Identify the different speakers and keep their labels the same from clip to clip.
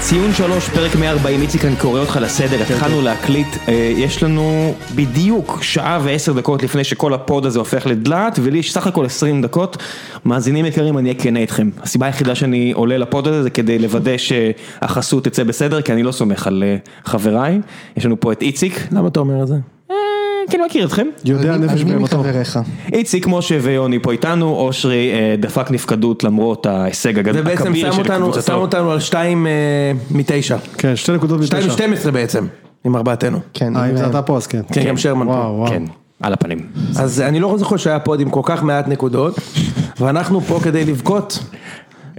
Speaker 1: ציון שלוש, פרק 140, איציק, אני קורא אותך לסדר,
Speaker 2: כן,
Speaker 1: התחלנו להקליט, אה, יש לנו בדיוק שעה ועשר דקות לפני שכל הפוד הזה הופך לדלעת, ולי יש סך הכל עשרים דקות. מאזינים יקרים, אני אהיה כנה איתכם. הסיבה היחידה שאני עולה לפוד הזה זה כדי לוודא שהחסות תצא בסדר, כי אני לא סומך על אה, חבריי. יש לנו פה את איציק,
Speaker 3: למה אתה אומר את זה?
Speaker 1: אה, כי אני לא מכיר אתכם.
Speaker 3: יודע
Speaker 4: אני-
Speaker 3: נפש
Speaker 4: אני לא
Speaker 3: בהמתו.
Speaker 4: מחבריך.
Speaker 1: איציק, משה ויוני פה איתנו, אושרי אה, דפק נפקדות למרות ההישג הגד-
Speaker 2: זה בעצם
Speaker 1: הכביר
Speaker 2: שם
Speaker 1: של
Speaker 2: אותנו,
Speaker 1: קבוצתו.
Speaker 2: שם אותנו על 2 מתשע.
Speaker 3: כן, שתי נקודות
Speaker 2: 2
Speaker 3: מתשע.
Speaker 2: מ-12 בעצם, עם ארבעתנו.
Speaker 4: כן,
Speaker 3: אה, אם זה
Speaker 4: אה,
Speaker 3: אתה פה אז כן.
Speaker 2: כן, גם שרמן
Speaker 3: וואו,
Speaker 2: פה.
Speaker 3: וואו.
Speaker 1: כן, על הפנים.
Speaker 2: אז אני לא זוכר שהיה פוד עם כל כך מעט נקודות, ואנחנו פה כדי לבכות.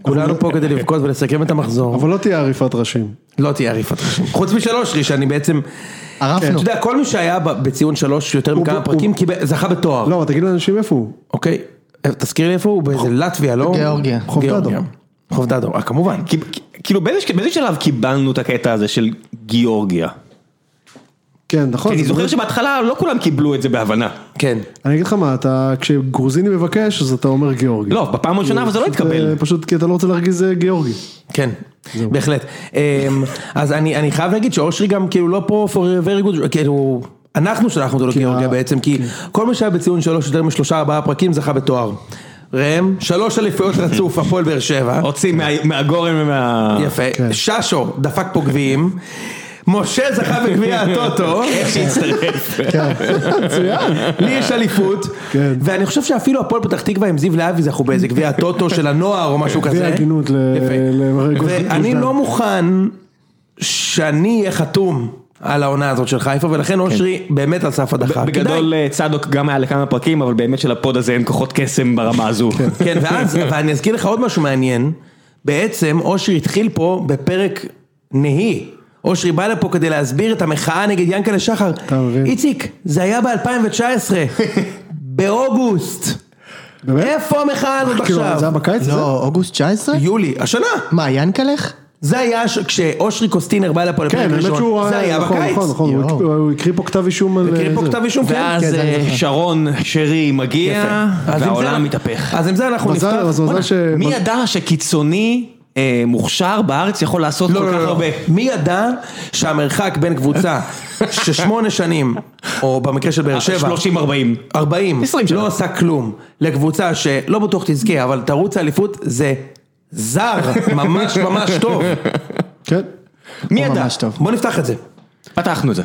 Speaker 2: כולנו פה כדי לבכות ולסכם את המחזור.
Speaker 3: אבל לא תהיה עריפת ראשים.
Speaker 2: לא תהיה עריפת חשוב. חוץ משלוש, רי, שאני בעצם...
Speaker 4: ערפנו.
Speaker 2: אתה יודע, כל מי שהיה ב- בציון שלוש יותר
Speaker 3: כן. הוא-
Speaker 2: מכמה
Speaker 3: הוא-
Speaker 2: פרקים קיבל- זכה בתואר.
Speaker 3: לא, אבל תגיד לאנשים איפה הוא.
Speaker 2: אוקיי? תזכיר לי איפה הוא? באיזה לטביה, לא?
Speaker 4: גיאורגיה.
Speaker 3: חובדדו.
Speaker 2: גיאורגיה. חובדדו, אה, כמובן.
Speaker 1: כי- כאילו באיזה באיזה שלב קיבלנו את הקטע הזה של גיאורגיה?
Speaker 3: כן, נכון.
Speaker 1: כי אני
Speaker 3: זה
Speaker 1: זוכר
Speaker 3: באמת-
Speaker 1: שבהתחלה לא כולם קיבלו את זה בהבנה.
Speaker 2: כן.
Speaker 3: אני אגיד לך מה, אתה, כשגרוזיני מבקש, אז אתה אומר גיאורגי.
Speaker 1: לא, בפעם הראשונה אבל זה לא
Speaker 3: פשוט,
Speaker 1: התקבל.
Speaker 3: אה, פשוט כי אתה לא רוצה להרגיז אה, גיאורגי.
Speaker 2: כן, בהחלט. אמ, אז אני אני חייב להגיד שאושרי גם כאילו לא פה for a very good, כאילו, אנחנו שלחנו אותו לגיאורגיה
Speaker 3: ה-
Speaker 2: בעצם, כי כל מי שהיה בציון שלוש יותר משלושה ארבעה פרקים זכה בתואר. ראם, שלוש אליפויות רצוף, הפועל באר שבע.
Speaker 1: הוציא מה- מהגורן ומה...
Speaker 3: כן.
Speaker 2: יפה. ששו דפק פה גביעים. משה זכה בגביע הטוטו, לי יש אליפות,
Speaker 3: כן.
Speaker 2: ואני חושב שאפילו הפועל פתח תקווה עם זיו להבי זכו באיזה גביע הטוטו של הנוער או משהו כזה.
Speaker 3: כן. גביע הגינות ל-
Speaker 2: יפה.
Speaker 3: ל- לגוש- גוש
Speaker 2: ואני
Speaker 3: דן.
Speaker 2: לא מוכן שאני אהיה חתום על העונה הזאת של חיפה, ולכן אושרי באמת על סף הדחה.
Speaker 1: בגדול אה, צדוק גם היה לכמה פרקים, אבל באמת שלפוד הזה אין כוחות קסם ברמה הזו.
Speaker 2: כן, ואז, ואני אזכיר לך עוד משהו מעניין, בעצם אושרי התחיל פה בפרק נהי. אושרי בא לפה כדי להסביר את המחאה נגד ינקלה שחר.
Speaker 3: אתה מבין.
Speaker 2: איציק, זה היה ב-2019, באוגוסט.
Speaker 3: באמת?
Speaker 2: איפה המחאה הזאת
Speaker 3: כאילו,
Speaker 2: עכשיו?
Speaker 3: זה היה בקיץ הזה?
Speaker 4: לא, אוגוסט 19?
Speaker 2: יולי, השנה.
Speaker 4: מה, ינקלך?
Speaker 2: זה היה ש- כשאושרי קוסטינר בא לפה לפרק
Speaker 3: כן, האמת שהוא...
Speaker 2: ראשון, זה היה
Speaker 3: נכון,
Speaker 2: בקיץ.
Speaker 3: נכון, נכון, הוא
Speaker 4: יואו.
Speaker 3: הקריא- הוא הקריא פה כתב אישום על... אה,
Speaker 2: מכיר פה
Speaker 3: זה.
Speaker 2: כתב אישום, כן?
Speaker 1: ואז
Speaker 4: זה אני
Speaker 1: אה,
Speaker 4: זוכר.
Speaker 1: שרון שרי מגיע,
Speaker 2: יפה. אז עם זה- אה,
Speaker 1: והעולם מתהפך.
Speaker 2: אז עם זה אנחנו
Speaker 3: מזל-
Speaker 2: נפתח.
Speaker 3: אז מזל ש...
Speaker 1: מי ידע שקיצוני אה, מוכשר בארץ יכול לעשות
Speaker 2: לא,
Speaker 1: כל
Speaker 2: לא,
Speaker 1: כך
Speaker 2: לא, לא.
Speaker 1: הרבה?
Speaker 2: מי ידע שהמרחק בין קבוצה ששמונה שנים, או במקרה של באר שבע,
Speaker 1: 30-40.
Speaker 2: 40,
Speaker 1: 20 אה, שנה.
Speaker 2: לא עושה כלום, לקבוצה שלא בטוח תזכה, אבל תרוץ האליפות זה זר, ממש ממש טוב.
Speaker 3: כן.
Speaker 1: מי
Speaker 4: הוא
Speaker 1: ידע?
Speaker 4: ממש טוב.
Speaker 2: בוא נפתח את זה.
Speaker 1: פתחנו את זה.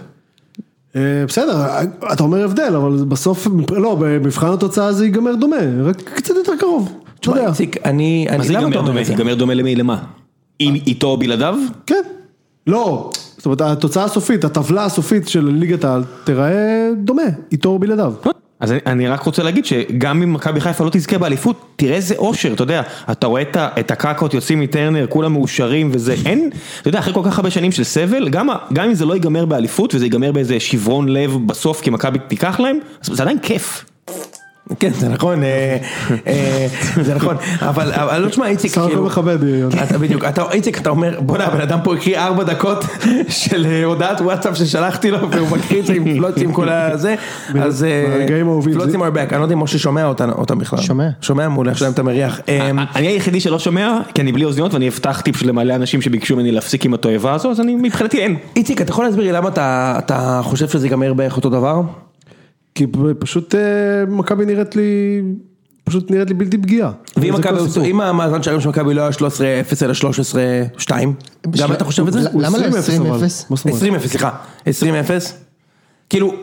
Speaker 3: אה, בסדר, אה, אתה אומר הבדל, אבל בסוף, לא, במבחן התוצאה זה ייגמר דומה, רק קצת יותר קרוב. אתה
Speaker 2: תשמע,
Speaker 3: יודע.
Speaker 2: איציק, אני,
Speaker 1: מה
Speaker 2: אני,
Speaker 1: זה
Speaker 2: למה אתה
Speaker 1: ייגמר
Speaker 2: אומר
Speaker 1: דומה?
Speaker 2: את זה?
Speaker 1: ייגמר דומה למי? למה? עם- איתו או בלעדיו?
Speaker 3: כן. לא, זאת אומרת, התוצאה הסופית, הטבלה הסופית של ליגת העל תיראה דומה, איתו או בלעדיו.
Speaker 1: לא. אז אני, אני רק רוצה להגיד שגם אם מכבי חיפה לא תזכה באליפות, תראה איזה אושר, אתה יודע, אתה רואה את, ה- את הקקות יוצאים מטרנר, כולם מאושרים וזה, אין, אתה יודע, אחרי כל כך הרבה שנים של סבל, גם, ה- גם אם זה לא ייגמר באליפות וזה ייגמר באיזה שברון לב בסוף כי מכבי תיקח להם, אז זה עדיין כיף.
Speaker 2: כן, זה נכון, אה, אה, זה נכון, אבל, אבל לא תשמע, איציק,
Speaker 3: סך הכל
Speaker 2: כאילו,
Speaker 3: מכבד, אה, יוני.
Speaker 2: אתה בדיוק, אתה, איציק, אתה אומר, בוא'נה, הבן אדם פה הקריא ארבע דקות של אה, הודעת וואטסאפ ששלחתי לו, והוא מקריא את זה עם פלוצים כל הזה, אז אה,
Speaker 3: ברגעים האהובים,
Speaker 2: פלוצים
Speaker 3: זה-
Speaker 2: are back, אני לא יודע אם משה שומע אותנו- אותם בכלל.
Speaker 4: שומע.
Speaker 2: שומע מעולה, עכשיו אתה מריח. אה,
Speaker 1: אני היחידי שלא שומע, כי אני בלי אוזניות ואני הבטחתי פשוט למלא אנשים שביקשו ממני להפסיק עם התועבה הזו, אז אני מבחינתי אין.
Speaker 2: איציק, אתה יכול להסביר לי למה אתה- אתה חושב שזה ייגמר בערך אותו דבר?
Speaker 3: כי פ- פשוט אה, מכבי נראית לי, פשוט נראית לי בלתי פגיעה.
Speaker 2: ואם
Speaker 3: זה כל
Speaker 2: מכבי-
Speaker 3: הסיפור.
Speaker 2: אם המאזן שערים של מכבי לא היה 13-0 אלא 13-2, גם אתה חושב את זה?
Speaker 4: הוא- למה לא
Speaker 3: 20-0 אבל.
Speaker 4: 20-0?
Speaker 3: מה זאת אומרת?
Speaker 2: 20-0, סליחה. 20-0? כאילו,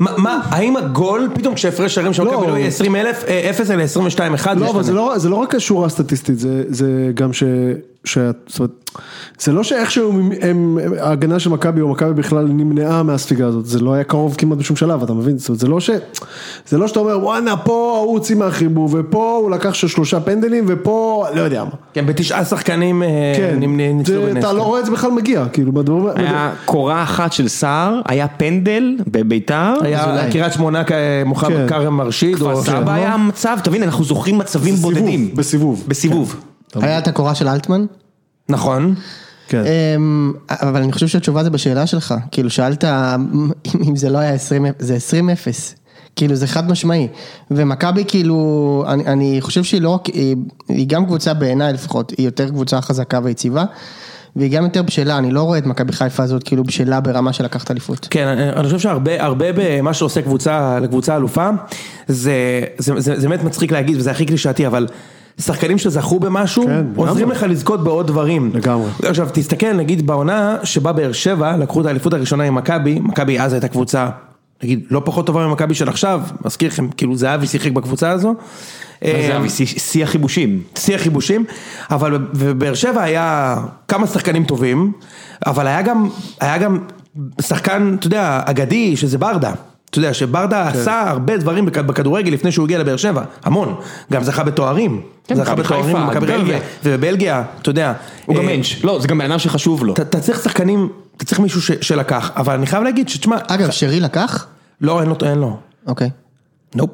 Speaker 2: מה, מה, האם הגול, פתאום כשהפרש שערים של
Speaker 3: לא.
Speaker 2: מכבי לא יהיה 20 אלף, 0 אלא 22 1
Speaker 3: לא, אבל זה לא, זה לא רק השורה הסטטיסטית, זה, זה גם ש... ש זאת אומרת, זה לא שאיכשהו הם- הם, הם- ההגנה של מכבי או מכבי בכלל נמנעה מהספיגה הזאת, זה לא היה קרוב כמעט בשום שלב, אתה מבין? זאת אומרת, זה לא ש... זה לא שאתה אומר, וואנה, פה ההוא הוציא מהחיבור, ופה הוא לקח של שלושה פנדלים, ופה, לא יודע מה.
Speaker 2: כן, בתשעה שחקנים אה,
Speaker 3: כן,
Speaker 2: נמ- ניצלו
Speaker 3: זה-
Speaker 2: בנס.
Speaker 3: אתה לא רואה את זה בכלל מגיע, כאילו, בדברים...
Speaker 1: היה קורה אחת של סער, היה פנדל בביתר.
Speaker 2: היה
Speaker 4: אזולאי.
Speaker 2: קריית שמונה כ- אה, מוחמד
Speaker 3: כן.
Speaker 2: כרם מרשיד, או-
Speaker 1: כפר סבא
Speaker 2: לא?
Speaker 1: היה מצב, תבין, אנחנו זוכרים מצבים
Speaker 3: בסיבוב,
Speaker 1: בודדים.
Speaker 3: בסיבוב.
Speaker 1: בסיבוב.
Speaker 4: היה את הקורה של אלטמן?
Speaker 2: נכון,
Speaker 3: כן.
Speaker 4: אמ, אבל אני חושב שהתשובה זה בשאלה שלך. כאילו, שאלת אמ, אם זה לא היה 20, זה 20-0. כאילו, זה חד משמעי. ומכבי, כאילו, אני, אני חושב שהיא לא רק, היא, היא גם קבוצה בעיניי לפחות, היא יותר קבוצה חזקה ויציבה. והיא גם יותר בשלה, אני לא רואה את מכבי חיפה הזאת כאילו בשלה ברמה של לקחת אליפות.
Speaker 2: כן, אני- אני חושב שהרבה הרבה במה שעושה קבוצה לקבוצה אלופה, זה, זה, זה, זה באמת מצחיק להגיד וזה הכי קלישאתי, אבל שחקנים שזכו במשהו,
Speaker 3: כן,
Speaker 2: כן,
Speaker 3: לגמרי.
Speaker 2: עוזרים לך לזכות בעוד דברים.
Speaker 3: לגמרי.
Speaker 2: עכשיו תסתכל נגיד בעונה שבה באר שבע לקחו את האליפות הראשונה עם מכבי, מכבי אז הייתה קבוצה, נגיד לא פחות טובה ממכבי של עכשיו, מזכיר לכם, כאילו זהבי שיחק בקבוצה הזו. אה,
Speaker 1: זה אבי, שיא- שיא החיבושים.
Speaker 2: שיא החיבושים, אבל בבאר שבע היה כמה שחקנים טובים, אבל היה גם, היה גם שחקן, אתה יודע, אגדי, שזה ברדה. אתה יודע, שברדה כן. עשה הרבה דברים בכ- בכדורגל לפני שהוא הגיע לבאר שבע, המון. גם זכה בתוארים.
Speaker 1: כן,
Speaker 2: זכה
Speaker 1: מכבי
Speaker 2: בתוארים
Speaker 1: חיפה,
Speaker 2: במכבי
Speaker 1: בלגיה.
Speaker 2: ובבלגיה, אתה יודע.
Speaker 1: הוא גם
Speaker 2: אה,
Speaker 1: מענץ'. לא, זה גם בן אדם שחשוב לו.
Speaker 2: אתה- אתה צריך שחקנים, אתה צריך מישהו ש- שלקח, אבל אני חייב להגיד שתשמע,
Speaker 4: אגב, שרי לקח?
Speaker 2: לא, אין לו, אין לו.
Speaker 4: אוקיי.
Speaker 2: נופ.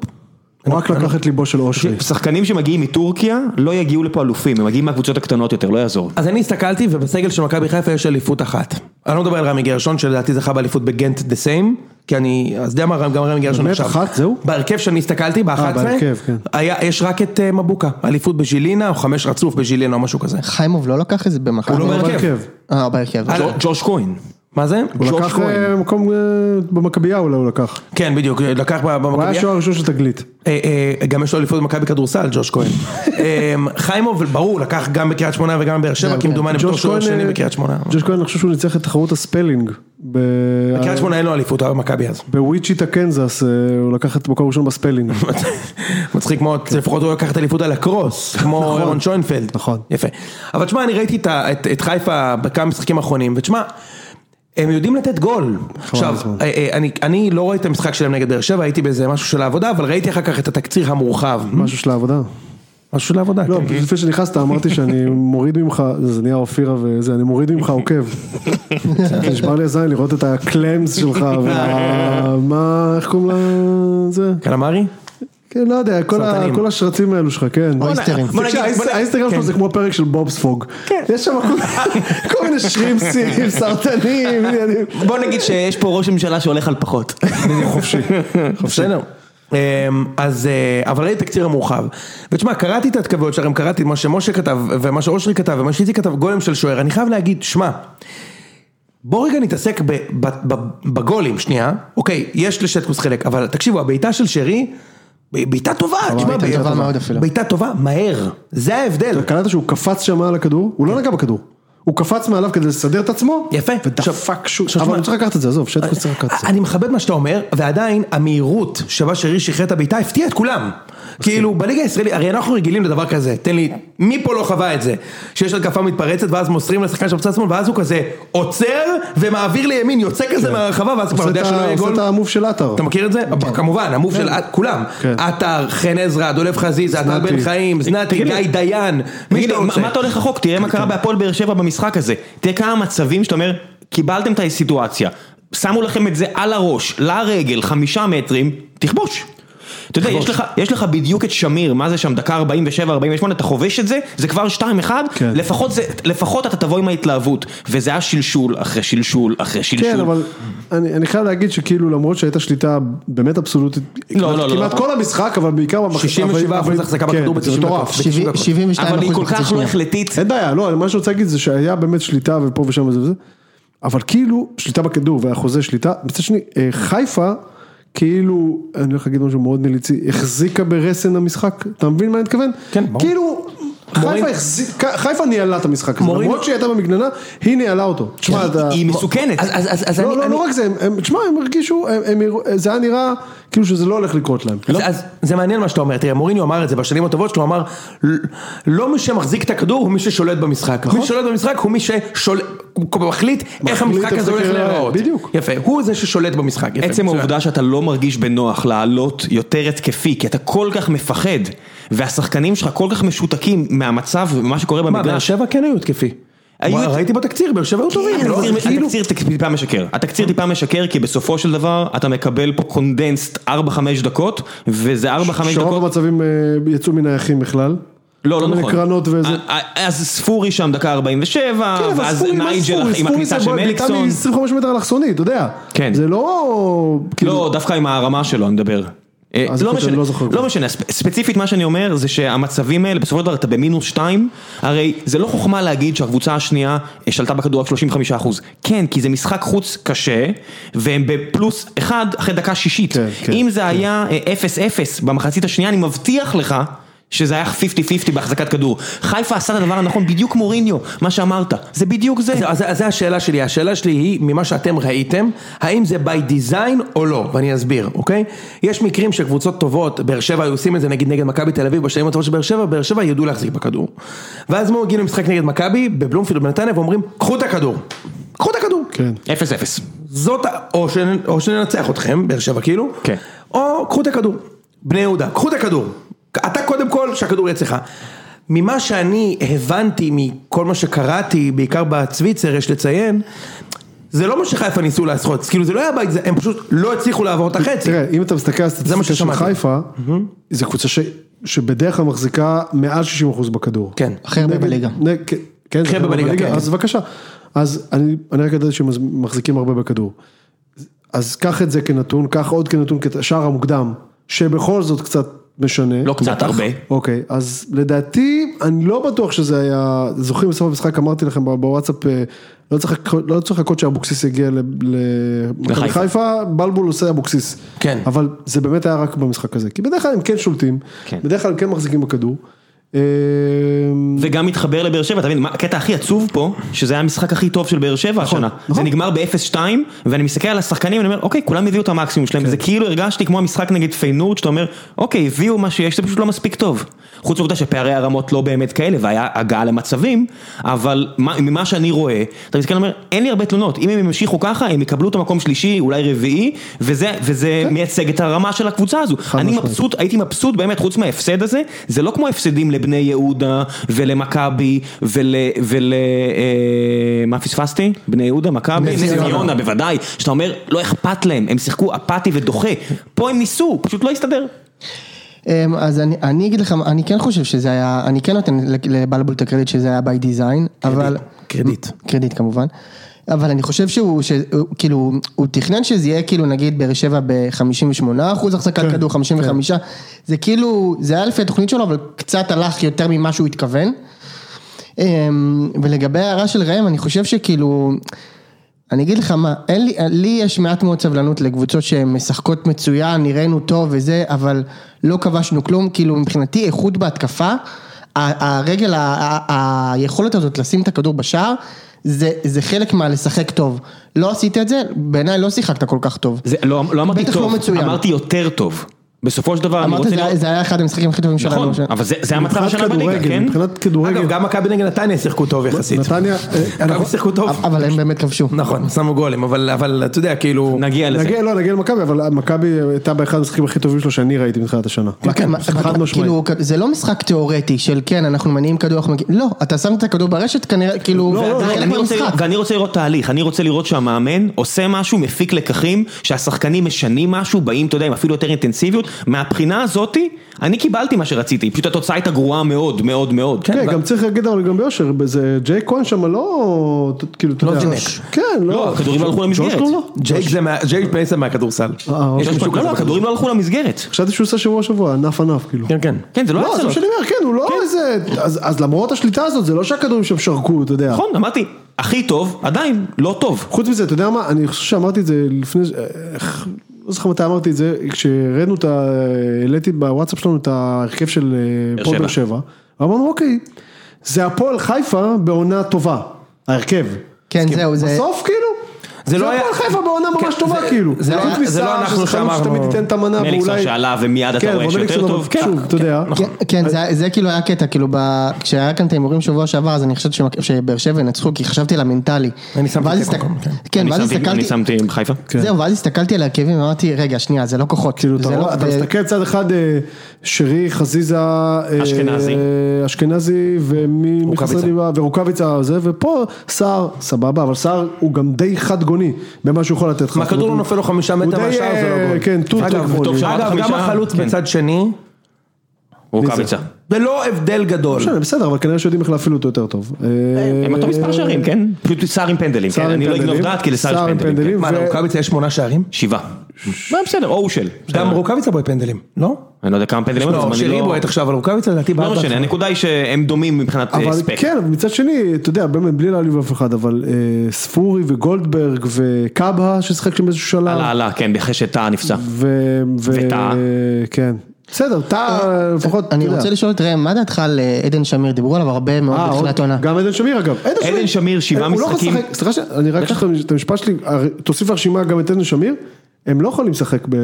Speaker 3: הוא רק לקח את ליבו של אושרי.
Speaker 1: שחקנים שמגיעים מטורקיה לא יגיעו לפה אלופים, הם מגיעים מהקבוצות הקטנות יותר, לא יעזור.
Speaker 2: אז אני הסתכלתי ובסגל של מכבי חיפה יש אליפות אחת. אני לא מדבר על רמי גרשון שלדעתי זכה באליפות בגנט דה סיים, כי אני, אז אתה יודע מה, גם רמי גרשון
Speaker 3: באמת?
Speaker 2: עכשיו.
Speaker 3: אחת? זהו?
Speaker 2: בהרכב שאני הסתכלתי, באחת עשרה,
Speaker 3: בהרכב, כן.
Speaker 2: היה- יש רק את אה, מבוקה, אליפות בז'ילינה או חמש רצוף בז'ילינה או משהו כזה.
Speaker 4: חיימוב לא לקח את זה במכבי?
Speaker 2: הוא לא
Speaker 3: הוא
Speaker 2: בהרכב.
Speaker 3: בהרכב.
Speaker 4: אה, בהרכב.
Speaker 2: אה, לא.
Speaker 1: ג'ו- ג'וש כהן.
Speaker 2: מה זה?
Speaker 3: הוא
Speaker 1: ג'ורג'
Speaker 3: לקח
Speaker 1: כהן.
Speaker 3: אה, מקום אה, במכבייה אולי הוא לקח.
Speaker 2: כן, בדיוק, לקח ב-
Speaker 3: הוא
Speaker 2: במכבי.
Speaker 3: היה השוער הראשון של תגלית.
Speaker 2: אה, אה, גם יש לו אליפות במכבי כדורסל, ג'וש כהן. אה, חיימוב, ברור, לקח גם בקריית שמונה וגם בבאר שבע,
Speaker 4: כן.
Speaker 2: כמדומני, בתור שוער לא שני
Speaker 3: אה,
Speaker 2: בקריית שמונה.
Speaker 3: ג'וש כהן, אני חושב שהוא ניצח את תחרות הספלינג. ב-
Speaker 2: בקריית שמונה אין לו אליפות, הוא היה במכבי אז.
Speaker 3: בוויצ'יטה קנזס, אה, הוא לקח את מקום ראשון בספלינג.
Speaker 2: מצחיק מאוד,
Speaker 3: כן.
Speaker 2: לפחות הוא לקח את האליפות על הקרוס, כמו רון שוינפלד.
Speaker 3: נכון.
Speaker 2: יפה. אבל תשמע, אני ראיתי את ה- את- את חיפה בכמה משחקים האחרונים, ותשמע, הם יודעים לתת גול.
Speaker 3: נכון,
Speaker 2: עכשיו,
Speaker 3: הזמן.
Speaker 2: אה, אה, אני- אני לא רואה את המשחק שלהם נגד באר שבע, הייתי באיזה משהו של העבודה, אבל ראיתי אחר כך את התקציר המורחב.
Speaker 3: משהו של העבודה.
Speaker 2: משהו של העבודה,
Speaker 3: לא,
Speaker 2: כן.
Speaker 3: לפני שנכנסת אמרתי שאני מוריד ממך, זה נהיה אופירה וזה, אני מוריד ממך עוקב. נשבר לי הזין לראות את הקלמס שלך, וה- מה, איך קוראים לזה?
Speaker 2: קלמרי?
Speaker 3: כן, לא יודע, כל ה-
Speaker 2: סרטנים.
Speaker 3: כל השרצים האלו שלך, כן.
Speaker 4: אויסטרים.
Speaker 1: בוא נגיד-
Speaker 3: תקשיב, האיס-
Speaker 1: בוא נגיד-
Speaker 3: האינסטגרם
Speaker 2: כן.
Speaker 3: שלו זה כמו הפרק של בובס פוג. יש שם כל- כל מיני שרימפסים, סרטנים, עניינים.
Speaker 5: בוא נגיד שיש פה ראש ממשלה שהולך על פחות.
Speaker 3: חופשי.
Speaker 2: בסדר. אמ, אז, אה, אבל ראיתי תקציר המורחב. ותשמע, קראתי את ההתכתבויות שלכם, קראתי מה שמשה כתב, ומה שאושרי כתב, ומה שאיציק כתב, גולם של שוער. אני חייב להגיד, שמע, בוא רגע נתעסק ב- ב- ב- בגולים, שנייה. אוקיי, יש לשטקוס חלק, אבל תקשיבו, הבעיטה של שרי, ב- בעיטה טובה, תשמע,
Speaker 4: בעיטה טובה מאוד אפילו.
Speaker 2: בעיטה טובה, מהר. זה ההבדל.
Speaker 3: קלטת שהוא קפץ שם על הכדור, הוא לא נגע בכדור. הוא קפץ מעליו כדי לסדר את עצמו,
Speaker 2: כן. יפה.
Speaker 3: ודפק
Speaker 2: עכשיו, אה,
Speaker 3: שוב,
Speaker 2: עכשיו,
Speaker 3: אבל
Speaker 2: שמע,
Speaker 3: הוא צריך לקחת את זה, עזוב, שטקוס צריך לקחת את זה.
Speaker 2: אני מכבד מה שאתה אומר, ועדיין המהירות שבה שרי שחרר את הבעיטה הפתיעה את כולם. כאילו בליגה הישראלית, הרי אנחנו רגילים לדבר כזה, תן לי, מי פה לא חווה את זה? שיש התקפה מתפרצת ואז מוסרים לשחקן של בצד שמאל ואז הוא כזה עוצר ומעביר לימין, יוצא כזה מהרחבה ואז כבר
Speaker 3: כן. עושה
Speaker 2: יודע
Speaker 3: את ה-
Speaker 2: שלא יהיה
Speaker 3: עושה
Speaker 2: גול.
Speaker 3: את המוב של עטר.
Speaker 2: אתה מכיר את זה? כמובן, המוב של כולם.
Speaker 3: כן.
Speaker 2: עטר, חן עזרא, דולב חזיזה, עטר
Speaker 3: זנתי.
Speaker 2: בן חיים, זנתי,
Speaker 1: תגיד לי-
Speaker 2: גיא דיין, מי
Speaker 1: תגיד,
Speaker 2: שאתה
Speaker 1: מה
Speaker 2: רוצה.
Speaker 1: מה אתה הולך רחוק? תראה מה קרה בהפועל באר שבע במשחק הזה. תראה כמה מצבים שאתה אומר, קיבלתם את הסיטואציה, שמו לכם את זה על הראש, לרגל, חמישה מטרים, תכבוש. אתה יודע, יש לך, יש לך בדיוק את שמיר, מה זה שם, דקה 47-48, אתה חובש את זה, זה כבר 2-1,
Speaker 3: כן.
Speaker 1: לפחות, זה, לפחות אתה תבוא עם ההתלהבות, וזה היה שלשול אחרי שלשול אחרי שלשול.
Speaker 3: כן, אבל אני, אני חייב להגיד שכאילו למרות שהייתה שליטה באמת אבסולוטית,
Speaker 1: לא,
Speaker 3: כמעט-
Speaker 1: לא, לא,
Speaker 3: כמעט
Speaker 1: לא.
Speaker 3: כל המשחק, אבל בעיקר במחצית.
Speaker 2: 67%
Speaker 3: אבל-
Speaker 2: החזקה
Speaker 3: כן,
Speaker 2: בכדור
Speaker 3: זה
Speaker 2: ב-90
Speaker 3: מטורף.
Speaker 2: דקות.
Speaker 4: 70 72
Speaker 1: אבל היא
Speaker 4: אחוז
Speaker 1: כל
Speaker 4: בחצי
Speaker 1: כך לא
Speaker 4: שנייה.
Speaker 1: החלטית,
Speaker 3: אין בעיה, לא, מה שאני רוצה להגיד זה שהיה באמת שליטה ופה ושם וזה וזה, אבל כאילו שליטה בכדור והחוזה שליטה, מצד שני אה, חיפה כאילו, אני הולך להגיד משהו מאוד מליצי, החזיקה ברסן המשחק, אתה מבין מה אני מתכוון?
Speaker 2: כן, ברור.
Speaker 3: כאילו, חיפה החזיקה, חיפה ניהלה את המשחק הזה,
Speaker 2: מורינו-
Speaker 3: למרות שהיא הייתה במגננה, היא ניהלה אותו. תשמע, אתה...
Speaker 1: היא מסוכנת.
Speaker 2: אז- אז- אז- כן, אז
Speaker 3: לא,
Speaker 2: אני-
Speaker 3: לא,
Speaker 2: אני-
Speaker 3: לא רק זה, הם- הם- תשמע, הם הרגישו, הם- הם הראו- זה היה נראה כאילו שזה לא הולך לקרות להם.
Speaker 2: אז, אז זה מעניין מה שאתה אומר, תראה מוריניו אמר את זה בשנים הטובות שלו, הוא אמר "ל- לא מי שמחזיק את הכדור הוא מי ששולט במשחק,
Speaker 3: נכון.
Speaker 2: מי ששולט במשחק הוא מי ששולט, הוא מחליט איך המשחק
Speaker 3: איך
Speaker 2: הזה
Speaker 3: זה
Speaker 2: הולך
Speaker 3: ייראה,
Speaker 2: להיראות,
Speaker 3: בדיוק.
Speaker 2: יפה, הוא זה ששולט במשחק, יפה,
Speaker 1: עצם
Speaker 2: מצוין.
Speaker 1: העובדה שאתה לא מרגיש בנוח לעלות יותר התקפי, כי אתה כל כך מפחד, והשחקנים שלך כל כך משותקים מהמצב ומה שקורה
Speaker 2: מה, באר
Speaker 1: במגרש.
Speaker 2: שבע כן היו התקפי,
Speaker 1: היו
Speaker 2: וואי,
Speaker 1: את-
Speaker 2: ראיתי בתקציר, באר שבע היו טובים, לא?
Speaker 1: התקציר-
Speaker 2: כאילו-
Speaker 1: התקציר טיפה משקר, התקציר טיפה משקר כי בסופו של דבר אתה מקבל פה קונדנסט 4-5 דקות וזה 4-5
Speaker 3: שרוב
Speaker 1: דקות,
Speaker 3: המצבים אה, יצאו מנייחים בכלל.
Speaker 1: לא
Speaker 3: כל
Speaker 1: לא
Speaker 3: מיני
Speaker 1: נכון,
Speaker 3: קרנות וזה.
Speaker 1: אה, אה, אז ספורי שם דקה 47,
Speaker 3: כן, אבל
Speaker 1: ואז
Speaker 3: ספורי, מה
Speaker 1: נייג'ל
Speaker 3: ספורי?
Speaker 1: עם
Speaker 3: ספורי
Speaker 1: הכניסה
Speaker 3: זה
Speaker 1: של
Speaker 3: בועט בעיטה
Speaker 1: מליקסון,
Speaker 3: מ-25 מטר אלכסוני, אתה יודע.
Speaker 1: כן.
Speaker 3: זה לא... כאילו,
Speaker 1: לא דווקא עם ההרמה שלו אני מדבר, אה,
Speaker 3: אז
Speaker 1: לא
Speaker 3: אני
Speaker 1: משנה,
Speaker 3: לא זוכר.
Speaker 1: לא משנה, ספ- ספציפית מה שאני אומר זה שהמצבים האלה, בסופו של דבר אתה במינוס 2, הרי זה לא חוכמה להגיד שהקבוצה השנייה אה, שלטה בכדור רק 35%. כן, כי זה משחק חוץ קשה, והם בפלוס 1 אחרי דקה שישית.
Speaker 3: כן, כן,
Speaker 1: אם זה היה אה, 0-0 במחצית השנייה, אני מבטיח לך. שזה היה 50-50 בהחזקת כדור. חיפה עשה את הדבר הנכון, בדיוק כמו ריניו, מה שאמרת. זה בדיוק זה.
Speaker 2: אז, אז, אז זה השאלה שלי, השאלה שלי היא ממה שאתם ראיתם, האם זה by design או לא, ואני אסביר, אוקיי? יש מקרים שקבוצות טובות, באר שבע היו עושים את זה נגיד נגד מכבי תל אביב, בשנים הטובות של באר שבע, באר שבע ידעו להחזיק בכדור. ואז הם מגיעים למשחק נגד מכבי, בבלומפילד בנתניה, ואומרים, קחו את הכדור. קחו את הכדור.
Speaker 3: כן.
Speaker 1: 0-0.
Speaker 2: זאת, ה- או, ש, או שננצח אתכם, באר שבע כאילו,
Speaker 1: כן.
Speaker 2: או קחו את הכדור, בני יהודה, קחו את הכדור, אתה קודם כל שהכדור יהיה אצלך. ממה שאני הבנתי מכל מה שקראתי, בעיקר בצוויצר יש לציין, זה לא מה שחיפה ניסו לעשות, כאילו זה לא היה בית, זה- הם פשוט לא הצליחו לעבור את החצי.
Speaker 3: תראה, אם אתה מסתכל על
Speaker 2: זה מה
Speaker 3: הסטטיסטיקה של
Speaker 2: ששמעתי.
Speaker 3: חיפה, זו קבוצה ש- שבדרך כלל מחזיקה מעל 60% בכדור.
Speaker 2: כן.
Speaker 4: הכי הרבה
Speaker 3: נגד-
Speaker 4: בליגה.
Speaker 3: נג- כן, כן,
Speaker 2: הכי הרבה בליגה, כן.
Speaker 3: אז בבקשה. אז אני אני רק ידעתי שהם מחזיקים הרבה בכדור. אז קח את זה כנתון, קח עוד כנתון, כשער המוקדם, שבכל זאת קצת משנה.
Speaker 1: לא קצת, הרבה.
Speaker 3: אוקיי, אז לדעתי, אני לא בטוח שזה היה, זוכרים בסוף המשחק, אמרתי לכם ב- בוואטסאפ, אה, לא צריך לחכות- לא צריך לחכות שאבוקסיס יגיע ל- למכבי
Speaker 1: לחיפה.
Speaker 3: חיפה, בלבול עושה אבוקסיס.
Speaker 2: כן.
Speaker 3: אבל זה באמת היה רק במשחק הזה, כי בדרך כלל הם כן שולטים,
Speaker 1: כן.
Speaker 3: בדרך כלל הם כן מחזיקים בכדור. אה,
Speaker 1: וגם מתחבר לבאר שבע, אתה מבין, מה- הקטע הכי עצוב פה, שזה היה המשחק הכי טוב של באר שבע השנה. זה נגמר ב-0-2, ואני מסתכל על השחקנים, אני אומר, אוקיי, כולם הביאו את המקסימום שלהם, זה כאילו הרגשתי כמו המשחק נגד פיינורד, שאתה אומר, אוקיי, הביאו מה שיש, זה פשוט לא מספיק טוב. חוץ מהעובדה שפערי הרמות לא באמת כאלה, והיה הגעה למצבים, אבל מה- ממה שאני רואה, אתה מסתכל ואומר, אין לי הרבה תלונות, אם הם ימשיכו ככה, הם יקבלו את המקום שלישי, אולי רביעי, וזה, וזה מייצג את הרמה של הקבוצה הזו. אני
Speaker 3: משמעית.
Speaker 1: מבסוט מבסוט, הייתי מבסוט באמת, חוץ מההפסד הזה, זה לא כמו הפסדים לבני יהודה ולמכבי ול... ול... אה, מה פספסתי? בני יהודה, מכבי, נס ציונה בוודאי, שאתה אומר, לא אכפת להם, הם שיחקו אפאתי ודוחה, פה הם ניסו, פשוט לא הסתדר.
Speaker 4: אמ, אז אני, אני אגיד לך, מה, אני כן חושב שזה היה, אני כן נותן לבלבול את הקרדיט שזה היה by design, אבל...
Speaker 2: קרדיט.
Speaker 4: קרדיט כמובן. אבל אני חושב שהוא, ש- הוא- כאילו, הוא תכנן שזה יהיה כאילו נגיד באר שבע ב-58 אחוז החזקת כדור, 55, זה כאילו, זה היה לפי התוכנית שלו, אבל קצת הלך יותר ממה שהוא התכוון. אמ, ולגבי ההערה של ראם, אני חושב שכאילו, אני אגיד לך מה, אין לי, לי יש מעט מאוד סבלנות לקבוצות שהן משחקות מצוין, נראינו טוב וזה, אבל לא כבשנו כלום, כאילו מבחינתי איכות בהתקפה, ה- הרגל, ה- ה- היכולת הזאת לשים את הכדור בשער, זה, זה חלק מהלשחק טוב. לא עשית את זה, בעיניי לא שיחקת כל כך טוב.
Speaker 1: זה, לא, לא אמרתי
Speaker 4: בטח
Speaker 1: טוב,
Speaker 4: לא מצוין.
Speaker 1: אמרתי יותר טוב. בסופו של דבר אני
Speaker 4: אמרת,
Speaker 1: רוצה
Speaker 4: זה, היה- זה היה אחד המשחקים הכי טובים שלנו.
Speaker 1: נכון,
Speaker 4: ש-
Speaker 1: אבל זה, זה המצב
Speaker 3: מבחינת
Speaker 1: השנה בליגה,
Speaker 3: כדורגל,
Speaker 1: כן?
Speaker 3: מבחינת כדורגל,
Speaker 2: אגב, גם מכבי נגד נתניה שיחקו טוב יחסית.
Speaker 3: נתניה, אה,
Speaker 2: מכבי שיחקו
Speaker 1: לא
Speaker 2: טוב.
Speaker 4: אבל הם באמת כבשו.
Speaker 2: נכון, שמו גולים, אבל אבל אתה יודע, כאילו...
Speaker 1: נגיע לזה.
Speaker 3: נגיע, לא, נגיע למכבי, אבל מכבי הייתה באחד המשחקים הכי טובים שלו שאני ראיתי מתחילת השנה.
Speaker 4: כן, מה-
Speaker 3: חד
Speaker 4: מה-
Speaker 3: משמעית.
Speaker 4: כאילו, זה לא משחק תיאורטי של כן, אנחנו מניעים כדור, אנחנו מגיעים, לא, אתה שם את הכדור ברשת כנראה, כאילו,
Speaker 3: לא,
Speaker 4: זה חלק
Speaker 1: ואני רוצה-
Speaker 4: מהמשחק.
Speaker 1: ואני רוצה לראות תהליך, אני רוצה לראות שהמאמן עושה משהו, מפיק לקחים, שהשחקנים משנים משהו, באים, אתה יודע, עם אפילו יותר אינטנסיביות. מהבחינה הזאתי, אני קיבלתי מה שרציתי, פשוט התוצאה הייתה גרועה מאוד, מאוד מאוד.
Speaker 3: כן, גם צריך להגיד אבל גם ביושר, זה ג'יי כהן שם לא, כאילו, אתה
Speaker 2: לא
Speaker 3: יודע,
Speaker 2: זינק.
Speaker 3: כן,
Speaker 1: לא,
Speaker 3: לא,
Speaker 1: הכדורים לא הלכו למסגרת.
Speaker 3: ג'וש לא, לא.
Speaker 2: ג'ייק זה מה- ג'ייק פייסם מהכדורסל.
Speaker 3: אה,
Speaker 1: יש
Speaker 3: אוקיי.
Speaker 1: משהו כזה, לא, הכדורים לא הלכו למסגרת.
Speaker 3: חשבתי שהוא עושה שבוע שבוע, ענף ענף, כאילו.
Speaker 2: כן, כן.
Speaker 1: כן, זה לא
Speaker 3: לא,
Speaker 1: היה
Speaker 3: זה
Speaker 1: סלוט.
Speaker 3: מה שאני אומר, כן, הוא לא איזה, אז אז למרות השליטה הזאת, זה לא שהכדורים שם שרקו, אתה יודע.
Speaker 1: נכון, אמרתי, הכי טוב, עדיין לא טוב.
Speaker 3: חוץ מזה, אתה יודע מה, אני חושב שאמרתי את זה לפני, איך- לא זוכר מתי אמרתי את זה, כשהראינו את ה... העליתי בוואטסאפ שלנו את ההרכב של אה,
Speaker 1: באר
Speaker 3: הפועל באר שבע, אמרנו, אוקיי, זה הפועל חיפה בעונה טובה, ההרכב.
Speaker 4: כן, זהו, זה...
Speaker 3: בסוף כאילו,
Speaker 2: זה
Speaker 3: זה
Speaker 2: לא
Speaker 3: לא
Speaker 2: היה-
Speaker 3: הפועל חיפה בעונה
Speaker 2: כן,
Speaker 3: ממש
Speaker 2: זה-
Speaker 3: טובה
Speaker 2: זה
Speaker 3: כאילו.
Speaker 2: לא היה-
Speaker 3: חוץ
Speaker 2: זה לא
Speaker 3: מסער,
Speaker 2: אנחנו
Speaker 3: שזה חלוץ
Speaker 2: שאמרנו-
Speaker 3: שתמיד ייתן את המנה,
Speaker 1: מליקסון
Speaker 3: ואולי-
Speaker 1: שעלה ומיד אתה
Speaker 3: לא, כן,
Speaker 1: רואה
Speaker 3: אבל
Speaker 1: שיותר
Speaker 3: מליקסון,
Speaker 1: טוב.
Speaker 3: אבל
Speaker 1: כן.
Speaker 3: שוב, אתה יודע.
Speaker 4: כן, כן, זה- זה כאילו היה קטע, כאילו, ב- כשהיה כאן את ההימורים שבוע שעבר, אז אני חשבתי שמכ- שבאר שבע ינצחו, כי חשבתי על המנטלי.
Speaker 2: אני שמתי
Speaker 4: ואז
Speaker 2: תיקו
Speaker 4: הסתכל-
Speaker 2: גם, כן.
Speaker 4: כן,
Speaker 1: אני
Speaker 4: ואז
Speaker 1: שמתי- אני
Speaker 4: הסתכלתי,
Speaker 1: שמתי עם חיפה.
Speaker 3: כן.
Speaker 4: זהו, ואז הסתכלתי על ההרכבים, ואמרתי, רגע, שנייה, זה לא כוחות.
Speaker 3: כאילו,
Speaker 4: זה
Speaker 3: אתה
Speaker 4: לא-
Speaker 3: רואה, אתה
Speaker 4: זה-
Speaker 3: מסתכל צד אחד, אה, שרי, חזיזה, אה,
Speaker 1: אשכנזי.
Speaker 3: אה, אשכנזי, ומי מי חסר
Speaker 2: רוקאביצה.
Speaker 3: לי, ב- ורוקאביצה זה, ופה סער, סבבה, אבל סער הוא גם די חד גוני, במה שהוא יכול לתת לך. זאת
Speaker 2: הכדור
Speaker 3: אומרת,
Speaker 2: לא
Speaker 3: הוא-
Speaker 2: נופל לו חמישה
Speaker 3: הוא
Speaker 2: מטר
Speaker 3: די,
Speaker 2: מהשער זה
Speaker 3: אה,
Speaker 2: לא גול.
Speaker 3: כן, טוטו
Speaker 2: אגב,
Speaker 3: גבולי.
Speaker 1: טוב, שער
Speaker 2: אגב, גם
Speaker 1: חמישה,
Speaker 2: החלוץ
Speaker 1: כן.
Speaker 2: בצד שני,
Speaker 1: רוקאביצה.
Speaker 3: אה,
Speaker 2: זה לא הבדל גדול.
Speaker 3: בסדר, בסדר, אבל כנראה שיודעים איך להפעיל אותו יותר טוב. אה,
Speaker 1: הם אותו מספר שערים, כן? פשוט סער עם פנדלים, כן?
Speaker 3: סער עם
Speaker 1: אני לא אגנוב
Speaker 3: פנדלים,
Speaker 1: דעת כי לסער
Speaker 3: סער
Speaker 1: יש
Speaker 3: עם
Speaker 1: פנדלים.
Speaker 3: פנדלים.
Speaker 1: כן.
Speaker 2: מה,
Speaker 3: ו-
Speaker 2: לרוקאביצה יש שמונה שערים?
Speaker 1: שבעה. מה בסדר, או הוא של.
Speaker 2: גם רוקאביצה בועט פנדלים, לא?
Speaker 1: אני לא יודע כמה פנדלים, אבל
Speaker 2: לא,
Speaker 1: אני
Speaker 2: שרי
Speaker 1: לא-
Speaker 2: בועט עכשיו, אבל רוקאביצה לדעתי בעד.
Speaker 1: לא משנה, הנקודה היא שהם דומים מבחינת אה,
Speaker 3: אבל
Speaker 1: ספק.
Speaker 3: כן, אבל מצד שני, אתה יודע, באמת בלי להעליב אף אחד, אבל אה, ספורי וגולדברג וקאבה ששיחק שם באיזשהו שלב.
Speaker 1: עלה, עלה, כן, אחרי שטאה נפצע.
Speaker 3: ו... ו-
Speaker 1: וטאה.
Speaker 3: כן. בסדר, תא לפחות,
Speaker 4: אני
Speaker 3: אתה יודע.
Speaker 4: רוצה לשאול את ראם, מה דעתך על אה, עדן שמיר? דיברו עליו הרבה מאוד
Speaker 3: אה,
Speaker 4: בתחילת
Speaker 3: עוד-
Speaker 4: העונה.
Speaker 3: גם עדן שמיר אגב.
Speaker 1: עדן שמיר, שבעה
Speaker 3: הוא לא יכול
Speaker 1: משחקים.
Speaker 3: לשחק- סליחה, ש- אני רק אשכח את המשפט שלי, הר- תוסיף לרשימה גם את עדן שמיר, הם לא יכולים לשחק ב-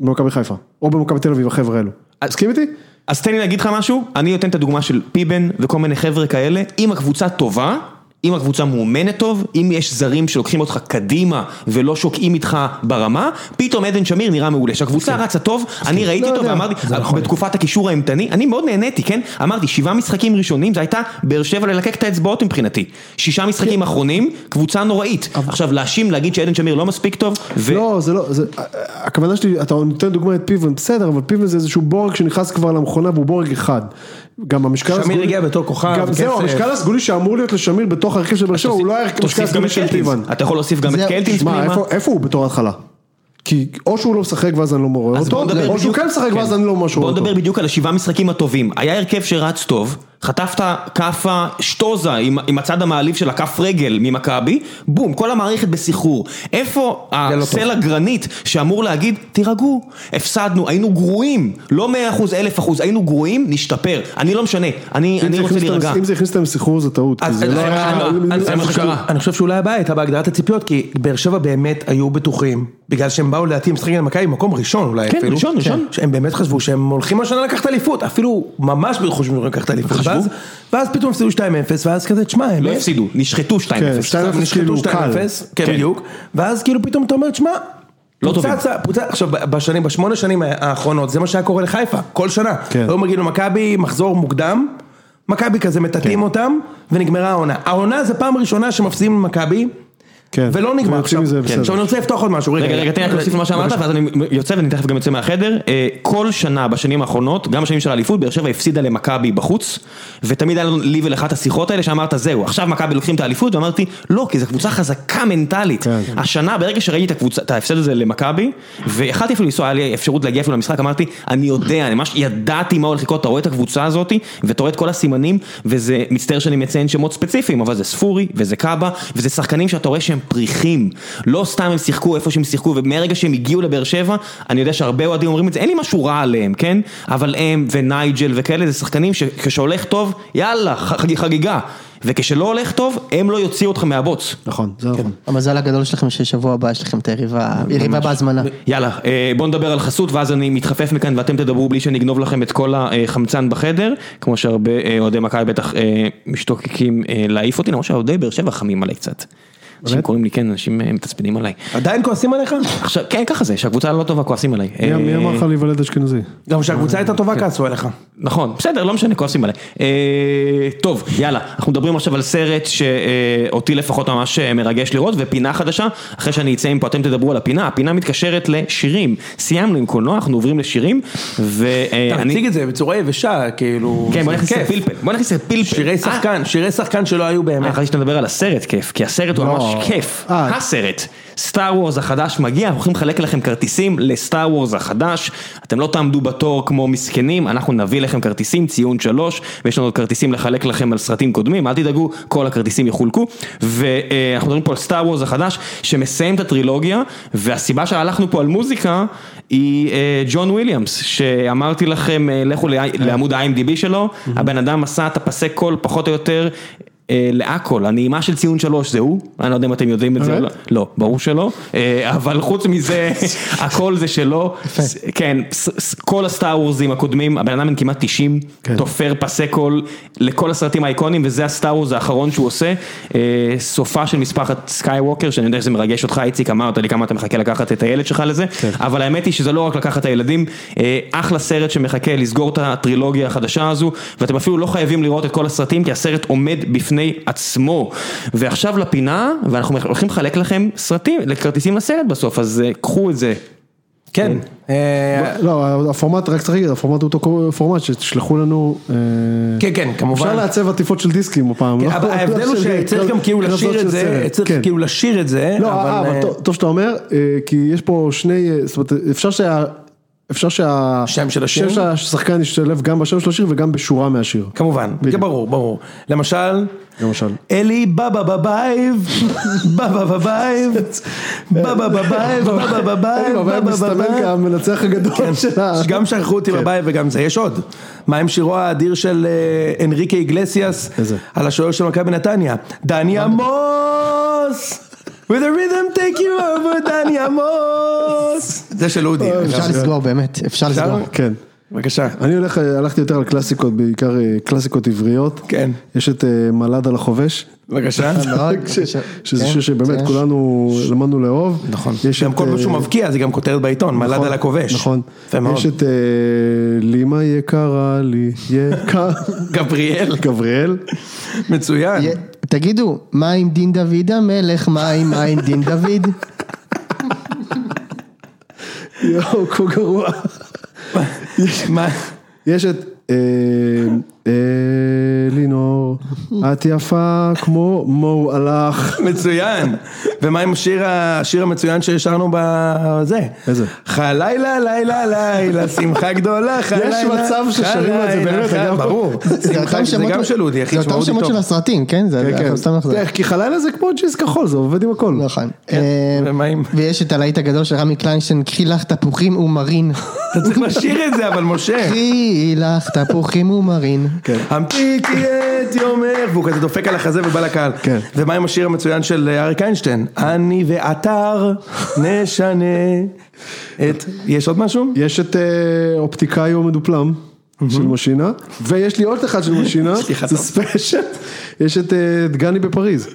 Speaker 3: במכבי חיפה, או במכבי תל אביב, החבר'ה האלו.
Speaker 1: אה,
Speaker 3: מסכים איתי?
Speaker 1: אז תן לי להגיד לך משהו, אני נותן את הדוגמה של פיבן וכל מיני חבר'ה כאלה, אם הקבוצה טובה, אם הקבוצה מאומנת טוב, אם יש זרים שלוקחים אותך קדימה ולא שוקעים איתך ברמה, פתאום עדן שמיר נראה מעולה. שהקבוצה רצה טוב, אני ראיתי
Speaker 3: לא
Speaker 1: אותו
Speaker 3: יודע.
Speaker 1: ואמרתי, בתקופת הקישור האימתני, אני מאוד נהניתי, כן? אמרתי, שבעה משחקים ראשונים, זה הייתה באר שבע ללקק את האצבעות מבחינתי. שישה משחקים
Speaker 3: כן.
Speaker 1: אחרונים, קבוצה נוראית. עכשיו להאשים, להגיד שעדן שמיר לא מספיק טוב, ו...
Speaker 3: לא, זה לא, זה- הכוונה שלי, אתה נותן דוגמא את פיבן, בסדר, אבל פיבן זה איזשהו בורג שנכנס כבר למכונה והוא בורג אחד. גם המשקל
Speaker 2: שמיר
Speaker 3: הסגולי...
Speaker 2: הגיע בתור כוכב,
Speaker 3: גם
Speaker 2: כסף.
Speaker 3: זהו, המשקל הסגולי שאמור להיות לשמיר בתוך הרכב של באר שבע, הוא לא היה המשקל
Speaker 1: תוסיף גם
Speaker 3: הסגולי
Speaker 1: את
Speaker 3: של
Speaker 1: קלטינס.
Speaker 3: פיבן.
Speaker 1: אתה יכול להוסיף גם את
Speaker 4: זהו.
Speaker 1: קלטינס
Speaker 3: שמע,
Speaker 1: פנימה.
Speaker 3: איפה- איפה הוא בתור התחלה? כי או שהוא לא משחק ואז אני לא מורה
Speaker 1: אז בוא
Speaker 3: אותו,
Speaker 1: נדבר
Speaker 3: או שהוא
Speaker 1: בדיוק-
Speaker 3: כן משחק ואז אני לא ממש רואה
Speaker 1: בוא
Speaker 3: אותו.
Speaker 1: נדבר בדיוק על השבעה משחקים הטובים. היה הרכב שרץ טוב, חטפת כאפה שטוזה עם, עם הצד המעליב של הכף רגל ממכבי, בום, כל המערכת בסחרור. איפה
Speaker 2: לא
Speaker 1: הסלע
Speaker 2: טוב.
Speaker 1: גרנית שאמור להגיד, תירגעו, הפסדנו, היינו גרועים, לא 100 אחוז, 1000 אחוז, היינו גרועים, נשתפר. אני לא משנה, אני,
Speaker 3: אם
Speaker 1: אני
Speaker 3: זה
Speaker 1: רוצה
Speaker 3: הכניס אותם-
Speaker 1: להירגע.
Speaker 3: אם זה הכניס אותם לסחרור זה טעות, כי
Speaker 1: אז-
Speaker 3: זה
Speaker 1: אז-
Speaker 3: לא
Speaker 1: אז-
Speaker 3: היה...
Speaker 1: אז- אז- זה מה שקרה.
Speaker 2: אה, אני חושב שאולי הבעיה הייתה בהגדרת הציפיות, כי באר שבע באמת היו בטוחים, בגלל שהם באו לדעתי עם משחקים למכבי במקום ראשון אולי
Speaker 1: כן,
Speaker 2: אפילו.
Speaker 1: ראשון, ראשון.
Speaker 2: שהם באמת חשבו שהם הולכים השנה לקחת אליפות, אפילו ממש חושבים שהם לקחת אליפות.
Speaker 1: חשבו?
Speaker 2: ואז- ואז פתאום הפסידו 2-0, ואז כזה, תשמע, הם
Speaker 1: לא הפסידו, נשחטו 2-0.
Speaker 3: כן, שתיים אפס כאילו,
Speaker 2: נשחטו 2-0,
Speaker 3: קל.
Speaker 2: כן
Speaker 1: כן.
Speaker 2: בדיוק, ואז כאילו פתאום אתה אומר, תשמע,
Speaker 1: לא
Speaker 2: פוצץ
Speaker 1: טובים.
Speaker 2: ה- פוצץ- עכשיו בשנים, בשמונה שנים האחרונות, זה מה שהיה קורה לחיפה, כל שנה.
Speaker 3: כן.
Speaker 2: היו מגיעים למכבי מחזור מוקדם, מכבי כזה מטאטאים
Speaker 3: כן.
Speaker 2: אותם, ונגמרה העונה. העונה זה פעם ראשונה שמפסידים למכבי,
Speaker 3: כן.
Speaker 2: ולא נגמר
Speaker 3: ויוצאים
Speaker 2: עכשיו.
Speaker 3: מזה
Speaker 2: כן.
Speaker 3: בסדר.
Speaker 2: עכשיו אני רוצה לפתוח עוד משהו, רגע.
Speaker 1: רגע, רגע, תן לי רק להוסיף למה שאמרת, ואז אני יוצא ואני תכף גם יוצא מהחדר. אה, כל שנה בשנים האחרונות, גם בשנים של האליפות, באר שבע הפסידה למכבי בחוץ, ותמיד היה לנו לי ולך את השיחות האלה שאמרת, זהו, עכשיו מכבי לוקחים את האליפות, ואמרתי, לא, כי זו קבוצה חזקה מנטלית.
Speaker 3: כן.
Speaker 1: השנה, ברגע שראיתי את הקבוצה- את ההפסד הזה למכבי, ויכלתי אפילו לנסוע, היה לי אפשרות להגיע אפילו למשחק, אמרתי, אני יודע, אני ממש ידעתי מה הולך לקרות, אתה רואה את הקבוצה הזאת, ואתה רואה את כל הסימנים, וזה, מצטער שאני מציין שמות ספציפיים, אבל זה ספורי, וזה קאבה, וזה שחקנים שאתה רואה שהם פריחים. לא סתם הם שיחקו איפה שהם שיחקו, ומהרגע שהם הגיעו לבאר שבע, אני יודע שהרבה אוהדים אומרים את זה, אין לי משהו רע עליהם, כן? אבל הם ונייג'ל וכאלה, זה שחקנים שכשהולך טוב, יאללה, חג- חגיגה. וכשלא הולך טוב, הם לא יוציאו אותך מהבוץ.
Speaker 3: נכון,
Speaker 1: כן.
Speaker 3: זה נכון.
Speaker 4: המזל הגדול שלכם ששבוע הבא יש לכם את היריבה, יריבה בהזמנה.
Speaker 1: יאללה, אה, בואו נדבר על חסות ואז אני מתחפף מכאן ואתם תדברו בלי שאני אגנוב לכם את כל החמצן בחדר, כמו שהרבה אה, אוהדי מכבי בטח אה, משתוקקים אה, להעיף אותי, למרות שאוהדי באר שבע חמים עליי קצת. אנשים קוראים לי, כן, אנשים אה, מתעצבנים עליי.
Speaker 2: עדיין כועסים עליך?
Speaker 1: עכשיו, כן, ככה זה, שהקבוצה לא טובה, כועסים עליי.
Speaker 3: מי-
Speaker 1: אה,
Speaker 3: מי אמר לך להיוולד אשכנזי?
Speaker 2: גם כשהקבוצה הייתה
Speaker 1: כן.
Speaker 2: טובה כעסו עליך.
Speaker 1: נכון, בסדר, לא משנה, כועסים עליי. אה, טוב, יאללה, אנחנו מדברים עכשיו על סרט שאותי לפחות ממש אה, מרגש לראות, ופינה חדשה, אחרי שאני אצא מפה אתם תדברו על הפינה, הפינה מתקשרת לשירים. סיימנו עם קולנוע, אנחנו עוברים לשירים, ואני...
Speaker 2: תציג את זה בצורה יבשה, כאילו...
Speaker 1: כן, בוא
Speaker 2: זה
Speaker 1: נכניס
Speaker 2: כיף.
Speaker 1: לפלפל, בוא נכניס לפלפל.
Speaker 2: שירי שחקן, שירי שחקן שלא היו
Speaker 1: אה,
Speaker 2: באמת.
Speaker 1: חשבתי שאתה מדבר על הסרט כיף, כי הסרט הוא
Speaker 3: לא.
Speaker 1: ממש כיף.
Speaker 3: אה.
Speaker 1: הסרט, סטאר וורס החדש מגיע, אנחנו הולכים לחלק לכם כרטיסים לסטאר וורס החדש, אתם לא תעמדו בתור כמו מסכנים, אנחנו נביא לכם כרטיסים, ציון שלוש, ויש לנו עוד כרטיסים לחלק לכם על סרטים קודמים, אל תדאגו, כל הכרטיסים יחולקו, ואנחנו מדברים פה על סטאר וורס החדש, שמסיים את הטרילוגיה, והסיבה שהלכנו פה על מוזיקה, היא אה, ג'ון וויליאמס, שאמרתי לכם, אה, לכו ל- לעמוד ה-IMDB שלו, הבן אדם עשה את הפסי קול פחות או יותר. אה, לעכול, הנעימה של ציון שלוש זה הוא, אני לא יודע אם אתם יודעים את זה, או לא,
Speaker 3: באמת?
Speaker 1: לא, ברור שלא, אה, אבל חוץ מזה, הכל זה שלו, ס- כן, ס- ס- כל הסטאר וורזים הקודמים, הבן אדם בן כמעט 90,
Speaker 3: כן.
Speaker 1: תופר פסי קול לכל הסרטים האיקונים, וזה הסטאר וורז האחרון שהוא עושה, אה, סופה של משפחת סקייווקר, שאני יודע שזה מרגש אותך, איציק אמרת לי כמה אתה מחכה לקחת את הילד שלך לזה,
Speaker 2: כן.
Speaker 1: אבל האמת היא שזה לא רק לקחת את הילדים, אה, אחלה סרט שמחכה לסגור את הטרילוגיה החדשה הזו, ואתם אפילו לא חייבים לראות את כל הסרטים, כי הסרט עומד בפני עצמו. ועכשיו לפינה, ואנחנו הולכים לחלק לכם סרטים, לכרטיסים לסרט בסוף, אז אה, קחו את זה.
Speaker 2: כן. אה,
Speaker 3: לא, הפורמט, רק צריך להגיד, הפורמט הוא אותו פורמט, שתשלחו לנו... אה,
Speaker 2: כן, כן, כמובן.
Speaker 3: אפשר לעצב עטיפות של דיסקים הפעם.
Speaker 2: כן,
Speaker 3: לא?
Speaker 2: אבל ההבדל הוא
Speaker 3: של-
Speaker 2: שצריך גם כאילו
Speaker 3: כרזות
Speaker 2: לשיר
Speaker 3: של
Speaker 2: את זה,
Speaker 3: סרט.
Speaker 2: צריך
Speaker 3: לא, כן.
Speaker 2: כאילו לשיר את זה,
Speaker 3: לא, אה, אבל
Speaker 2: אה,
Speaker 3: טוב- טוב שאתה אומר, אה, כי יש פה שני, אה, זאת אומרת, אפשר שה... אפשר שה...
Speaker 2: שם של השיר?
Speaker 3: שם של השחקן ישתלב גם בשם של השיר וגם בשורה מהשיר.
Speaker 2: כמובן, זה ברור, ברור. למשל,
Speaker 3: למשל.
Speaker 2: אלי בבא בבייב, בבא בבייב, בבא בבייב, בבא בבייב,
Speaker 3: לא, אבל
Speaker 2: בבא
Speaker 3: היה מסתמן
Speaker 2: בבייב.
Speaker 3: כמנצח הגדול של ה...
Speaker 2: אה, כן.
Speaker 3: כן.
Speaker 2: גם שכחו אותי בבית וגם זה, יש עוד. מה עם שירו האדיר של אה, אנריקה איגלסיאס,
Speaker 3: איזה?
Speaker 2: על השוער של מכבי נתניה, דני עמוס! With a rhythm take you over, דני עמוס! זה של אודי.
Speaker 3: אה,
Speaker 4: אפשר לסגור באמת, אפשר
Speaker 2: אפשר?
Speaker 4: לסגור.
Speaker 3: כן.
Speaker 2: בבקשה.
Speaker 3: אני הולך, אה, הלכתי יותר על קלאסיקות, בעיקר אה, קלאסיקות עבריות.
Speaker 2: כן.
Speaker 3: יש את אה, מלד על החובש.
Speaker 2: בבקשה.
Speaker 4: מאוד.
Speaker 3: ש- שזה
Speaker 4: לא, כן,
Speaker 3: שיר שבאמת
Speaker 4: זה-
Speaker 3: כולנו למדנו לאהוב.
Speaker 2: נכון.
Speaker 3: יש
Speaker 2: גם
Speaker 3: את,
Speaker 2: כל פעם
Speaker 3: אה,
Speaker 2: שהוא מבקיע זה גם כותרת בעיתון, מלד
Speaker 3: נכון,
Speaker 2: על הכובש.
Speaker 3: נכון.
Speaker 2: יפה מאוד.
Speaker 3: יש את אה, לימה יקרה לי, יקרה.
Speaker 2: גבריאל,
Speaker 3: גבריאל.
Speaker 2: מצוין.
Speaker 4: יה- תגידו, מה עם דין דוד המלך? מה עם מה עם דין דוד?
Speaker 3: יואו, כה גרוע.
Speaker 2: מה?
Speaker 3: יש את אה, אה, לינור, את יפה כמו מו הלך.
Speaker 2: מצוין. ומה עם השיר, ה- השיר המצוין ששרנו בזה?
Speaker 3: איזה?
Speaker 2: חלילה, לילה, לילה, שמחה גדולה, חלילה.
Speaker 3: יש מצב ששרים את זה,
Speaker 2: חלילה,
Speaker 3: באמת,
Speaker 2: חלילה,
Speaker 3: אגב.
Speaker 2: ברור.
Speaker 4: זה
Speaker 2: זה
Speaker 4: אותם שמות- לא-
Speaker 2: גם של אודי, אחי,
Speaker 4: זה
Speaker 2: תשמע,
Speaker 4: אותם
Speaker 2: אודי
Speaker 4: שמות
Speaker 2: טוב.
Speaker 4: של הסרטים, כן? זה
Speaker 3: כן,
Speaker 4: אנחנו סתם נחזור.
Speaker 3: כן, כי חלילה זה כמו ג'יס כחול, זה עובד עם הכל.
Speaker 4: נכון.
Speaker 2: כן,
Speaker 4: אה,
Speaker 2: ומה עם-
Speaker 4: ויש את הלהיט הגדול של רמי קליינשטיין, קחי לך תפוחים ומרין.
Speaker 2: אתה צריך לשיר את זה, אבל משה.
Speaker 4: קחי לך תפוחים ומרין.
Speaker 2: כן. המתיקי את יומך, והוא כזה דופק על החזה ובא לקהל.
Speaker 3: כן.
Speaker 2: ומה עם השיר המצוין של אה, אריק איינשטיין? אני ועטר נשנה את... יש עוד משהו?
Speaker 3: יש את אה, אופטיקאיו מדופלם. של משינה, ויש לי עוד אחד של משינה,
Speaker 2: סליחה,
Speaker 3: זה
Speaker 2: טוב.
Speaker 3: ספיישל, יש את אה, דגני בפריז,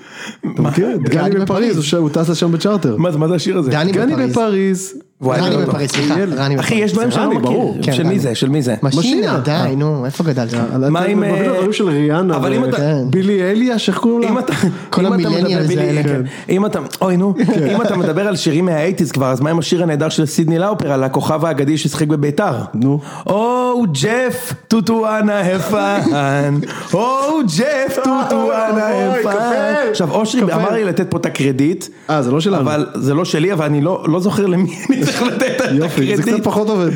Speaker 3: אתה מכיר? דגני
Speaker 4: דגני
Speaker 3: בפריז, הוא ש- הוא טס לשם בצ'רטר,
Speaker 2: מה זה- מה זה השיר הזה?
Speaker 4: דני
Speaker 3: דגני
Speaker 4: בפריז.
Speaker 3: בפריז,
Speaker 2: וואי, אני לא
Speaker 4: רני
Speaker 2: יודע.
Speaker 4: בפריז, סליחה,
Speaker 3: אריאל.
Speaker 4: רני בפריז.
Speaker 2: אחי, יש דברים שאני לא
Speaker 3: רני, ברור.
Speaker 2: מכיר.
Speaker 4: כן,
Speaker 2: של מי
Speaker 4: רני.
Speaker 2: זה? של מי זה?
Speaker 4: משינה,
Speaker 3: משינה.
Speaker 4: די, נו, איפה גדלת?
Speaker 2: מה עם,
Speaker 3: אתה מבין
Speaker 2: אה,
Speaker 3: הדברים של ריאנה,
Speaker 2: אבל
Speaker 3: ו-
Speaker 2: אם אתה-
Speaker 4: כן.
Speaker 3: בילי אליאש, איך קוראים לה?
Speaker 2: אם אתה,
Speaker 4: כל
Speaker 2: אם אתה
Speaker 4: המילניאלס
Speaker 2: מדבר-
Speaker 4: האלה,
Speaker 2: כן. אם אתה, אוי נו,
Speaker 3: כן.
Speaker 2: אם אתה מדבר על שירים מהאייטיז כבר, אז מה עם השיר הנהדר של סידני לאופר על הכוכב האגדי ששיחק בביתר?
Speaker 3: נו.
Speaker 2: או ג'ף טוטואנה הפאן, או ג'ף טוטואנה
Speaker 3: אה, אוי,
Speaker 2: הפאן.
Speaker 3: כפל,
Speaker 2: עכשיו אושרי
Speaker 3: כפל.
Speaker 2: אמר לי לתת פה את הקרדיט,
Speaker 3: אה, זה לא שלנו.
Speaker 2: אבל זה לא שלי, אבל אני לא לא זוכר למי אני צריך לתת את
Speaker 3: יופי, זה
Speaker 2: הקרדיט.
Speaker 3: קצת פחות עובד.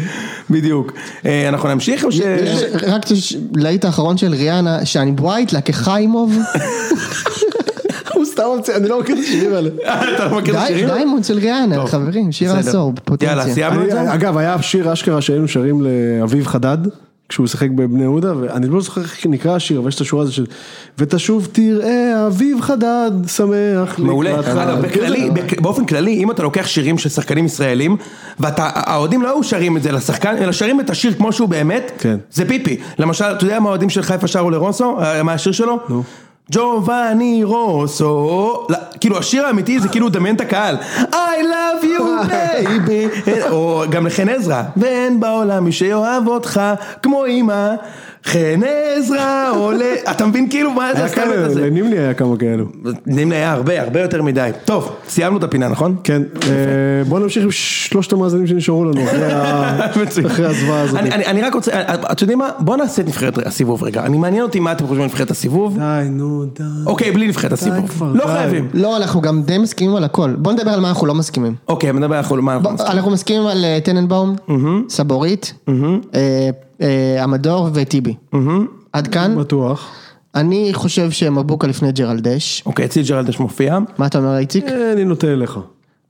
Speaker 2: בדיוק. אה, אנחנו נמשיך או ש...
Speaker 4: יש
Speaker 2: אה.
Speaker 4: אה, רק יש להיט האחרון של ריאנה, שאני בווייט לה כחיימוב.
Speaker 3: הוא סתם ממציא, אני לא מכיר את השירים האלה.
Speaker 2: אה, אתה לא מכיר את
Speaker 4: די,
Speaker 2: השירים?
Speaker 4: דיימונד של ריאנה, חברים, שיר
Speaker 2: בסדר.
Speaker 4: העשור,
Speaker 2: יאללה,
Speaker 4: פוטנציה.
Speaker 2: סיימנו את זה?
Speaker 3: אני- אגב, היה שיר אשכרה שהיינו שרים לאביב חדד, כשהוא שיחק בבני יהודה, ואני לא זוכר איך נקרא השיר, אבל יש את השורה הזו של ותשוב תראה אביב חדד, שמח כן,
Speaker 2: מעולה,
Speaker 3: לקראתך."
Speaker 2: אגב, בכללי, בכ- באופן כללי, אם אתה לוקח שירים של שחקנים ישראלים, והאוהדים לא היו שרים את זה לשחקן, אלא שרים את השיר כמו שהוא באמת,
Speaker 3: כן.
Speaker 2: זה פיפי. למשל, אתה יודע מה האוהדים של חיפה שרו לרוסו? אה, מה השיר שלו? ג'ובאני רוסו, לא, כאילו השיר האמיתי זה כאילו דמיין את הקהל, I love you baby, או גם לחן עזרא, ואין בעולם מי שיאהב אותך כמו אמא, חן עזרא עולה, אתה מבין כאילו מה זה
Speaker 3: היה
Speaker 2: הסטנדרט
Speaker 3: כמה,
Speaker 2: הזה?
Speaker 3: לנימני היה כמה כאלו.
Speaker 2: נמנה היה הרבה, הרבה יותר מדי. טוב, סיימנו את הפינה, נכון?
Speaker 3: כן, אה, בוא נמשיך עם שלושת המאזינים שנשארו לנו, אחרי ה-
Speaker 2: מצוין.
Speaker 3: אחרי הזוועה הזאת.
Speaker 2: אני- אני אני רק רוצה, אה, אתם יודעים מה? בואו נעשה את נבחרת הסיבוב רגע. אני מעניין אותי מה אתם חושבים על נבחרת הסיבוב.
Speaker 3: די, נו, די.
Speaker 2: אוקיי, בלי נבחרת הסיבוב.
Speaker 3: כבר,
Speaker 2: לא
Speaker 3: די.
Speaker 2: חייבים.
Speaker 4: לא, אנחנו גם די מסכימים על הכל. בוא נדבר על מה אנחנו לא מסכימים.
Speaker 2: אוקיי, נדבר על מה אנחנו
Speaker 4: בוא, אנחנו מסכימים על אה, טננבאום, סבורית, אה, אה, המדור וטיבי. עד כאן,
Speaker 3: בטוח.
Speaker 4: אני חושב שמבוקה לפני ג'רלדש.
Speaker 2: אוקיי, אצלי ג'רלדש מופיע.
Speaker 3: אוקיי.
Speaker 4: מה אתה אומר איציק?
Speaker 3: אה, אני נוטה אליך.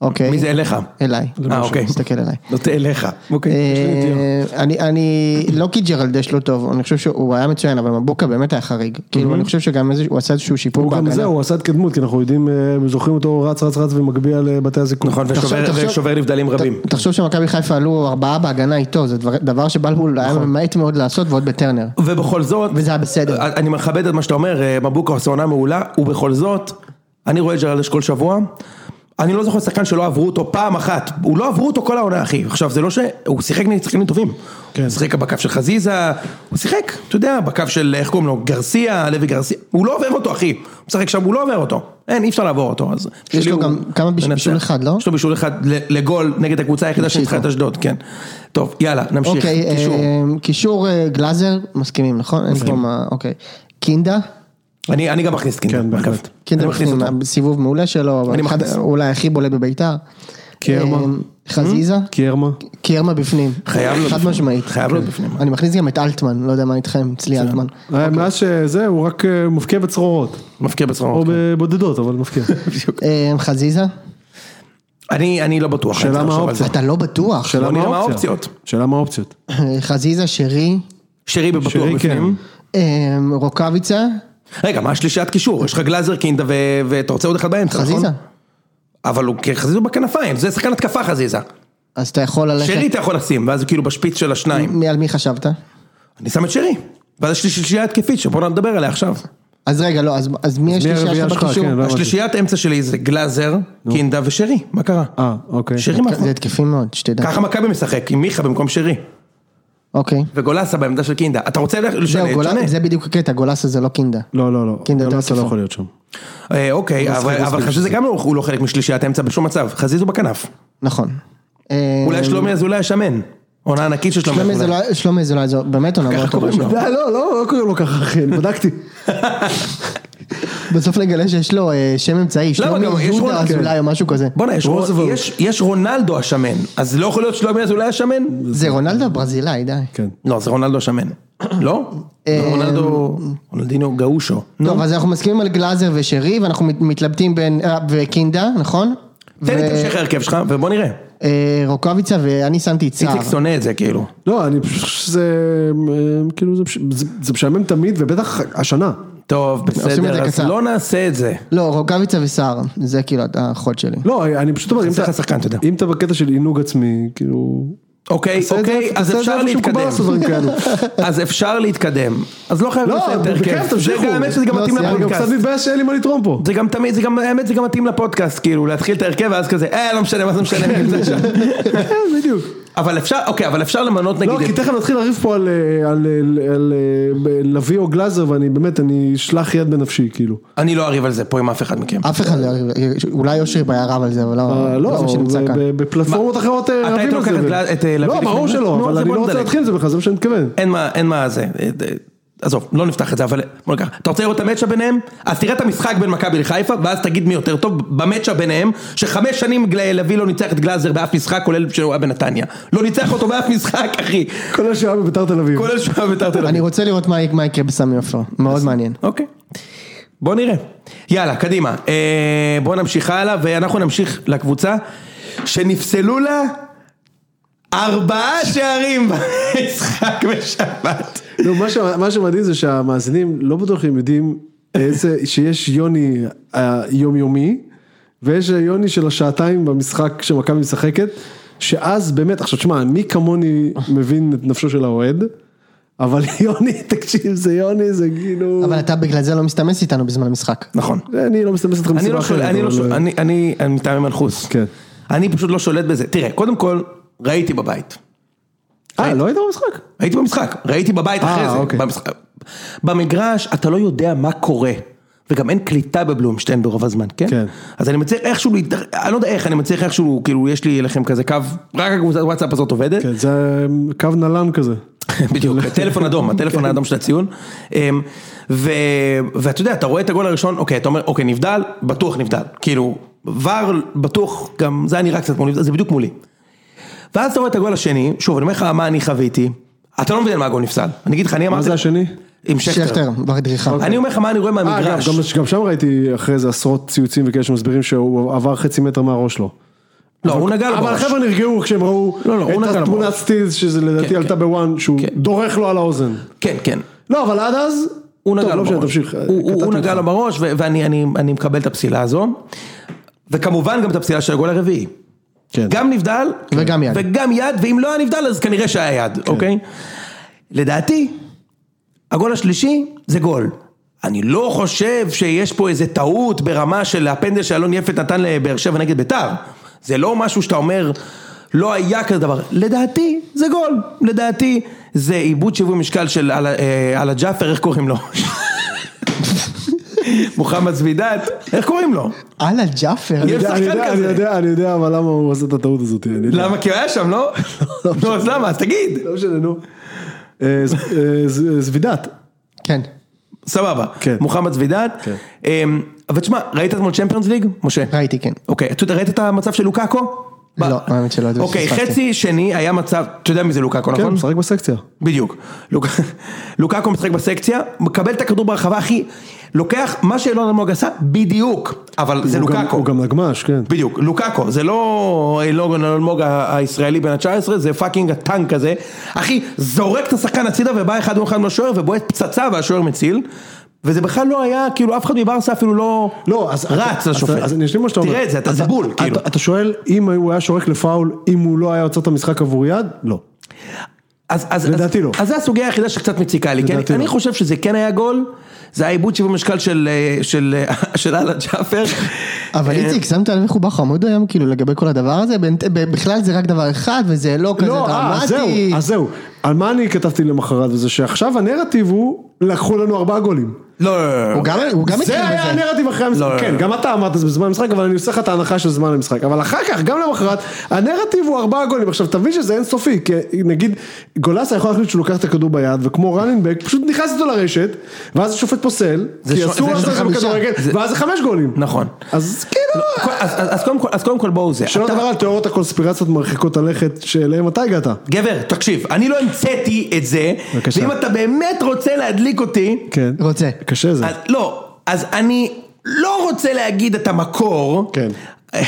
Speaker 4: אוקיי.
Speaker 2: מי זה אליך?
Speaker 4: אליי.
Speaker 2: אה, אוקיי.
Speaker 4: תסתכל אליי.
Speaker 2: נוטה אליך. אוקיי.
Speaker 4: אה, אני, אני, לא כי ג'רלדש לא טוב, אני חושב שהוא היה מצוין, אבל מבוקה באמת היה חריג. כאילו, אני חושב שגם איזה, הוא עשה איזשהו שיפור
Speaker 3: הוא גם
Speaker 4: בהגנה.
Speaker 3: זה, הוא עשה התקדמות, כי אנחנו יודעים, אה, זוכרים אותו רץ רץ רץ ומגביה לבתי הזיקוק.
Speaker 2: נכון, ושובר-
Speaker 4: תחשוב-
Speaker 2: ושובר נבדלים רבים.
Speaker 4: תחשוב שמכבי חיפה עלו ארבעה בהגנה איתו, זה דבר, דבר שבלבול היה
Speaker 2: נכון.
Speaker 4: ממעט מאוד לעשות, ועוד בטרנר.
Speaker 2: ובכל זאת, אה,
Speaker 4: וזה היה בסדר.
Speaker 2: אני מכבד את מה שאתה אומר, אה, מבוקה עושה עונה מעולה, ובכל זאת, אני רואה את ג'רלדש כל שבוע, אני לא זוכר שחקן שלא עברו אותו פעם אחת, הוא לא עברו אותו כל העונה אחי, עכשיו זה לא ש... הוא שיחק נגד שחקנים טובים, הוא שיחק בקו של חזיזה, הוא שיחק, אתה יודע, בקו של, איך קוראים לו, גרסיה, לוי גרסיה, הוא לא עובר אותו אחי, הוא משחק שם, הוא לא עובר אותו, אין, אי אפשר לעבור אותו, אז...
Speaker 4: יש
Speaker 2: שלי
Speaker 4: לו
Speaker 2: הוא
Speaker 4: גם כמה ביש-
Speaker 2: מנצח.
Speaker 4: בישול אחד, לא?
Speaker 2: יש לו בישול אחד ל- לגול נגד הקבוצה היחידה שניצחה את אשדוד, כן. טוב, יאללה, נמשיך.
Speaker 4: אוקיי, אה,
Speaker 2: קישור.
Speaker 4: קישור אה, גלאזר, מסכימים, נכון? אין פה מה, אוקיי. קינדה?
Speaker 2: אני אני גם מכניס קינדה.
Speaker 3: כן,
Speaker 2: אגב.
Speaker 3: בהחלט.
Speaker 4: קינדה
Speaker 2: אני מכניס
Speaker 4: בפנים,
Speaker 2: אותו.
Speaker 4: סיבוב מעולה שלו, אבל
Speaker 2: אני
Speaker 4: אחד-
Speaker 2: מכניס. Hmm?
Speaker 4: אולי הכי בולט בביתר.
Speaker 3: קיירמה.
Speaker 4: אה, חזיזה?
Speaker 3: קיירמה.
Speaker 4: קיירמה בפנים.
Speaker 2: חייב לו
Speaker 4: חד
Speaker 2: בפנים.
Speaker 4: משמעית.
Speaker 2: חייב להיות בפנים.
Speaker 4: אני מכניס גם את אלטמן, לא יודע מה איתכם, אצלי אלטמן.
Speaker 3: אה,
Speaker 2: אוקיי.
Speaker 3: מאז שזה, הוא רק אה, מפקיע בצרורות.
Speaker 2: מפקיע
Speaker 3: או
Speaker 2: בצחוק.
Speaker 3: בבודדות, אבל מפקיע.
Speaker 4: אה, חזיזה?
Speaker 2: אני אני לא בטוח.
Speaker 3: שאלה
Speaker 2: אני צריך לחשוב
Speaker 3: מה
Speaker 2: על
Speaker 3: האופציה?
Speaker 2: זה.
Speaker 4: אתה לא בטוח. אה,
Speaker 3: שאלה
Speaker 2: בוא
Speaker 3: מה
Speaker 2: נראה מה
Speaker 3: האופציות.
Speaker 2: האופציות.
Speaker 3: שאלה מה האופציות.
Speaker 4: חזיזה, שרי,
Speaker 2: שרי בבטוח
Speaker 3: שרי, כן.
Speaker 2: בפנים.
Speaker 4: אה, רוקאביצה,
Speaker 2: רגע, מה השלישיית קישור? יש לך גלאזר קינדה ו- ואתה רוצה עוד אחד באמצע, נכון?
Speaker 4: חזיזה.
Speaker 2: אבל הוא חזיזה הוא בכנפיים, זה שחקן התקפה חזיזה.
Speaker 4: אז אתה יכול ללכת...
Speaker 2: שרי אתה יכול לשים, ואז הוא כאילו בשפיץ של השניים.
Speaker 4: מי- על מי חשבת?
Speaker 2: אני שם את שרי. ואז יש לי שלישייה התקפית שבוא נדבר עליה עכשיו.
Speaker 4: אז רגע, לא, אז- אז מי
Speaker 3: מי
Speaker 4: השלישייה
Speaker 3: הרביעייה
Speaker 4: שלך
Speaker 3: שלך?
Speaker 4: בקישור?
Speaker 3: כן, אה, לא הבנתי.
Speaker 2: השלישיית אמצע שלי זה גלאזר, קינדה ושרי, מה קרה?
Speaker 3: אה, אוקיי.
Speaker 2: שרי מאחור.
Speaker 4: זה התקפי מאוד, שתדע.
Speaker 2: ככה מכבי משחק, עם מיכה במקום שרי.
Speaker 4: אוקיי.
Speaker 2: וגולסה בעמדה של קינדה. אתה רוצה ללכת לשנה?
Speaker 4: זהו, גולס-
Speaker 2: תשנה.
Speaker 4: זה בדיוק הקטע, גולסה זה לא קינדה.
Speaker 3: לא, לא, לא.
Speaker 4: קינדה יותר
Speaker 3: גלאסה לא
Speaker 4: התקפה.
Speaker 3: יכול להיות שם.
Speaker 2: אה, אוקיי, אבל- אבל חשוב שזה גם לא- הוא לא חלק משלישיית אמצע בשום מצב. חזיז הוא בכנף.
Speaker 4: נכון. אה,
Speaker 2: אולי שלומי אזולאי השמן. עונה ענקית של שלומי
Speaker 4: שלומי
Speaker 2: אזולאי.
Speaker 4: אזולאי- שלומי אזולאי זו באמת עונה מאוד טובה
Speaker 2: קוראים
Speaker 4: שלו.
Speaker 2: לו.
Speaker 3: לא, לא, לא קוראים לו ככה, אחי, אני בדקתי.
Speaker 4: בסוף נגלה שיש לו אה, שם אמצעי, שלומי
Speaker 2: גם יש רון-
Speaker 4: יהודה אזולאי או משהו כזה.
Speaker 2: בואנה, יש-
Speaker 3: רוזוולט.
Speaker 2: יש- יש רונלדו השמן, אז לא יכול להיות שלומי אזולאי השמן?
Speaker 4: זה רונלדו הברזילאי, די.
Speaker 3: כן.
Speaker 2: לא, זה רונלדו השמן. לא?
Speaker 4: אה, לא,
Speaker 2: רונלדו, רונלדינו גאושו.
Speaker 4: טוב, אז אנחנו מסכימים על גלאזר ושרי, ואנחנו מת- מתלבטים בין... אה, וקינדה, נכון?
Speaker 2: תן לי את המשך ההרכב שלך, ובוא נראה.
Speaker 4: ורוקאביצה, ואני שמתי את סער.
Speaker 2: איציק שונא את זה, כאילו.
Speaker 3: לא, אני פשוט חושב שזה, אה, כאילו, זה פש- זה- זה משעמם תמיד, ובטח השנה.
Speaker 2: טוב,
Speaker 4: עושים את זה
Speaker 2: בסדר, אז
Speaker 4: קצר.
Speaker 2: לא נעשה את זה.
Speaker 4: לא, רוקאביצה וסער, זה כאילו החוד שלי.
Speaker 3: לא, אני פשוט אומר, אם
Speaker 2: חסר לך
Speaker 3: אתה-
Speaker 2: שחקן, אתה יודע.
Speaker 3: אם אתה בקטע של עינוג עצמי, כאילו...
Speaker 2: אוקיי,
Speaker 3: תעשה את זה-
Speaker 2: אוקיי,
Speaker 3: תעשה את
Speaker 2: אז
Speaker 3: זה
Speaker 2: אפשר
Speaker 3: איפה שמקובל
Speaker 2: להתקדם.
Speaker 3: לעשות דברים כאלו.
Speaker 2: אז אפשר להתקדם. אז לא חייבים
Speaker 3: לא,
Speaker 2: לסיים את
Speaker 3: בכיף,
Speaker 2: ההרכב. זה
Speaker 3: תמשיכו.
Speaker 2: גם, האמת שזה גם
Speaker 4: לא,
Speaker 2: מתאים
Speaker 4: סיימנו.
Speaker 3: אני גם קצת
Speaker 2: לפודקאסט.
Speaker 3: מתבאס שאין לי מה לתרום פה.
Speaker 2: זה גם תמיד, זה גם, האמת זה גם מתאים לפודקאסט, כאילו, להתחיל את ההרכב ואז כזה, אה, לא משנה, מה זה משנה, אני נמצא שם.
Speaker 3: כן, בדיוק.
Speaker 2: אבל אפשר, אוקיי, אבל אפשר למנות
Speaker 3: לא,
Speaker 2: נגיד
Speaker 3: כי
Speaker 2: את...
Speaker 3: תכף נתחיל לריב פה על, אה, על, אה, על אה, ב- לביא או גלאזר, ואני באמת, אני אשלח יד בנפשי, כאילו.
Speaker 2: אני לא אריב על זה פה עם אף אחד מכם.
Speaker 4: אף אחד לא... אולי אושרי היה רב על זה, אבל
Speaker 3: אה,
Speaker 4: לא...
Speaker 3: לא,
Speaker 4: זה שנמצא
Speaker 3: ב-
Speaker 4: כאן.
Speaker 3: ב- בפלטפורמות אחרות אה,
Speaker 2: אתה
Speaker 3: רבים
Speaker 2: היית
Speaker 3: על זה.
Speaker 2: לוקח את
Speaker 3: ו-
Speaker 2: גלא- את, אה, לביא
Speaker 3: לא,
Speaker 2: לפני
Speaker 3: ברור
Speaker 2: זה? נו,
Speaker 3: שלא,
Speaker 2: אז
Speaker 3: אבל אני
Speaker 2: בוא
Speaker 3: לא רוצה
Speaker 2: נדלג.
Speaker 3: להתחיל עם זה בכלל, זה מה שאני מתכוון.
Speaker 2: אין מה, אין מה זה. אה, אה, עזוב, לא נפתח את זה, אבל בוא ניקח. אתה רוצה לראות את המצ'אפ ביניהם? אז תראה את המשחק בין מכבי לחיפה, ואז תגיד מי יותר טוב במצ'אפ ביניהם, שחמש שנים גל- לביא לא ניצח את גלאזר באף משחק, כולל שהוא היה בנתניה. לא ניצח אותו באף משחק, אחי.
Speaker 3: כל השעה בביתר תל אביב.
Speaker 2: כולל שהוא היה ביתר תל
Speaker 4: אני
Speaker 2: אביב.
Speaker 4: רוצה לראות מה מה יקרה בסמי עופר, מאוד מעניין.
Speaker 2: אוקיי. בוא נראה. יאללה, קדימה. אה, בוא נמשיך הלאה, ואנחנו נמשיך לקבוצה שנפסלו לה ארבעה שערים במשחק בשבת.
Speaker 3: לא, מה ש- מה שמדהים זה שהמאזינים לא בטוח הם יודעים איזה, שיש יוני היומיומי, ויש יוני של השעתיים במשחק שמכבי משחקת, שאז באמת, עכשיו תשמע, מי כמוני מבין את נפשו של האוהד, אבל יוני, תקשיב, זה יוני, זה כאילו...
Speaker 4: אבל אתה בגלל זה לא מסתמס איתנו בזמן המשחק.
Speaker 2: נכון.
Speaker 3: אני לא מסתמס איתך
Speaker 2: אני
Speaker 3: מסיבה
Speaker 2: לא
Speaker 3: אחרת.
Speaker 2: שולט, אני לא
Speaker 3: אבל- אה,
Speaker 2: שולט, אני- אני אני מטעמי מנחוס.
Speaker 3: כן.
Speaker 2: אני פשוט לא שולט בזה. תראה, קודם כל, ראיתי בבית.
Speaker 3: אה, לא היית במשחק?
Speaker 2: הייתי במשחק, ראיתי בבית
Speaker 3: אה,
Speaker 2: אחרי זה.
Speaker 3: אוקיי.
Speaker 2: במשחק. במגרש אתה לא יודע מה קורה. וגם אין קליטה בבלומשטיין ברוב הזמן, כן?
Speaker 3: כן.
Speaker 2: אז אני מצליח איכשהו, להתדר- אני לא יודע איך, אני מצליח איכשהו, כאילו, יש לי אליכם כזה קו, רק הקבוצת וואטסאפ הזאת עובדת.
Speaker 3: כן, זה קו נל"ן כזה.
Speaker 2: בדיוק, הטלפון אדום,
Speaker 3: כן.
Speaker 2: הטלפון האדום של הציון. אמ, ו- ואתה יודע, אתה רואה את הגול הראשון, אוקיי, אתה אומר, אוקיי, נבדל, בטוח נבדל. כאילו, ור בטוח, גם זה היה נראה קצת כמו נבדל, זה בדיוק מולי. ואז אתה רואה את הגול השני, שוב, אני אומר לך מה אני חוויתי, אתה לא מבין מה הגול נפסל. אני אגיד לך, אני אמרתי...
Speaker 3: מה זה השני?
Speaker 2: עם שכטר.
Speaker 4: שכטר, בדריכה.
Speaker 2: אני אומר לך מה אני רואה
Speaker 3: אה, אגב,
Speaker 2: מהמגרש.
Speaker 3: גם, גם שם ראיתי אחרי זה עשרות ציוצים וכאלה שמסבירים שהוא עבר חצי מטר מהראש שלו.
Speaker 2: לא, הוא נגע לו
Speaker 3: אבל
Speaker 2: בראש.
Speaker 3: החבר'ה נרגעו כשהם ראו
Speaker 2: לא, לא, הוא נגע
Speaker 3: את
Speaker 2: לו
Speaker 3: התמונת
Speaker 2: בראש.
Speaker 3: סטילס, שזה לדעתי
Speaker 2: כן,
Speaker 3: עלתה
Speaker 2: כן.
Speaker 3: בוואן, שהוא
Speaker 2: כן.
Speaker 3: דורך לו על האוזן.
Speaker 2: כן, כן.
Speaker 3: לא, אבל עד אז...
Speaker 2: הוא נגע
Speaker 3: טוב,
Speaker 2: לו
Speaker 3: לא משנה,
Speaker 2: בראש.
Speaker 3: תמשיך.
Speaker 2: הוא- הוא- הוא
Speaker 3: קטעתי
Speaker 2: נגע
Speaker 3: אותך.
Speaker 2: לו בראש, ו- ואני אני- אני מקבל את הפסילה הזו. וכמובן גם את הפסילה של הגול הרביעי.
Speaker 3: כן.
Speaker 2: גם נבדל,
Speaker 4: וגם יד.
Speaker 2: וגם יד, ואם לא היה נבדל אז כנראה שהיה יד, אוקיי? לדעתי, הגול השלישי זה גול. אני לא חושב שיש פה איזה טעות ברמה של הפנדל שאלון יפת נתן לבאר שבע נגד ביתר. זה לא משהו שאתה אומר, לא היה כזה דבר. לדעתי, זה גול. לדעתי, זה עיבוד שיווי משקל של על, אה, על הג'אפר, איך קוראים לו? מוחמד זבידת, איך קוראים לו?
Speaker 4: אללה ג'אפר.
Speaker 3: אני
Speaker 2: יש
Speaker 3: יודע, אני
Speaker 2: שחקן
Speaker 3: יודע,
Speaker 2: כזה.
Speaker 3: אני יודע, אני יודע, אבל למה הוא עשה את הטעות הזאת, אני יודע.
Speaker 2: למה? כי הוא היה שם, לא? נו, אז למה? אז תגיד.
Speaker 3: לא משנה, נו. אה, ז- אה, ז- זבידת.
Speaker 2: נכון.
Speaker 4: כן.
Speaker 2: סבבה.
Speaker 3: כן.
Speaker 2: מוחמד זבידת. אמ, אבל תשמע, ראית אתמול צ'מפיונס ליג? משה.
Speaker 4: ראיתי, כן.
Speaker 2: אוקיי, אתה יודע, ראית את המצב של לוקאקו?
Speaker 4: לא,
Speaker 2: ב-
Speaker 4: האמת שלא, זה
Speaker 2: אוקיי,
Speaker 4: פספסתי.
Speaker 2: חצי שני היה מצב, אתה יודע מי זה לוקאקו,
Speaker 3: כן,
Speaker 2: נכון?
Speaker 3: משחק בסקציה.
Speaker 2: בדיוק. לוק... לוקקו משחק בסקציה, מקבל את הכדור ברחבה, אחי, לוקח מה שאילון אלמוג עשה, בדיוק, אבל זה
Speaker 3: הוא גם-
Speaker 2: לוקקו.
Speaker 3: הוא גם נגמש, כן.
Speaker 2: בדיוק, לוקקו, זה לא אילון אלמוג ה- הישראלי בן ה-19, זה פאקינג הטנק הזה. אחי, זורק את השחקן הצידה ובא אחד מול אחד מול השוער ובועט פצצה והשוער מציל. וזה בכלל לא היה, כאילו אף אחד מברסה אפילו לא,
Speaker 3: לא, אז...
Speaker 2: רץ
Speaker 3: אז-
Speaker 2: לשופט.
Speaker 3: אז אני אשלים מה שאתה אומר.
Speaker 2: תראה את זה, אתה זבול,
Speaker 3: אתה-
Speaker 2: כאילו.
Speaker 3: אתה שואל, אם הוא היה שורק לפאול, אם הוא לא היה עוצר את המשחק עבור יד? לא.
Speaker 2: אז, אז,
Speaker 3: לדעתי
Speaker 2: אז,
Speaker 3: לא.
Speaker 2: אז זו הסוגיה היחידה שקצת מציקה לי, כי אני,
Speaker 3: לדעתי
Speaker 2: אני
Speaker 3: לא.
Speaker 2: חושב שזה כן היה גול, זה היה עיבוד שיווי משקל של, אה, של, אה, של אללה ג'אפר.
Speaker 3: אה,
Speaker 4: אבל איציק, שמת לב איך הוא בא חמוד היום, כאילו, לגבי כל הדבר הזה? בין- ב- בכלל זה רק דבר אחד, וזה לא כזה
Speaker 3: לא, אה, אז זהו,
Speaker 4: דרמטי.
Speaker 3: אז זהו. על מה אני כתבתי למחרת וזה שעכשיו הנרטיב הוא, לקחו לנו ארבעה גולים.
Speaker 2: לא, לא, לא, לא, לא.
Speaker 4: הוא גם הוא גם התחיל
Speaker 3: זה היה
Speaker 4: בזה.
Speaker 3: הנרטיב אחרי המשחק,
Speaker 2: לא, לא,
Speaker 3: כן,
Speaker 2: לא.
Speaker 3: גם אתה אמרת זה בזמן המשחק, אבל אני עושה לך את ההנחה של זמן המשחק, אבל אחר כך, גם למחרת, הנרטיב הוא ארבעה גולים, עכשיו תבין שזה אינסופי, כי נגיד, גולסה יכול להחליט שהוא לוקח את הכדור ביד, וכמו רנינבק, פשוט נכנס איתו לרשת, ואז השופט פוסל,
Speaker 2: זה
Speaker 3: כי
Speaker 2: ש-
Speaker 3: אסור
Speaker 2: זה
Speaker 3: לעשות את זה
Speaker 2: חמישה.
Speaker 3: בכדורגל,
Speaker 2: זה-
Speaker 3: ואז זה חמש גולים.
Speaker 2: נכון.
Speaker 3: אז כאילו,
Speaker 2: כל- אז, אז, אז, קודם כל, אז קודם כל בואו זה.
Speaker 3: שלא
Speaker 2: אתה-
Speaker 3: לדבר על תיאוריות הקונספירציות מרחיקות הלכת, שאליהם אתה הגעת.
Speaker 2: גבר, תקשיב, אני לא המצאתי את זה,
Speaker 3: בבקשה.
Speaker 2: ואם אתה באמת רוצה להדליק אותי,
Speaker 3: כן.
Speaker 4: רוצה.
Speaker 3: קשה זה.
Speaker 2: אז, לא, אז אני לא רוצה להגיד את המקור,
Speaker 3: כן.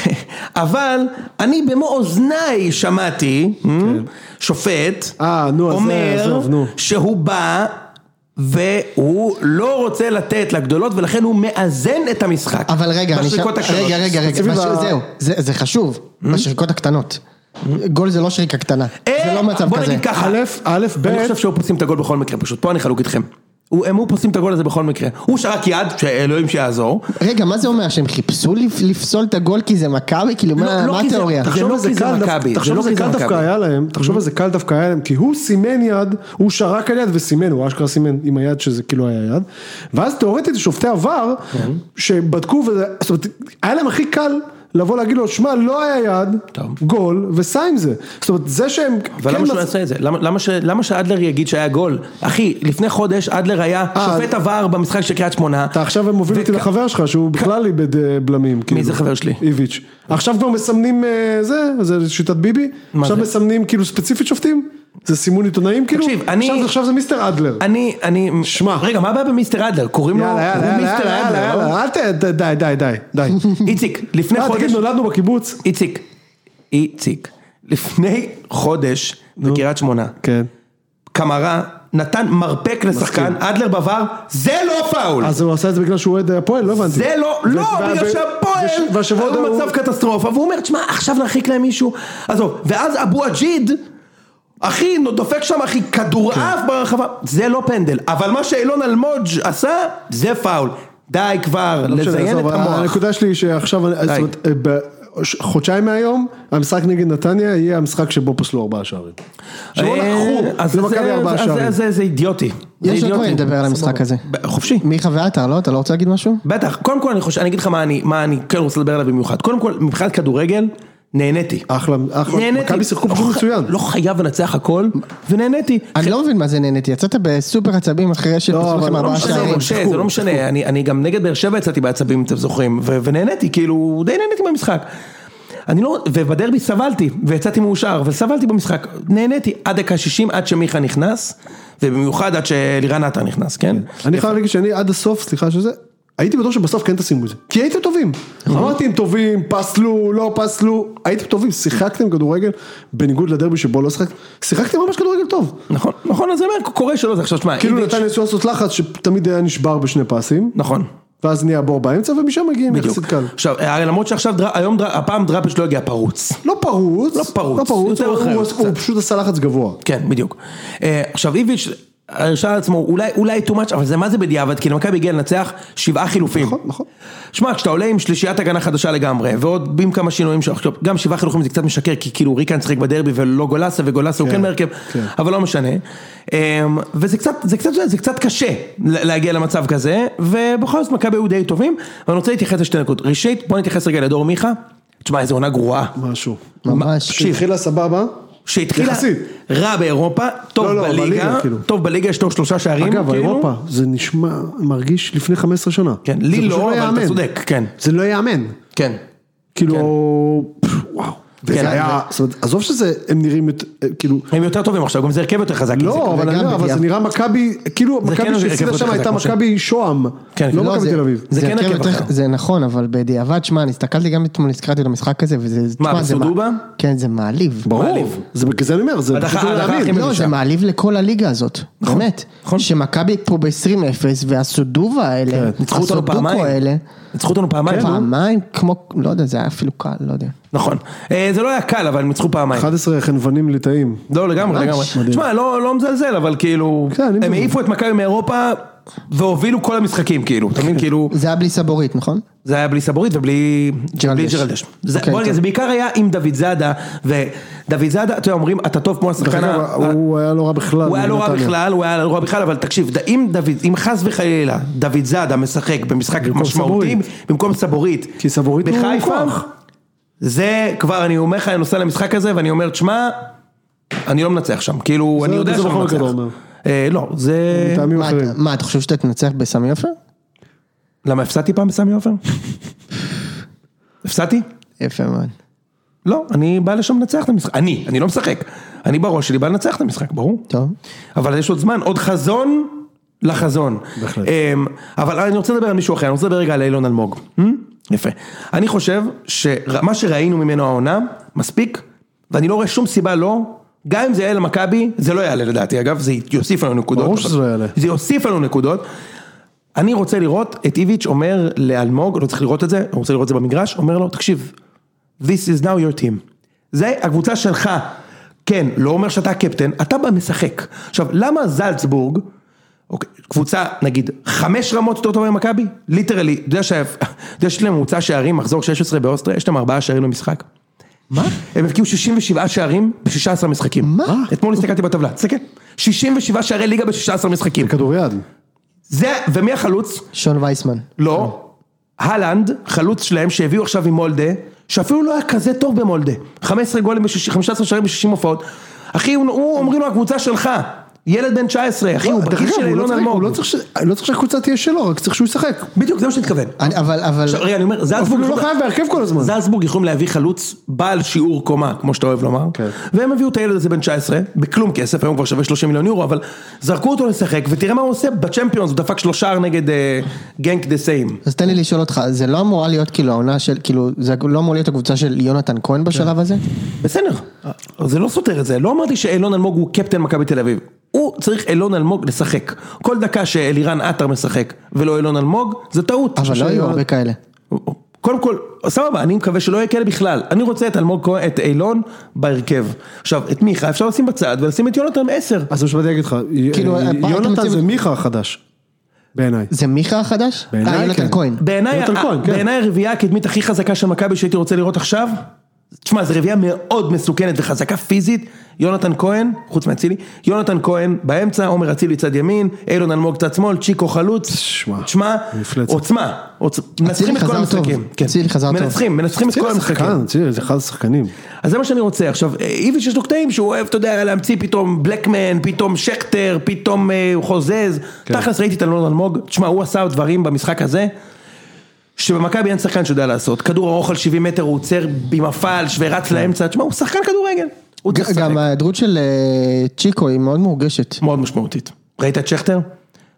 Speaker 2: אבל אני במו אוזניי שמעתי אה, שופט
Speaker 3: כן. אה, נו, אז זה,
Speaker 2: אומר
Speaker 3: עזוב, נו.
Speaker 2: שהוא בא והוא לא רוצה לתת לגדולות ולכן הוא מאזן את המשחק.
Speaker 4: אבל רגע, אני
Speaker 2: בשריקות
Speaker 4: שם-
Speaker 2: הקטנות. Hmm?
Speaker 4: רגע, רגע, רגע,
Speaker 3: ספציפית
Speaker 4: בש-
Speaker 3: ב-
Speaker 4: זהו, זה זה חשוב, בשריקות הקטנות. גול זה לא שריקה קטנה,
Speaker 2: אה,
Speaker 4: זה לא מצב
Speaker 2: בוא
Speaker 4: כזה.
Speaker 2: נגיד ככה,
Speaker 3: א', א', ב',
Speaker 2: אני חושב שהוא פוסים את הגול בכל מקרה פשוט, פה אני חלוק איתכם. הוא, הם הוא פוסים את הגול הזה בכל מקרה. הוא שרק יד, שאלוהים שיעזור.
Speaker 4: רגע, מה זה אומר שהם חיפשו לפ- לפסול את הגול כי זה מכבי? כאילו, מה
Speaker 2: לא
Speaker 4: מה
Speaker 2: כי זה-
Speaker 4: התיאוריה?
Speaker 2: תחשוב-
Speaker 3: תחשוב
Speaker 2: לא
Speaker 3: איזה
Speaker 2: כי זה
Speaker 3: קל דווקא-
Speaker 2: מכבי, זה
Speaker 3: תחשוב
Speaker 2: לא
Speaker 3: איזה
Speaker 2: כי זה
Speaker 3: קל דווקא
Speaker 2: מכבי. Mm-hmm.
Speaker 3: היה להם, תחשוב איזה קל דווקא היה להם, כי הוא סימן יד, הוא שרק על יד וסימן, הוא אשכרה סימן עם היד שזה כאילו היה יד, ואז תאורטית שופטי עבר,
Speaker 2: Mm-hmm.
Speaker 3: שבדקו, וזה- זאת אומרת, היה להם הכי קל לבוא להגיד לו, שמע, לא היה יד, גול, וסע עם זה. זאת אומרת, זה שהם...
Speaker 2: אבל
Speaker 3: כן
Speaker 2: למה שהוא
Speaker 3: מצ-
Speaker 2: יעשה את זה? למה- למה ש- למה שאדלר יגיד שהיה גול? אחי, לפני חודש אדלר היה
Speaker 3: אה,
Speaker 2: שופט עבר במשחק של קריית שמונה.
Speaker 3: אתה עכשיו מוביל אותי לחבר שלך שהוא בכלל איבד אה, בלמים. כאילו.
Speaker 2: זה חבר שלי?
Speaker 3: איביץ'. עכשיו כבר מסמנים אה, זה, זה שיטת ביבי?
Speaker 2: מה
Speaker 3: עכשיו
Speaker 2: זה?
Speaker 3: מסמנים כאילו ספציפית שופטים? זה סימון עיתונאים כאילו?
Speaker 2: תקשיב, אני-
Speaker 3: עכשיו זה- עכשיו זה מיסטר אדלר.
Speaker 2: אני, אני...
Speaker 3: שמע.
Speaker 2: רגע, מה הבעיה במיסטר אדלר? קוראים לו...
Speaker 3: יאללה,
Speaker 2: הוא
Speaker 3: יאללה, יאללה,
Speaker 2: מיסטר
Speaker 3: יאללה,
Speaker 2: אדלר,
Speaker 3: יאללה,
Speaker 2: לא?
Speaker 3: יאללה, אל ת... די, די, די, די.
Speaker 2: איציק, לפני
Speaker 3: אה,
Speaker 2: חודש...
Speaker 3: תגיד, נולדנו בקיבוץ?
Speaker 2: איציק, איציק, לפני חודש בקריית שמונה,
Speaker 3: כן.
Speaker 2: קמרה נתן מרפק לשחקן, אדלר בבר, זה לא פאול!
Speaker 3: אז הוא עשה את זה בגלל שהוא אוהד הפועל? לא הבנתי.
Speaker 2: זה לא,
Speaker 3: ו-
Speaker 2: לא,
Speaker 3: וה-
Speaker 2: בגלל
Speaker 3: ו- וש-
Speaker 2: שהפועל,
Speaker 3: והשבוע
Speaker 2: הוא
Speaker 3: הוא-
Speaker 2: במצב קטסטרופה, והוא אומר, תשמע, עכשיו נרחיק להם מישהו, עזוב, ואז אבו אג'יד, אחי, נו, דופק שם, אחי,
Speaker 3: כן.
Speaker 2: כדורעף ברחבה, זה לא פנדל, אבל מה שאילון אלמוג' עשה, זה פאול. די כבר,
Speaker 3: לא משנה,
Speaker 2: לזיין
Speaker 3: עזוב,
Speaker 2: את המוח.
Speaker 3: הנקודה שלי היא שעכשיו, אני- זאת אומרת, אה, ב- ש- חודשיים מהיום, המשחק נגד נתניה יהיה המשחק שבו פסלו ארבעה שערים. שבו
Speaker 2: אה, אז
Speaker 3: לקחו למכבי
Speaker 2: זה-
Speaker 3: ארבעה
Speaker 2: אז זה-
Speaker 3: שערים.
Speaker 2: זה- זה אידיוטי. זה
Speaker 4: יש עוד
Speaker 2: אידיוטי.
Speaker 4: דברים לדבר על המשחק הזה.
Speaker 2: ב- חופשי.
Speaker 4: מיכה ועטר, לא? אתה לא רוצה להגיד משהו?
Speaker 2: בטח, קודם כל אני חושב, אני אגיד לך מה אני, מה אני כן רוצה לדבר עליו במיוחד. קודם כל, מבחינת כדורגל, נהניתי.
Speaker 3: אחלה, אחלה,
Speaker 2: נהניתי.
Speaker 3: נכון, מכבי שיחקו
Speaker 2: לא
Speaker 3: פשוט
Speaker 2: ח-
Speaker 3: מצוין.
Speaker 2: לא חייב לנצח הכל, ונהניתי.
Speaker 4: אני לא מבין מה זה נהניתי, יצאת בסופר עצבים אחרי שפסלו
Speaker 3: אבל
Speaker 4: לכם
Speaker 3: לא
Speaker 4: ארבעה
Speaker 3: משנה,
Speaker 4: שערים.
Speaker 3: הם
Speaker 2: משה,
Speaker 3: שיחקו,
Speaker 2: זה לא
Speaker 3: הם
Speaker 2: משנה, אני, אני גם נגד באר שבע יצאתי בעצבים, אם אתם זוכרים, ו- ונהניתי, כאילו, די נהניתי מהמשחק. אני לא, ובדרבי סבלתי, ויצאתי מאושר, וסבלתי במשחק, נהניתי עד דקה 60, עד שמיכה נכנס, ובמיוחד עד שלירן עטר נכנס, כן?
Speaker 3: אני חייב להגיד שאני עד הסוף, סליחה שזה, הייתי בטוח שבסוף כן תשימו את זה, כי הייתם טובים.
Speaker 2: נכון.
Speaker 3: אמרתי הם טובים, פסלו, לא פסלו, הייתם טובים, שיחקתם כדורגל, בניגוד לדרבי שבו לא שיחקתם, שיחקתם ממש כדורגל טוב.
Speaker 2: נכון, נכון, אז אני אומר, קורה שלא זה עכשיו, שמע,
Speaker 3: כאילו
Speaker 2: איביץ'-
Speaker 3: נתן ניסו לעשות לחץ שתמיד היה נשבר בשני פסים,
Speaker 2: נכון.
Speaker 3: ואז נהיה בור באמצע ומשם מגיעים
Speaker 2: בדיוק.
Speaker 3: יחסית קל.
Speaker 2: עכשיו, הרי למרות שעכשיו, דרא- היום, דרא- הפעם דראפיש לא הגיע פרוץ.
Speaker 3: לא פרוץ,
Speaker 2: לא פרוץ,
Speaker 3: לא פרוץ,
Speaker 2: יותר
Speaker 3: הוא-
Speaker 2: אחר,
Speaker 3: הוא-
Speaker 2: קצת.
Speaker 3: הוא פשוט עשה לחץ גבוה.
Speaker 2: כן, בדיוק. אה, עכשיו איביץ', הרשה לעצמו, אולי, אולי too much, אבל זה מה זה בדיעבד, כי למכבי הגיע לנצח שבעה חילופים. נכון,
Speaker 3: נכון.
Speaker 2: שמע, כשאתה עולה עם שלישיית הגנה חדשה לגמרי, ועוד עם כמה שינויים, ש- עכשיו, גם שבעה חילופים זה קצת משקר, כי כאילו ריקן שיחק בדרבי ולא גולסה, וגולסה הוא
Speaker 3: כן,
Speaker 2: כן בהרכב,
Speaker 3: כן.
Speaker 2: אבל לא משנה. אמ, וזה קצת, זה קצת, זה קצת קשה ל- להגיע למצב כזה, ובכל זאת מכבי היו די טובים, ואני רוצה להתייחס לשתי נקודות. ראשית, בוא נתייחס רגע לדור מיכה. תשמע, איזו עונה גרועה.
Speaker 3: משהו.
Speaker 4: ממש.
Speaker 3: שהתחילה סבבה.
Speaker 2: שהתחילה
Speaker 3: יחסית.
Speaker 2: רע באירופה, טוב
Speaker 3: לא, לא,
Speaker 2: בליגה,
Speaker 3: בליגה, כאילו.
Speaker 2: טוב בליגה יש לו שלושה שערים,
Speaker 3: אגב,
Speaker 2: כאילו.
Speaker 3: אירופה, זה נשמע, מרגיש לפני 15 שנה.
Speaker 2: כן,
Speaker 3: זה
Speaker 2: לי
Speaker 3: פשוט
Speaker 2: לא, אבל אתה
Speaker 3: ייאמן.
Speaker 2: צודק, כן.
Speaker 3: זה לא ייאמן.
Speaker 2: כן.
Speaker 3: כאילו, פפ, וואו.
Speaker 2: כן,
Speaker 3: וזה היה, זאת אומרת, עזוב שזה, הם נראים, יותר- כאילו,
Speaker 2: הם יותר טובים עכשיו, גם זה הרכב יותר חזק. כי זה-
Speaker 3: לא, אבל אני
Speaker 4: וגם
Speaker 3: אומר, אבל זה
Speaker 4: בדיעבד.
Speaker 3: נראה מכבי, כאילו,
Speaker 2: זה כן
Speaker 3: מכבי
Speaker 2: הרכב
Speaker 3: שהפסידה
Speaker 2: יותר
Speaker 3: שם
Speaker 2: חזק,
Speaker 3: הייתה
Speaker 2: משה.
Speaker 3: מכבי שוהם,
Speaker 2: כן,
Speaker 3: לא
Speaker 2: כן.
Speaker 3: מכבי תל אביב.
Speaker 2: זה כן
Speaker 4: הרכב
Speaker 2: הרכב
Speaker 4: יותר-
Speaker 2: אחר.
Speaker 4: זה נכון, אבל בדיעבד, שמע, אני הסתכלתי גם אתמול, נזכרתי למשחק הזה, וזה... תשמע, זה
Speaker 2: בסודובה?
Speaker 4: כן, זה מעליב.
Speaker 3: ברור,
Speaker 2: מעליב.
Speaker 3: זה בגלל זה אני אומר, זה
Speaker 2: הדחה-
Speaker 3: פשוט לא
Speaker 2: הדחה הכי
Speaker 3: להאמין.
Speaker 2: מבישה.
Speaker 4: לא, זה מעליב לכל הליגה הזאת, באמת.
Speaker 2: כן, נכון. כן,
Speaker 4: שמכבי פה ב-20-0, והסודובה האלה,
Speaker 2: ניצחו אותנו
Speaker 4: הסודוקו
Speaker 2: פעמיים. כן,
Speaker 4: האלה,
Speaker 2: ניצחו אותנו פעמיים.
Speaker 3: כן.
Speaker 4: פעמיים, כמו, לא יודע, זה היה אפילו קל, לא יודע.
Speaker 2: נכון. אה, זה לא היה קל, אבל הם ניצחו פעמיים.
Speaker 3: 11 חנוונים ליטאים.
Speaker 2: לא, לגמרי, לגמרי. תשמע, לא לא מזלזל, אבל כאילו,
Speaker 3: כן, אני
Speaker 2: הם
Speaker 3: מבין.
Speaker 2: העיפו את מכבי מאירופה והובילו כל המשחקים, כאילו, אתה
Speaker 3: כן.
Speaker 2: מבין? כאילו,
Speaker 4: זה היה בלי סבורית, נכון?
Speaker 2: זה היה בלי סבורית ובלי
Speaker 4: ג'רלדש.
Speaker 2: בלי ג'רלדש. זה-
Speaker 4: אוקיי,
Speaker 2: בוא נגיד,
Speaker 4: טוב.
Speaker 2: זה בעיקר היה עם דוד זאדה, ודוד זאדה, אתה יודע, אומרים, אתה טוב כמו
Speaker 3: דרך
Speaker 2: השחקן ה...
Speaker 3: אגב, הוא היה לא רע בכלל.
Speaker 2: הוא היה לא רע
Speaker 3: בנתניה.
Speaker 2: בכלל, הוא היה לא רע בכלל, אבל תקשיב, ד- אם דוד, אם חס וחלילה דוד זאדה משחק במשחק משמעותי,
Speaker 3: סבורית.
Speaker 2: במקום סבורית,
Speaker 3: כי סבורית הוא
Speaker 2: בחיפה,
Speaker 3: כוח.
Speaker 2: זה כבר, אני אומר לך, אני נוסע למשחק הזה ואני אומר, תשמע, אני לא מנצח שם, כאילו,
Speaker 3: זה-
Speaker 2: אני יודע
Speaker 3: זה
Speaker 2: שאני
Speaker 3: בכל
Speaker 2: לא
Speaker 3: מקרה אתה אומר.
Speaker 2: מנצח. אה, לא, זה...
Speaker 3: מטעמים
Speaker 4: מה,
Speaker 3: אחרים.
Speaker 4: אתה- מה, אתה חושב שאתה תנצח בסמי עופר?
Speaker 2: למה הפסדתי פעם בסמי עופר? הפסדתי?
Speaker 4: יפה מאוד.
Speaker 2: לא, אני בא לשם לנצח את המשחק, אני, אני לא משחק. אני בראש שלי בא לנצח את המשחק, ברור.
Speaker 4: טוב.
Speaker 2: אבל יש עוד זמן, עוד חזון לחזון. בהחלט. אבל אני רוצה לדבר על מישהו אחר, אני רוצה לדבר רגע על אילון אלמוג. אה? יפה. אני חושב שמה שראינו ממנו העונה, מספיק, ואני לא רואה שום סיבה לא, גם אם זה יעלה למכבי, זה לא יעלה לדעתי, אגב, זה יוסיף לנו נקודות.
Speaker 3: ברור שזה לא יעלה.
Speaker 2: זה יוסיף לנו נקודות. אני רוצה לראות את איביץ' אומר לאלמוג, לא צריך לראות את זה, אני רוצה לראות את זה במגרש, אומר לו, תקשיב, This is now your team. זה הקבוצה שלך. כן, לא אומר שאתה הקפטן, אתה בא משחק. עכשיו, למה זלצבורג, אוקיי, קבוצה, נגיד, חמש רמות יותר טובה ממכבי? ליטרלי, אתה יודע שה- אתה יודע שיש להם ממוצע שערים, מחזור 16 באוסטריה, יש להם ארבעה שערים למשחק. מה? הם הבקיעו 67 שערים ב-16 משחקים.
Speaker 4: מה?
Speaker 2: אתמול הסתכלתי בטבלה, תסתכל. 67 שערי ליגה ב-16 משחקים.
Speaker 3: כדוריד.
Speaker 2: זה, ומי החלוץ?
Speaker 4: שון וייסמן.
Speaker 2: לא. הלנד, חלוץ שלהם שהביאו עכשיו עם מולדה, שאפילו לא היה כזה טוב במולדה. 15 גולים, בשיש- 15 שערים ב-60 הופעות. אחי, הוא, הוא אומרים לו הקבוצה שלך. ילד בן 19, אחי, הוא
Speaker 3: דרך
Speaker 2: בגיל
Speaker 3: אגב,
Speaker 2: של
Speaker 3: הוא לא
Speaker 2: אילון
Speaker 3: צריך- הוא
Speaker 2: אלמוג.
Speaker 3: לא צריך ש- לא צריך שהקבוצה תהיה שלו, רק צריך שהוא ישחק.
Speaker 2: בדיוק, זה מה שאני מתכוון.
Speaker 4: אני- אבל, אבל...
Speaker 2: עכשיו, רגע, אני אומר, זלצבורג...
Speaker 3: אפילו לא חייב בהרכב כל הזמן.
Speaker 2: זלצבורג יכולים להביא חלוץ בעל שיעור קומה, כמו שאתה אוהב לומר,
Speaker 3: כן.
Speaker 2: והם הביאו את הילד הזה בן 19, בכלום כסף, היום כבר שווה 30 מיליון יורו, אבל זרקו אותו לשחק, ותראה מה הוא עושה בצ'מפיונס, הוא דפק שלושה נגד אה, גנק דה סיים.
Speaker 4: אז תן לי לשאול אותך, זה לא אמורה להיות כאילו העונה של, כאילו, זה לא אמור להיות הקבוצה של יונתן כהן
Speaker 2: כן.
Speaker 4: בשלב הזה?
Speaker 2: בסדר,
Speaker 4: אה.
Speaker 2: זה לא סותר את זה, לא אמרתי שאילון אלמוג הוא קפטן מכבי תל אביב. הוא צריך אילון אלמוג לשחק. כל דקה שאלירן עטר משחק ולא אילון אלמוג, זה טעות.
Speaker 4: אבל לא יהיו הרבה כאלה.
Speaker 2: קודם כל, סבבה, אני מקווה שלא יהיה כאלה בכלל. אני רוצה את אלמוג כהן, את אילון, בהרכב. עכשיו, את מיכה אפשר לשים בצד ולשים את יונתן עשר.
Speaker 3: אז זה מה שבאתי להגיד לך,
Speaker 4: כאילו,
Speaker 3: אה,
Speaker 4: הפעם אתם
Speaker 3: יונתן
Speaker 4: מוצאים-
Speaker 3: זה מיכה החדש, בעיניי.
Speaker 4: זה מיכה החדש?
Speaker 3: בעיניי
Speaker 4: אה, יונתן
Speaker 3: כן.
Speaker 4: כהן.
Speaker 2: בעיניי
Speaker 3: יונתן
Speaker 2: ה-
Speaker 3: כהן, כן.
Speaker 2: בעיניי הרביעייה הקדמית הכי חזקה של מכבי שהייתי רוצה לראות עכשיו, תשמע, זו רביעייה מאוד מסוכנת וחזקה פיזית, יונתן כהן, חוץ מאצילי, יונתן כהן באמצע, עומר אצילי צד ימין, אילון אלמוג צד שמאל, צ'יקו חלוץ,
Speaker 3: שמע,
Speaker 2: תשמע,
Speaker 3: מפלצת.
Speaker 2: עוצמה, עוצ- מנצחים את כל
Speaker 4: חזר טוב,
Speaker 2: המשחקים, כן.
Speaker 4: אצילי חזר טוב.
Speaker 2: מנצחים, מנצחים את כל המשחקים.
Speaker 3: שחקן, תראה, זה אחד השחקנים.
Speaker 2: אז זה מה שאני רוצה, עכשיו, אה, איביץ' יש לו קטעים שהוא אוהב, אתה יודע, להמציא פתאום בלקמן, פתאום שכטר, פתאום אה, הוא חוזז,
Speaker 3: כן.
Speaker 2: תכלס ראיתי את אלון אלמוג, תשמע, הוא עשה דברים במשחק הזה, שבמכבי אין שחקן שיודע לעשות, כדור ארוך על 70 מטר, הוא עוצר עם הפלש ורץ
Speaker 3: כן.
Speaker 2: לאמצע, תשמע, הוא שחקן כדורגל, הוא צריך
Speaker 4: ג-
Speaker 2: לשחק,
Speaker 4: גם ההיעדרות של אה, צ'יקו היא מאוד מורגשת.
Speaker 2: מאוד משמעותית. ראית את שכטר?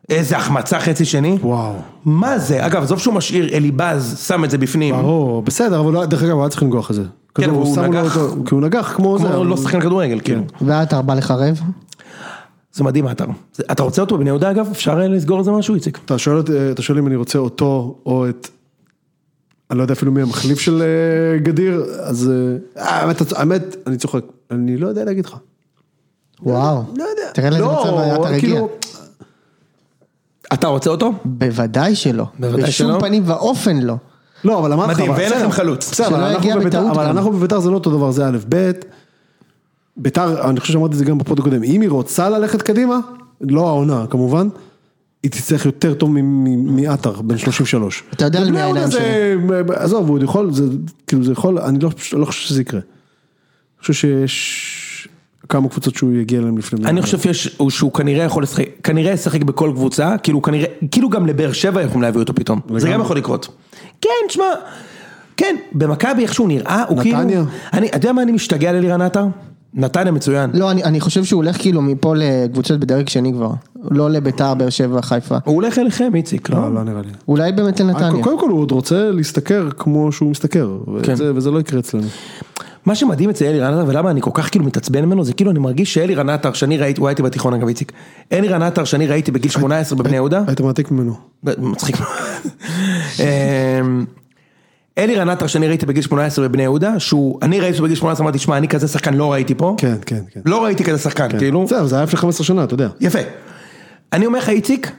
Speaker 2: איזה החמצה חצי שני,
Speaker 3: וואו.
Speaker 2: מה זה, אגב, עזוב שהוא משאיר, אליבאז שם את זה בפנים,
Speaker 3: ברור, בסדר, אבל לא- דרך אגב, הוא היה צריך לנגוח את זה. כדור,
Speaker 2: אבל הוא
Speaker 3: שמו לו
Speaker 2: נגח.
Speaker 3: אותו- כי הוא נגח כמו זה. כן.
Speaker 2: כמו
Speaker 3: אבל-
Speaker 2: לא שחקן כדורגל, כאילו.
Speaker 4: ועטר בא לחרב?
Speaker 2: זה מדהים האתר. זה- אתה רוצה אותו בבני יהודה אגב? אפשר אה, לסגור על זה משהו, איציק?
Speaker 3: אתה שואל אותי- אתה שואל אם אני רוצה אותו או את... אני לא יודע אפילו מי המחליף של אה, גדיר, אז... אה, האמת, האמת, אני צוחק. אני לא יודע להגיד לך.
Speaker 4: וואו.
Speaker 3: לא יודע.
Speaker 4: תראה לאיזה מצב אתה רגיע.
Speaker 3: כאילו,
Speaker 2: אתה רוצה אותו?
Speaker 4: בוודאי שלא.
Speaker 2: בוודאי שלא.
Speaker 4: בשום פנים ואופן לא.
Speaker 3: לא, אבל אמרתי לך,
Speaker 2: מדהים,
Speaker 3: אבל
Speaker 2: ואין
Speaker 3: בסדר.
Speaker 2: לכם חלוץ.
Speaker 3: בסדר,
Speaker 4: שלא
Speaker 3: אבל אנחנו
Speaker 4: יגיע
Speaker 3: בביתר-
Speaker 4: בטעות
Speaker 3: אבל
Speaker 4: גם.
Speaker 3: אנחנו בביתר זה לא אותו דבר, זה א', ב', ביתר, אני חושב שאמרתי את זה גם בפוד הקודם, אם היא רוצה ללכת קדימה, לא העונה כמובן, היא תצטרך יותר טוב מ- מ- מעטר, בן 33.
Speaker 4: אתה יודע על מי
Speaker 3: ובני יהודה
Speaker 4: העיניים שלי.
Speaker 3: זה- עזוב, הוא עוד יכול, זה, כאילו זה יכול, אני לא, פשוט לא חושב שזה יקרה. אני חושב שיש כמה קבוצות שהוא יגיע אליהן לפני. בני
Speaker 2: אני
Speaker 3: יהודה.
Speaker 2: חושב שיש- הוא- שהוא כנראה יכול לשחק, כנראה ישחק בכל קבוצה, כאילו כנראה, כאילו גם לבאר שבע יכולים להביא אותו פתאום, זה גם יכול לקרות. כן, תשמע, כן, במכבי איך שהוא נראה, הוא כאילו,
Speaker 3: נתניה.
Speaker 2: אני, אתה יודע מה אני משתגע ללירן עטר? נתניה מצוין.
Speaker 4: לא, אני, אני חושב שהוא הולך כאילו מפה לקבוצות בדרג שני כבר. לא לביתר, באר שבע, חיפה.
Speaker 2: הוא הולך אליכם, איציק, לא?
Speaker 3: לא, לא נראה לי.
Speaker 4: אולי באמת
Speaker 2: אה,
Speaker 4: לנתניה.
Speaker 3: קודם כל הוא עוד רוצה להשתכר כמו שהוא משתכר, ואת
Speaker 2: כן.
Speaker 3: זה- וזה לא יקרה אצלנו.
Speaker 2: מה שמדהים אצל אלי רנטר ולמה אני כל כך כאילו מתעצבן ממנו זה כאילו אני מרגיש שאלי רנטר שאני ראיתי, הוא הייתי בתיכון אגב איציק, אלי רנטר שאני ראיתי בגיל 18 בבני יהודה,
Speaker 3: היית מעתיק ממנו.
Speaker 2: מצחיק מאוד. אמ, אלי רנטר שאני ראיתי בגיל 18 בבני יהודה, שהוא, אני ראיתי אותו בגיל 18 אמרתי שמע אני כזה שחקן לא ראיתי פה,
Speaker 3: כן, כן, כן.
Speaker 2: לא ראיתי כזה שחקן כאילו,
Speaker 3: בסדר, זה היה לפני 15 שנה, אתה יודע.
Speaker 2: יפה, אני אומר לך איציק,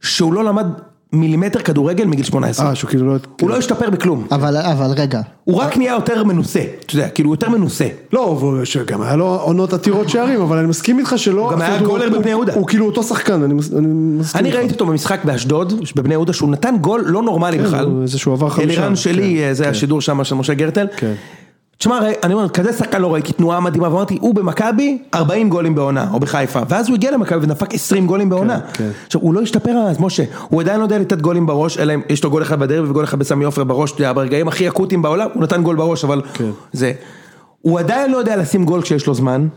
Speaker 2: שהוא לא למד מילימטר כדורגל מגיל 18,
Speaker 3: אה, שהוא אה. כאילו לא...
Speaker 2: הוא לא השתפר בכלום,
Speaker 4: אבל, אבל רגע.
Speaker 2: הוא רק נהיה יותר מנוסה, אתה יודע, כאילו הוא יותר מנוסה.
Speaker 3: לא, אבל שגם היה לו עונות עתירות שערים, אבל אני מסכים איתך שלא...
Speaker 2: גם היה
Speaker 3: זאת אומרת,
Speaker 2: גולר
Speaker 3: הוא-
Speaker 2: בבני יהודה.
Speaker 3: הוא הוא כאילו אותו שחקן, אני מס- אני מסכים
Speaker 2: אני
Speaker 3: איתך.
Speaker 2: ראיתי אותו במשחק באשדוד, בבני יהודה, שהוא נתן גול לא נורמלי
Speaker 3: כן,
Speaker 2: בכלל.
Speaker 3: הוא- איזה שהוא עבר חמישה.
Speaker 2: אלירן שלי,
Speaker 3: כן,
Speaker 2: אה, זה השידור שם של משה גרטל.
Speaker 3: כן.
Speaker 2: תשמע, ראי- אני אומר, כזה שחקן לא ראיתי, תנועה מדהימה, ואמרתי, הוא במכבי, 40 גולים בעונה, או בחיפה. ואז הוא הגיע למכבי ודפק 20 גולים בעונה.
Speaker 3: כן.
Speaker 2: עכשיו, הוא לא השתפר אז, משה. הוא עדיין לא יודע לתת גולים בראש, אלא אם יש לו גול אחד בדרבי וגול אחד בסמי עופר בראש, אתה יודע, ברגעים הכי אקוטיים בעולם, הוא נתן גול בראש, אבל
Speaker 3: כן.
Speaker 2: זה. הוא עדיין לא יודע לשים גול כשיש לו זמן.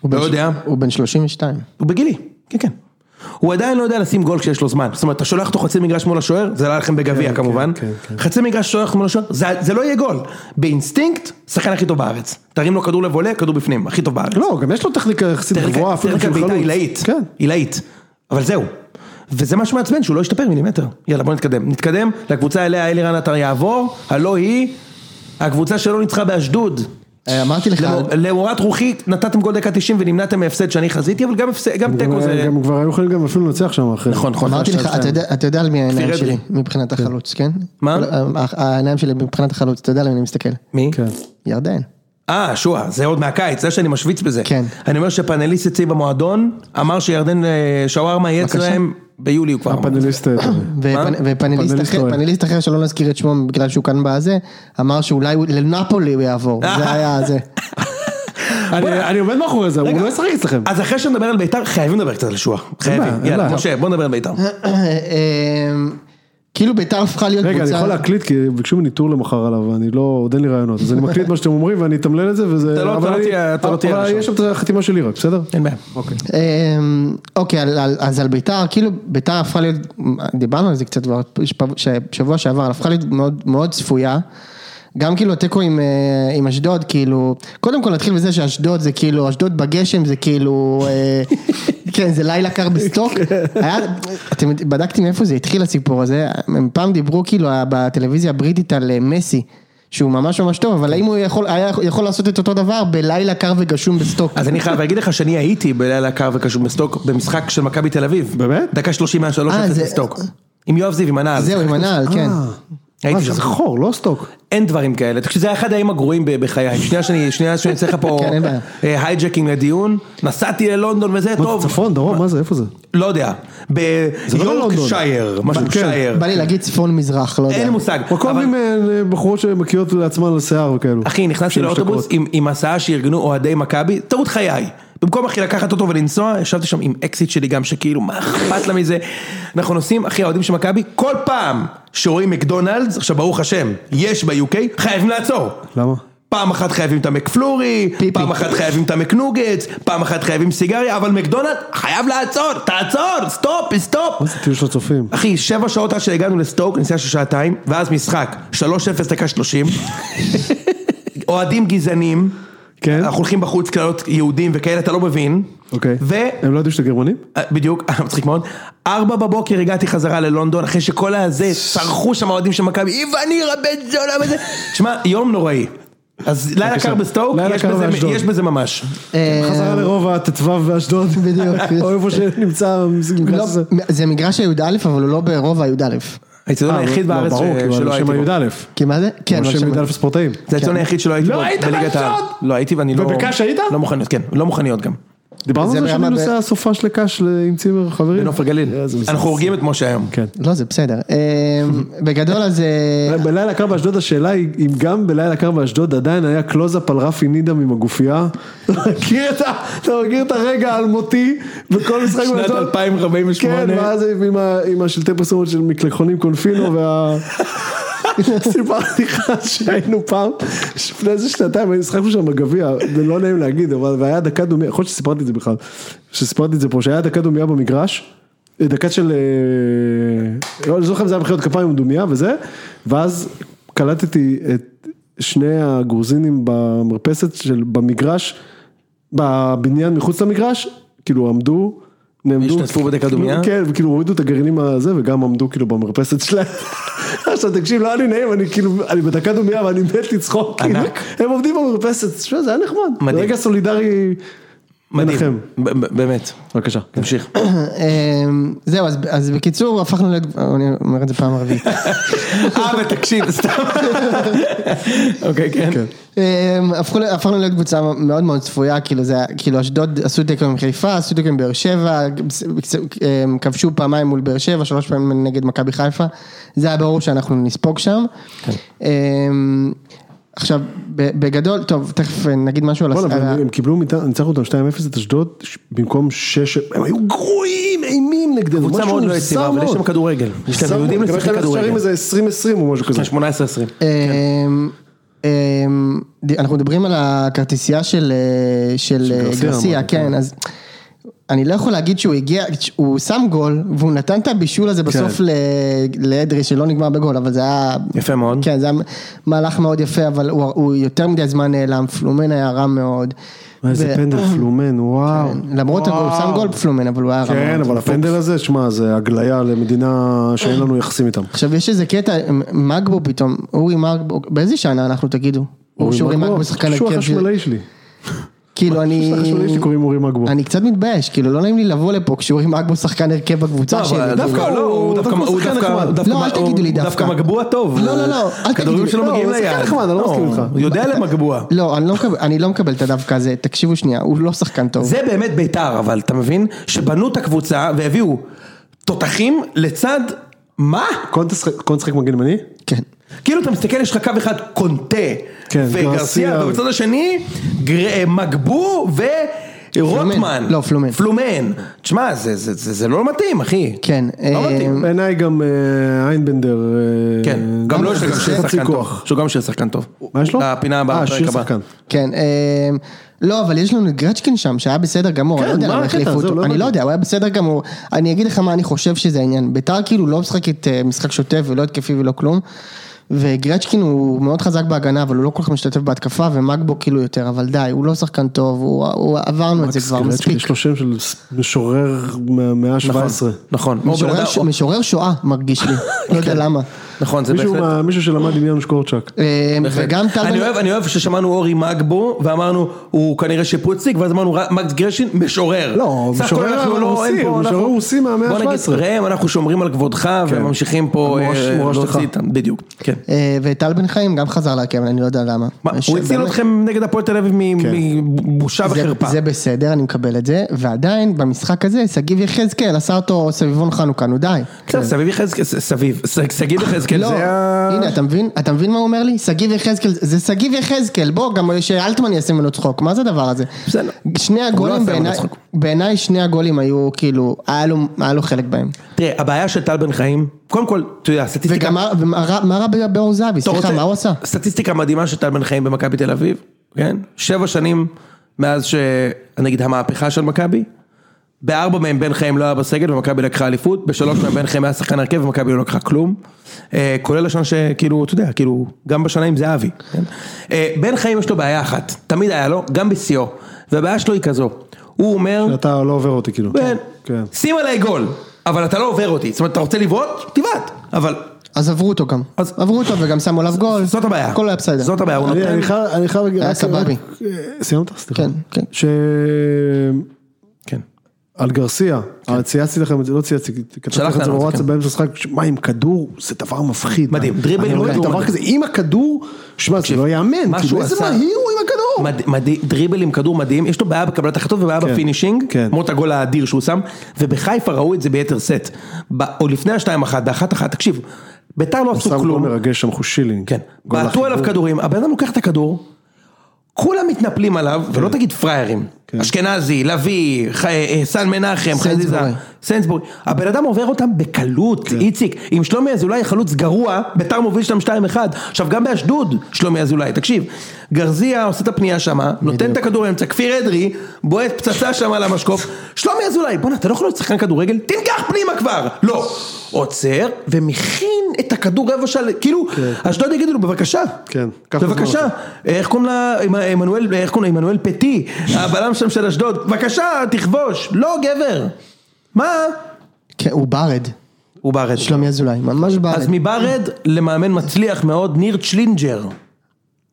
Speaker 4: הוא
Speaker 2: לא
Speaker 4: בן-
Speaker 2: יודע.
Speaker 4: הוא בן 32.
Speaker 2: הוא בגילי, כן כן. הוא עדיין לא יודע לשים גול כשיש לו זמן. זאת אומרת, אתה שולח אותו חצי מגרש מול השוער, זה לא היה לכם בגביע
Speaker 3: כן,
Speaker 2: כמובן.
Speaker 3: כן, כן.
Speaker 2: חצי מגרש שולח מול השוער, זה, זה לא יהיה גול. באינסטינקט, שחקן הכי טוב בארץ. תרים לו כדור לבולה, כדור בפנים, הכי טוב בארץ.
Speaker 3: לא, גם יש לו טכניקה יחסית גבוהה,
Speaker 2: תראה
Speaker 3: אפילו
Speaker 2: כאן
Speaker 3: שהוא
Speaker 2: בעיטה
Speaker 3: חלוץ.
Speaker 2: עילאית.
Speaker 3: כן.
Speaker 2: עילאית. אבל זהו. וזה משהו מעצבן שהוא לא השתפר מילימטר. יאללה בוא נתקדם. נתקדם לקבוצה אליה אלירן עטר יעבור, הלא היא הקבוצה שלא ניצחה באשדוד.
Speaker 4: אה, אמרתי לך,
Speaker 2: למור- למורת רוחי נתתם גול דקה 90 ונמנעתם מהפסד שאני חזיתי, אבל גם הפסד- גם
Speaker 3: גם
Speaker 2: תיקו זה...
Speaker 3: גם כבר היו יכולים גם אפילו לנצח שם אחרי. כן.
Speaker 2: נכון, נכון.
Speaker 4: אמרתי לך,
Speaker 2: שתיים,
Speaker 4: אתה יודע- אתה יודע על מי העיניים
Speaker 2: אדרי.
Speaker 4: שלי מבחינת החלוץ, כן?
Speaker 2: מה?
Speaker 4: ה- העיניים שלי מבחינת החלוץ, אתה יודע על מי אני מסתכל.
Speaker 2: מי?
Speaker 3: כן.
Speaker 4: ירדן.
Speaker 2: אה, שועה, זה עוד מהקיץ, זה שאני משוויץ בזה.
Speaker 4: כן.
Speaker 2: אני אומר שפאנליסט אצלי במועדון, אמר שירדן אה, שווארמה יהיה
Speaker 4: בבקשה.
Speaker 2: אצלהם ביולי הוא כבר אמר.
Speaker 3: הפאנליסט... אה,
Speaker 4: ופנ- ופאנליסט
Speaker 3: פאנליסט
Speaker 4: אחר,
Speaker 3: טועה.
Speaker 4: פאנליסט אחר שלא נזכיר את שמו בגלל שהוא כאן בזה, אמר שאולי הוא- לנפולי הוא יעבור, זה היה זה. אה,
Speaker 3: אני אני עומד מאחורי זה, הוא
Speaker 2: רגע.
Speaker 3: לא ישחק אצלכם.
Speaker 2: אז אחרי שנדבר על בית"ר, חייבים לדבר קצת על שועה.
Speaker 3: בעיה,
Speaker 2: חייבים.
Speaker 3: אין
Speaker 2: יאללה,
Speaker 3: בעיה.
Speaker 2: משה, בוא נדבר על בית"ר.
Speaker 4: אה, אמ, כאילו ביתר הפכה להיות
Speaker 3: רגע, אני
Speaker 4: קבוצה,
Speaker 3: יכול להקליט, כי ביקשו ממני טור למחר עליו, ואני לא, עוד אין לי רעיונות, אז אני מקליט מה שאתם אומרים ואני אתמלל את זה, וזה...
Speaker 2: אתה לא-
Speaker 3: אבל
Speaker 2: אתה לא
Speaker 3: אני-
Speaker 2: תהיה- אתה לא תהיה
Speaker 3: אבל
Speaker 2: הראשון.
Speaker 3: יש שם את החתימה שלי רק, בסדר?
Speaker 2: אין בעיה.
Speaker 4: אוקיי. אמ, אוקיי, על- על- אז על ביתר, כאילו ביתר הפכה להיות, דיברנו על זה קצת כבר שפ- ש- שבוע שעבר, אבל הפכה להיות מאוד- מאוד צפויה. גם כאילו התיקו עם, אה, עם אשדוד, כאילו, קודם כל נתחיל בזה שאשדוד זה כאילו, אשדוד בגשם זה כאילו, אה, כן, זה לילה קר בסטוק.
Speaker 2: כן.
Speaker 4: היה, אתם בדקתי מאיפה זה התחיל הסיפור הזה, הם פעם דיברו כאילו בטלוויזיה הבריטית על אה, מסי, שהוא ממש ממש טוב,
Speaker 2: כן.
Speaker 4: אבל האם הוא יכול, היה יכול לעשות את אותו דבר בלילה קר וגשום בסטוק?
Speaker 2: אז אני חייב להגיד לך שאני הייתי בלילה קר וקשור בסטוק במשחק של מכבי תל אביב.
Speaker 3: באמת?
Speaker 2: דקה 30 היה 3
Speaker 4: אה, זה-
Speaker 2: בסטוק. עם יואב זיו, עם הנעל.
Speaker 4: זהו, עם הנעל, כן.
Speaker 3: אה,
Speaker 2: הייתי
Speaker 3: זה
Speaker 2: שם.
Speaker 3: חור, לא סטוק.
Speaker 2: אין דברים כאלה, תקשיב זה היה אחד הימים הגרועים ב- בחיי, שנייה שאני, שנייה שאני אעשה לך פה
Speaker 4: כן, אין בעיה.
Speaker 2: אה, הייג'קינג לדיון, נסעתי ללונדון וזה, טוב,
Speaker 3: צפון, דרום, מה זה, איפה זה?
Speaker 2: לא יודע,
Speaker 3: זה לא בלונדון.
Speaker 2: ביורקשייר, משהו
Speaker 3: כן.
Speaker 2: שייר,
Speaker 4: בא לי להגיד צפון מזרח, לא יודע.
Speaker 2: אין לי מושג,
Speaker 3: או כל
Speaker 2: אבל-
Speaker 3: מיני אה, בחורות שמקיאות לעצמן על שיער וכאלו.
Speaker 2: אחי נכנסתי
Speaker 3: שהן
Speaker 2: לאוטובוס עם- עם הסעה שארגנו אוהדי מכבי, טעות חיי, במקום אחי לקחת אותו ולנסוע, ישבתי שם עם אקזיט שלי גם שכאילו מה אכפת לה מזה, אנחנו נוסעים אחי האוהדים של מכבי, כל פעם שרואים מקדונלדס, עכשיו ברוך השם, יש ב-UK, חייבים לעצור.
Speaker 3: למה?
Speaker 2: פעם אחת חייבים את המקפלורי,
Speaker 4: פיפי.
Speaker 2: פעם אחת חייבים את המקנוגץ, פעם אחת חייבים סיגריה, אבל מקדונלד חייב לעצור, תעצור, סטופ, סטופ.
Speaker 3: מה זה טיול של הצופים?
Speaker 2: אחי, שבע שעות עד שהגענו לסטוק, נסיעה של שעתיים, ואז משחק, 3-0 דקה 30. אוהדים גזענים,
Speaker 3: כן?
Speaker 2: אנחנו הולכים בחוץ קללות יהודים וכאלה, אתה לא מבין.
Speaker 3: אוקיי.
Speaker 2: ו...
Speaker 3: הם לא ידעו שאתה גרמנים?
Speaker 2: אה, בדיוק, אה, מצחיק מאוד. ארבע בבוקר הגעתי חזרה ללונדון, אחרי שכל הזה, צרחו שם האוהדים של מכבי, איווניר הבן זונה וזה. תשמע, יום נוראי. אז לילה קר בסטוק,
Speaker 3: לילה
Speaker 2: יש
Speaker 3: קר
Speaker 2: בזה-
Speaker 3: באשדוד.
Speaker 2: יש בזה ממש.
Speaker 4: אה,
Speaker 3: חזרה לרובע ט"ו באשדוד.
Speaker 4: בדיוק.
Speaker 3: או איפה שנמצא המגרש
Speaker 4: לא,
Speaker 3: הזה.
Speaker 4: זה מגרש הי"א, אבל הוא לא ברובע הי"א.
Speaker 2: האיצטדיון היחיד
Speaker 3: לא,
Speaker 2: בארץ ש-
Speaker 3: ברור, כי הוא על
Speaker 2: שלא
Speaker 3: שם
Speaker 2: הייתי בו.
Speaker 3: י"א.
Speaker 4: כי מה זה? כן,
Speaker 3: על
Speaker 4: אבל
Speaker 3: שם
Speaker 4: שם-
Speaker 3: י"א ספורטאים.
Speaker 2: זה הציון היחיד שלא הייתי
Speaker 3: לא
Speaker 2: בו
Speaker 3: היית
Speaker 2: בליגת העל.
Speaker 3: באשדוד?
Speaker 2: לא הייתי ואני לא...
Speaker 3: ובקש היית?
Speaker 2: לא מוכניות, כן. לא מוכניות גם.
Speaker 3: דיברנו
Speaker 4: זה
Speaker 3: על זה שאני
Speaker 4: ברמה ב-
Speaker 3: נוסע סופה של קאש עם צימר חברים.
Speaker 2: בנוף הגליל.
Speaker 3: אה, זה
Speaker 2: אנחנו
Speaker 3: מזעזע.
Speaker 2: הורגים את משה היום.
Speaker 3: כן.
Speaker 4: לא, זה בסדר. אה, בגדול אז... אה,
Speaker 3: בלילה קר באשדוד השאלה היא אם גם בלילה קר באשדוד עדיין היה קלוזאפ על רפי נידם עם הגופייה. אתה מכיר את ה- אתה מכיר את הרגע האלמותי בכל משחק
Speaker 2: שנת
Speaker 3: באשדוד?
Speaker 2: 2048.
Speaker 3: לא. כן, ואז עם ה- עם השלטי פרסומות של מקלחונים קונפינו וה... סיפרתי לך שהיינו פעם, לפני איזה שנתיים, היינו משחקנו שם בגביע, זה לא נעים להגיד, אבל והיה דקה דומייה, יכול להיות שסיפרתי את זה בכלל, שסיפרתי את זה פה, שהיה דקה דומייה במגרש, דקה של, אה, לא אני לא זוכר אם זה היה מחיאות כפיים או דומייה וזה, ואז קלטתי את שני הגרוזינים במרפסת של, במגרש, בבניין מחוץ למגרש, כאילו עמדו, נעמדו,
Speaker 2: השתתפו בדקה דומייה?
Speaker 3: כן, וכאילו הורידו את הגרעינים הזה וגם עמדו כאילו במרפסת שלהם. עכשיו תקשיב, לא היה לי נעים, אני כאילו, אני בדקה דומייה ואני מת לצחוק, כאילו,
Speaker 2: ענק.
Speaker 3: הם עומדים במרפסת, שמע, זה היה נחמד,
Speaker 2: מדהים.
Speaker 3: רגע סולידרי מנחם.
Speaker 2: מדהים. ב- ב- באמת.
Speaker 3: בבקשה.
Speaker 2: תמשיך.
Speaker 4: אה, זהו, אז- אז בקיצור, הפכנו ל... אני אומר את זה פעם רביעית.
Speaker 2: אה, ותקשיב, סתם. אוקיי, כן.
Speaker 4: אמ, הפכו, ל- הפכנו להיות קבוצה מאוד מאוד צפויה, כאילו זה, היה- כאילו אשדוד עשו תיקו עם חיפה, עשו תיקו עם באר שבע, קצ- קצ- אמ, כבשו פעמיים מול באר שבע, שלוש פעמים נגד מכבי חיפה, זה היה ברור שאנחנו נספוג שם.
Speaker 3: כן.
Speaker 4: אמ, עכשיו, ב- בגדול, טוב, תכף אה, נגיד משהו על הס-
Speaker 3: בוא'נה,
Speaker 2: אה,
Speaker 4: על ה...
Speaker 3: אבל הם קיבלו, מאיתנו- ניצחנו אותם 2-0 את אשדוד, ש- במקום 6, הם היו גרועים, אימים נגדנו,
Speaker 2: קבוצה
Speaker 3: משהו
Speaker 2: מאוד לא יציבה,
Speaker 3: מוזר
Speaker 2: אבל יש
Speaker 3: מאוד.
Speaker 2: שם כדורגל. יש להם,
Speaker 3: מוזר
Speaker 2: הם יודעים
Speaker 3: מאוד, גם יש
Speaker 2: לשחק
Speaker 3: להם
Speaker 2: כדורגל.
Speaker 3: שערים איזה 20-20 או משהו כזה.
Speaker 2: 18-20.
Speaker 4: אמ, אמ, ד- אנחנו מדברים על הכרטיסייה של אה, של אה,
Speaker 3: גרסיה,
Speaker 4: גרסיה,
Speaker 3: אמרתי,
Speaker 4: כן, אז אני לא יכול להגיד שהוא הגיע, הוא שם גול, והוא נתן את הבישול הזה בסוף
Speaker 3: כן.
Speaker 4: ל- לאדרי שלא נגמר בגול, אבל זה היה...
Speaker 2: יפה מאוד.
Speaker 4: כן, זה היה מהלך מאוד יפה, אבל הוא- הוא יותר מדי זמן נעלם, פלומן היה רע מאוד.
Speaker 3: איזה
Speaker 4: ו-
Speaker 3: פנדל
Speaker 2: כן.
Speaker 3: פלומן, וואו.
Speaker 4: למרות הגול, הוא שם גול פלומן, אבל הוא היה רע מאוד.
Speaker 3: כן, אבל הפנדל הזה, שמע, זה הגליה למדינה שאין לנו יחסים איתם.
Speaker 4: עכשיו יש איזה קטע, מגבו פתאום, אורי מגבו, באיזה שנה אנחנו תגידו? שאורי
Speaker 3: מגבו,
Speaker 4: מגבו שחקן
Speaker 3: שהוא
Speaker 4: הרכב של-
Speaker 3: החשמלאי שלי.
Speaker 4: כאילו אני...
Speaker 3: החשמלאי שלי קוראים אורי מגבו.
Speaker 4: אני קצת מתבייש, כאילו לא נעים לי לבוא לפה כשאורי מגבו שחקן הרכב בקבוצה שלי.
Speaker 2: אבל דווקא לא, הוא דווקא הוא
Speaker 3: שחקן
Speaker 2: דווקא-
Speaker 3: נחמד.
Speaker 2: דווקא-
Speaker 4: לא, אל תגידו לי
Speaker 2: הוא
Speaker 4: דווקא.
Speaker 2: דווקא מגבוע טוב.
Speaker 4: לא, לא, לא, אל תגידו
Speaker 2: הכדורים
Speaker 4: לי.
Speaker 2: שלו
Speaker 4: לא,
Speaker 2: מגיעים
Speaker 3: הוא
Speaker 2: ליד.
Speaker 3: שחקן נחמד, אני לא מסכים איתך.
Speaker 2: הוא יודע למגבוע.
Speaker 4: לא, אני לא מקבל, אני לא מקבל את הדווקא הזה, תקשיבו שנייה, הוא לא שחקן טוב.
Speaker 2: זה באמת בית"ר, אבל אתה מבין? שבנו את הקבוצה והביאו תותחים לצד מה?
Speaker 3: קונטה שחק- קונטה שחק מגן ימני?
Speaker 4: כן.
Speaker 2: כאילו אתה מסתכל, יש לך קו אחד קונטה
Speaker 3: כן, גרסיה.
Speaker 2: וגרסיה, ובצד השני גר- אה, מגבו ורוטמן.
Speaker 4: לא, פלומן.
Speaker 2: פלומן. תשמע, זה- זה- זה זה לא מתאים, אחי.
Speaker 4: כן,
Speaker 2: לא
Speaker 4: אה,
Speaker 2: מתאים.
Speaker 3: בעיניי גם אה, איינבנדר. אה,
Speaker 2: כן, גם לא שגם שיהיה
Speaker 3: חצי
Speaker 2: שחקן
Speaker 3: כוח.
Speaker 2: טוב. שהוא גם שיהיה שחקן טוב.
Speaker 3: מה יש לו?
Speaker 2: הפינה הבאה,
Speaker 3: אה,
Speaker 2: הפרק
Speaker 3: שיר
Speaker 2: הבא.
Speaker 3: שחקן.
Speaker 4: כן, אה, לא, אבל יש לנו את גרצ'קין שם, שהיה בסדר גמור, אני לא יודע
Speaker 3: מה
Speaker 4: למה
Speaker 3: הקטע?
Speaker 4: החליפו
Speaker 3: זהו, לא
Speaker 4: אותו, אני לא
Speaker 3: הבנתי.
Speaker 4: יודע, הוא היה בסדר גמור. אני אגיד לך מה אני חושב שזה העניין, ביתר כאילו לא משחקת אה, משחק שוטף ולא התקפי ולא כלום, וגרצ'קין הוא מאוד חזק בהגנה, אבל הוא לא כל כך משתתף בהתקפה, ומגבו כאילו יותר, אבל די, הוא לא שחקן טוב, הוא- הוא- עברנו את זה כבר
Speaker 3: גרצ'קי,
Speaker 4: מספיק.
Speaker 3: יש לו שם של משורר מהמאה ה-17.
Speaker 2: נכון. או בן
Speaker 4: משורר
Speaker 2: אדם-
Speaker 4: ש- משורר שואה מרגיש לי, לא יודע למה.
Speaker 2: נכון, זה
Speaker 3: מישהו
Speaker 2: בהחלט.
Speaker 3: מה- מישהו שלמד עם יאנוש קורצ'אק.
Speaker 4: אה,
Speaker 2: בהחלט.
Speaker 4: וגם טל
Speaker 2: אני
Speaker 4: בן-
Speaker 2: אוהב, אני אוהב ששמענו אורי מגבו, ואמרנו, הוא כנראה שיפוצניק, ואז אמרנו, "ר- מקס גרשין, משורר.
Speaker 3: לא,
Speaker 2: סך
Speaker 3: משורר
Speaker 2: הכל אנחנו לא- אין
Speaker 3: רוסי,
Speaker 2: פה-
Speaker 3: הוא משורר
Speaker 2: אנחנו-
Speaker 3: רוסי מהמאה
Speaker 2: בוא נגיד,
Speaker 3: ה-17. כן.
Speaker 2: ראם, אנחנו שומרים על כבודך, וממשיכים פה
Speaker 3: מורש-
Speaker 2: אה,
Speaker 3: מורשתך.
Speaker 2: להוציא איתם, בדיוק. כן.
Speaker 4: אה, וטל בן חיים גם חזר להרכב, אני לא יודע למה.
Speaker 2: מה,
Speaker 4: יש-
Speaker 2: הוא הציל
Speaker 4: באמת-
Speaker 2: אתכם נגד הפועל תל אביב
Speaker 3: כן.
Speaker 2: מבושה
Speaker 4: זה-
Speaker 2: וחרפה.
Speaker 4: זה בסדר, אני מקבל את זה, ועדיין במשחק הזה שגיב יחזקאל עשה אותו סביבון חנוכה, נו די.
Speaker 2: בסדר,
Speaker 3: כן.
Speaker 2: סביב יחזקאל, ס- סביב, ס- שגיב יחזקאל,
Speaker 4: לא,
Speaker 2: כן, זה ה...
Speaker 4: הנה אתה מבין? אתה מבין מה הוא אומר לי? שגיב יחזקאל, זה שגיב יחזקאל, בוא, גם שאלטמן יעשה ממנו צחוק, מה זה הדבר הזה?
Speaker 2: בסדר. לא
Speaker 4: שני
Speaker 2: עשה
Speaker 4: הגולים
Speaker 2: ממנו
Speaker 4: בעיניי,
Speaker 2: צחוק.
Speaker 4: בעיניי שני הגולים היו כאילו, היה לו- היה לו חלק בהם.
Speaker 2: תראה, הבעיה של טל בן חיים, קודם כל, אתה יודע, הסטטיסטיקה...
Speaker 4: וגם מה- ומה רע- מה רע באור זהבי?
Speaker 2: אתה
Speaker 4: סליחה,
Speaker 2: רוצה-
Speaker 4: מה הוא עשה?
Speaker 2: סטטיסטיקה מדהימה של טל בן חיים במכבי תל אביב, כן? שבע שנים מאז ש... נגיד המהפכה של מכבי, בארבע מהם בן חיים לא היה בסגל ומכבי לקחה אליפות, בשלוש מהם בן חיים היה שחקן הרכב ומכבי לא לקחה כלום, אה, כולל השנה שכאילו, אתה יודע, כאילו, גם בשנה עם זהבי, כן? אה, בן חיים יש לו בעיה אחת, תמיד היה לו, גם בשיאו, והבעיה שלו היא כזו, הוא אומר...
Speaker 3: אתה לא עובר אותי כאילו.
Speaker 2: כן.
Speaker 3: כן.
Speaker 2: שים עליי גול, אבל אתה לא עובר אותי. זאת אומרת, אתה רוצה לבעוט? תבעט. אבל
Speaker 4: אז עברו אותו גם.
Speaker 2: אז-
Speaker 4: עברו אותו וגם שמו עליו גול.
Speaker 2: זאת הבעיה.
Speaker 4: הכל היה בסדר.
Speaker 2: זאת הבעיה, הוא
Speaker 3: אני-
Speaker 2: נותן...
Speaker 3: אני חייב- אני חייב להגיד,
Speaker 4: היה
Speaker 3: רק-
Speaker 4: סבבי.
Speaker 3: רק- אה, סיימת? סליחה.
Speaker 4: כן, כן.
Speaker 3: ש...
Speaker 2: כן.
Speaker 3: על גרסיה, אה, צייצתי לכם את זה, לא צייצתי, כתבתי לכם את
Speaker 2: לנו
Speaker 3: זה
Speaker 2: את זה,
Speaker 3: בוואטסאפ
Speaker 2: כן.
Speaker 3: באמצע המשחק, שמע עם כדור זה דבר מפחיד.
Speaker 2: מדהים, לא דריבל
Speaker 3: דריבל
Speaker 2: עם
Speaker 3: עם
Speaker 2: כדור
Speaker 3: דבר
Speaker 2: מדהים.
Speaker 3: כזה, עם הכדור, שמע זה לא יאמן,
Speaker 2: משהו
Speaker 3: כאילו איזה
Speaker 2: עשה-
Speaker 3: מהיר הוא עם הכדור.
Speaker 2: מד, מד, דריבל עם כדור מדהים, יש לו בעיה בקבלת החלטות ובעיה
Speaker 3: כן,
Speaker 2: בפינישינג,
Speaker 3: כן.
Speaker 2: למרות הגול האדיר שהוא שם, ובחיפה ראו את זה ביתר סט, ב, או לפני השתיים אחת, באחת אחת, תקשיב, ביתר לא
Speaker 3: שם
Speaker 2: עשו
Speaker 3: גול
Speaker 2: כלום,
Speaker 3: מרגש שם חושילינג.
Speaker 2: כן,
Speaker 3: גול
Speaker 2: בעטו
Speaker 3: החיבור.
Speaker 2: עליו כדורים, הבן אדם לוקח את הכדור, כולם מתנפלים עליו, ולא תגיד פראיירים, אשכנזי, לביא, ח- אה, סן מנחם, חזיזה,
Speaker 4: סנסבורי.
Speaker 2: סנסבורי, הבן אדם עובר אותם בקלות, איציק, עם שלומי אזולאי חלוץ גרוע, ביתר מוביל שם 2-1, עכשיו גם באשדוד שלומי אזולאי, תקשיב, גרזיה עושה את הפנייה שמה, נותן את הכדור לאמצע, כפיר אדרי, בועט פצצה שמה על המשקוף, שלומי אזולאי, בואנה, אתה לא יכול להיות שחקן כדורגל? תנגח פנימה כבר! לא. עוצר, ומכין את הכדור רבע של... כאילו, אשדוד יגידו לו, בבקשה.
Speaker 3: כן, קח את הזמן
Speaker 2: בבקשה,
Speaker 3: הזה.
Speaker 2: איך קוראים לה, עמנואל, איך קוראים לה, עמנואל פטי, הבלם שם של אשדוד, בבקשה, תכבוש, לא גבר, מה?
Speaker 4: כן, הוא ברד.
Speaker 2: הוא בארד.
Speaker 4: שלומי אזולאי, ממש ברד.
Speaker 2: אז מבארד למאמן מצליח מאוד, ניר צ'לינג'ר.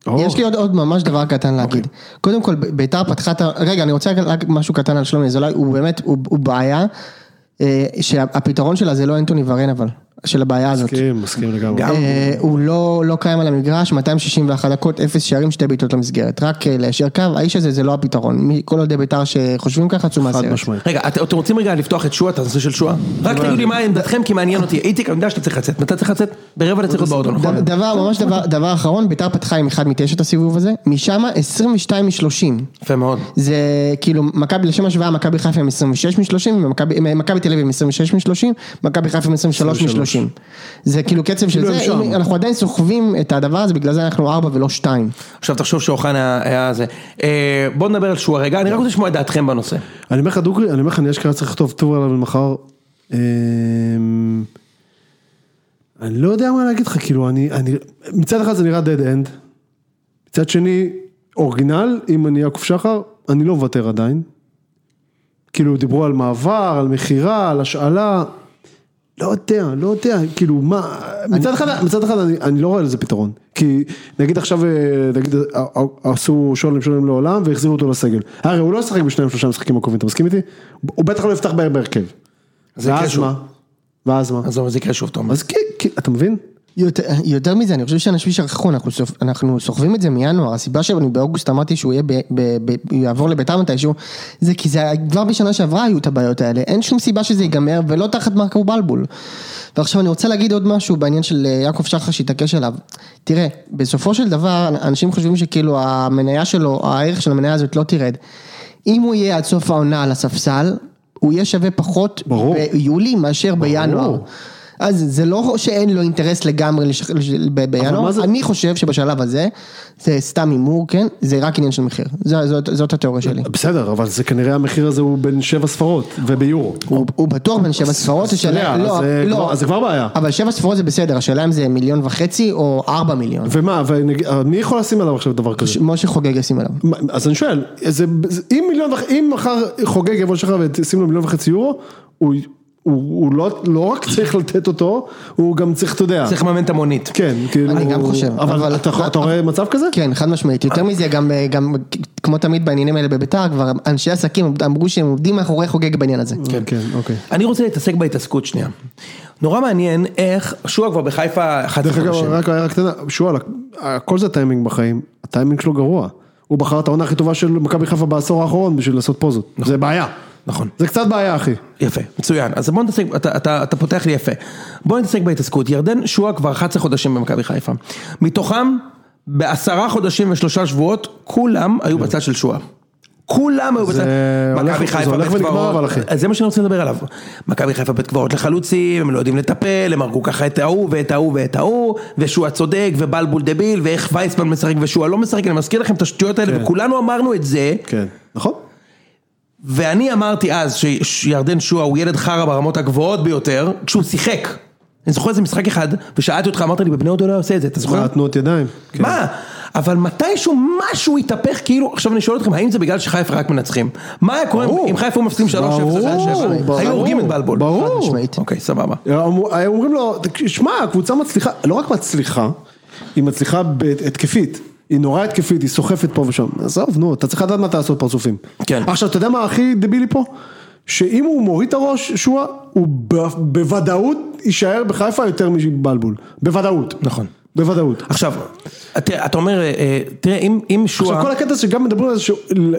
Speaker 3: או.
Speaker 4: יש לי עוד, עוד ממש דבר קטן להגיד.
Speaker 2: אוקיי.
Speaker 4: קודם כל, ב- ביתר פתחה את ה... רגע, אני רוצה רק- רק משהו קטן על שלומי אזולאי, הוא באמת, הוא, הוא בעיה, אה, שהפתרון שלה זה לא אנטוני ורן אבל, של הבעיה הזאת.
Speaker 2: כאילו-
Speaker 3: מסכים, מסכים לגמרי.
Speaker 4: אה, הוא לא, לא קיים על המגרש, 261 דקות, 0 שערים, 2 בעיטות למסגרת. רק אה, ליישר קו, האיש הזה זה לא הפתרון. מי- כל אוהדי ביתר שחושבים ככה, צאו
Speaker 3: חד
Speaker 4: מהסרט.
Speaker 3: משמעית.
Speaker 2: רגע, את- אתם רוצים רגע לפתוח את שועה, את הנושא של שועה? רק תגידו לי מה עמדתכם, כי מעניין אותי. איציק, אני יודע שאתה צריך לצאת, מתי צריך לצאת? ברבע לצאת באוטו, נכון?
Speaker 4: ד- דבר, ממש דבר, דבר אחרון, ביתר פתחה עם 1 מתשע את הסיבוב הזה, משם 22 מ-30.
Speaker 2: יפה מאוד.
Speaker 4: זה כאילו, מכבי, לשם השוואה, מכבי חיפה עם 26 מ-30, ומכבי- מכבי תל אביב עם 26 מ-30, מכבי חיפה עם 23 מ-30. זה כאילו קצב של
Speaker 3: כאילו
Speaker 4: זה,
Speaker 3: הם שם.
Speaker 4: אם אנחנו עדיין סוחבים את הדבר הזה, בגלל זה אנחנו 4 ולא 2.
Speaker 2: עכשיו תחשוב שאוחנה היה זה. אה, בואו נדבר על שועה רגע, אני רק רוצה לשמוע את דעתכם בנושא.
Speaker 3: אני אומר לך דוגרי, אני אומר לך, אני אשכרה צריך לכתוב טור עליו למחר. אמ, אני לא יודע מה להגיד לך, כאילו, אני, אני, מצד אחד זה נראה dead end, מצד שני, אורגינל, אם אני יעקב שחר, אני לא מוותר עדיין. כאילו, דיברו על מעבר, על מכירה, על השאלה, לא יודע, לא יודע, כאילו, מה, מצד אחד, מצד אחד אני, אני לא רואה לזה פתרון, כי נגיד עכשיו, אה, נגיד, אה, אה, עשו שולם שולם לעולם והחזירו אותו לסגל, הרי הוא לא ישחק בשניים שלושה משחקים הקרובים, אתה מסכים איתי? הוא בטח לא יפתח בהר בהרכב.
Speaker 2: זה
Speaker 3: ואז
Speaker 2: קשור.
Speaker 3: מה? ואז מה?
Speaker 2: עזוב, זה יקרה שוב, תומר.
Speaker 3: אז
Speaker 4: כן,
Speaker 3: כי, כי- אתה מבין?
Speaker 4: יותר, יותר מזה, אני חושב שאנשים שכחו, אנחנו, סופ, אנחנו סוחבים את זה מינואר, הסיבה שאני באוגוסט אמרתי שהוא יהיה ב, ב, ב, הוא יעבור לביתר מתישהו, זה כי זה היה- כבר בשנה שעברה היו את הבעיות האלה, אין שום סיבה שזה ייגמר ולא תחת מרקו בלבול. ועכשיו אני רוצה להגיד עוד משהו בעניין של אה, יעקב שחר שהתעקש עליו. תראה, בסופו של דבר אנשים חושבים שכאילו המניה שלו, הערך של המניה הזאת לא תרד. אם הוא יהיה עד סוף העונה על הספסל, הוא יהיה שווה פחות
Speaker 3: ברור.
Speaker 4: ביולי מאשר בינואר. אז זה לא שאין לו אינטרס לגמרי לשח... לש... ב... בינואר,
Speaker 3: מה זה-
Speaker 4: אני חושב שבשלב הזה, זה סתם הימור, כן? זה רק עניין של מחיר, זו, זאת, זאת התיאוריה שלי.
Speaker 3: בסדר, אבל זה כנראה המחיר הזה הוא בין שבע ספרות, וביורו.
Speaker 4: הוא, הוא בטוח בין שבע ספרות, השאלה,
Speaker 3: אז
Speaker 4: לא,
Speaker 3: זה
Speaker 4: לא,
Speaker 3: כבר- אז זה כבר בעיה.
Speaker 4: אבל שבע ספרות זה בסדר, השאלה אם זה מיליון וחצי או ארבע מיליון.
Speaker 3: ומה, ונגיד, מי יכול לשים עליו עכשיו דבר כזה?
Speaker 4: ש... משה חוגג ישים עליו.
Speaker 3: מה, אז אני שואל, זה, זה, אם מיליון וחצי, אם מחר חוגג יבוא שחר ותשים לו מיליון וחצי יורו, הוא, הוא, הוא לא, לא רק צריך לתת אותו, הוא גם צריך, אתה יודע,
Speaker 2: צריך לממן את המונית.
Speaker 3: כן, כאילו,
Speaker 4: אני גם חושב,
Speaker 3: אבל,
Speaker 4: אבל-
Speaker 3: אתה, אתה רואה מצב כזה?
Speaker 4: כן, חד משמעית. יותר מזה, גם, גם כמו תמיד בעניינים האלה בביתר, כבר אנשי עסקים אמרו שהם עומדים מאחורי חוגג בעניין הזה.
Speaker 3: כן, כן, אוקיי.
Speaker 2: אני רוצה להתעסק בהתעסקות שנייה. נורא מעניין איך, שועה כבר בחיפה 11
Speaker 3: דרך אגב,
Speaker 2: חודשים.
Speaker 3: רק הערה קטנה, שואל, הכל זה טיימינג בחיים, הטיימינג שלו גרוע. הוא בחר את העונה הכי טובה של מכבי חיפה בעשור האחרון בשביל לעשות פוזות, זה בעיה.
Speaker 2: נכון.
Speaker 3: זה קצת בעיה, אחי.
Speaker 2: יפה, מצוין. אז בוא נתעסק, אתה, אתה, אתה פותח לי יפה. בוא נתעסק בהתעסקות. ירדן שועה כבר 11 חודשים במכבי חיפה. מתוכם, בעשרה חודשים ושלושה שבועות, כולם היו בצד של שועה. כולם היו בצד,
Speaker 3: הולך-
Speaker 2: מכבי
Speaker 3: זה
Speaker 2: חיפה,
Speaker 3: הולך
Speaker 2: בית
Speaker 3: ונגמר,
Speaker 2: קברות.
Speaker 3: אבל, אחי.
Speaker 2: אז זה מה שאני רוצה לדבר עליו. מכבי חיפה בית קברות לחלוצים, הם לא יודעים לטפל, הם הרגו ככה את ההוא ואת ההוא ואת ההוא, ושועה צודק, ובלבול דביל, ואיך וייסמן משחק ושועה לא משחק, אני מזכיר לכם את השטויות האלה,
Speaker 3: כן.
Speaker 2: וכולנו אמרנו את זה,
Speaker 3: כן. נכון?
Speaker 2: ואני אמרתי אז ש- שירדן שואה הוא ילד חרא ברמות הגבוהות ביותר, כשהוא שיחק. אני זוכר איזה משחק אחד, ושאלתי אותך, אמרת לי, בבני הוד הוא לא היה עושה את זה, אתה זוכר?
Speaker 3: התנועות ידיים. כן.
Speaker 2: מה? אבל מתישהו משהו התהפך, כאילו, עכשיו אני שואל אתכם, האם זה בגלל שחיפה רק מנצחים? מה היה קורה אם חיפה היו מפסידים 3-0
Speaker 3: ברור,
Speaker 2: היו הורגים את בלבול.
Speaker 3: ברור.
Speaker 4: חד משמעית.
Speaker 2: אוקיי, סבבה.
Speaker 3: אמרו- היו אומרים לו, "תקש- שמע, הקבוצה מצליחה, לא רק מצליחה, היא מצליחה בהתקפית. היא נורא התקפית, היא סוחפת פה ושם. עזוב, נו, אתה צריך לדעת מה אתה לעשות פרצופים.
Speaker 2: כן.
Speaker 3: עכשיו, אתה יודע מה הכי דבילי פה? שאם הוא מוריד את הראש, שועה, הוא ב- בוודאות יישאר בחיפה יותר מבלבול. בוודאות.
Speaker 2: נכון.
Speaker 3: בוודאות.
Speaker 2: עכשיו, אתה אתה אומר, אה, אה, תראה, אם- אם שועה...
Speaker 3: עכשיו כל הקטע שגם מדברים על זה, ש-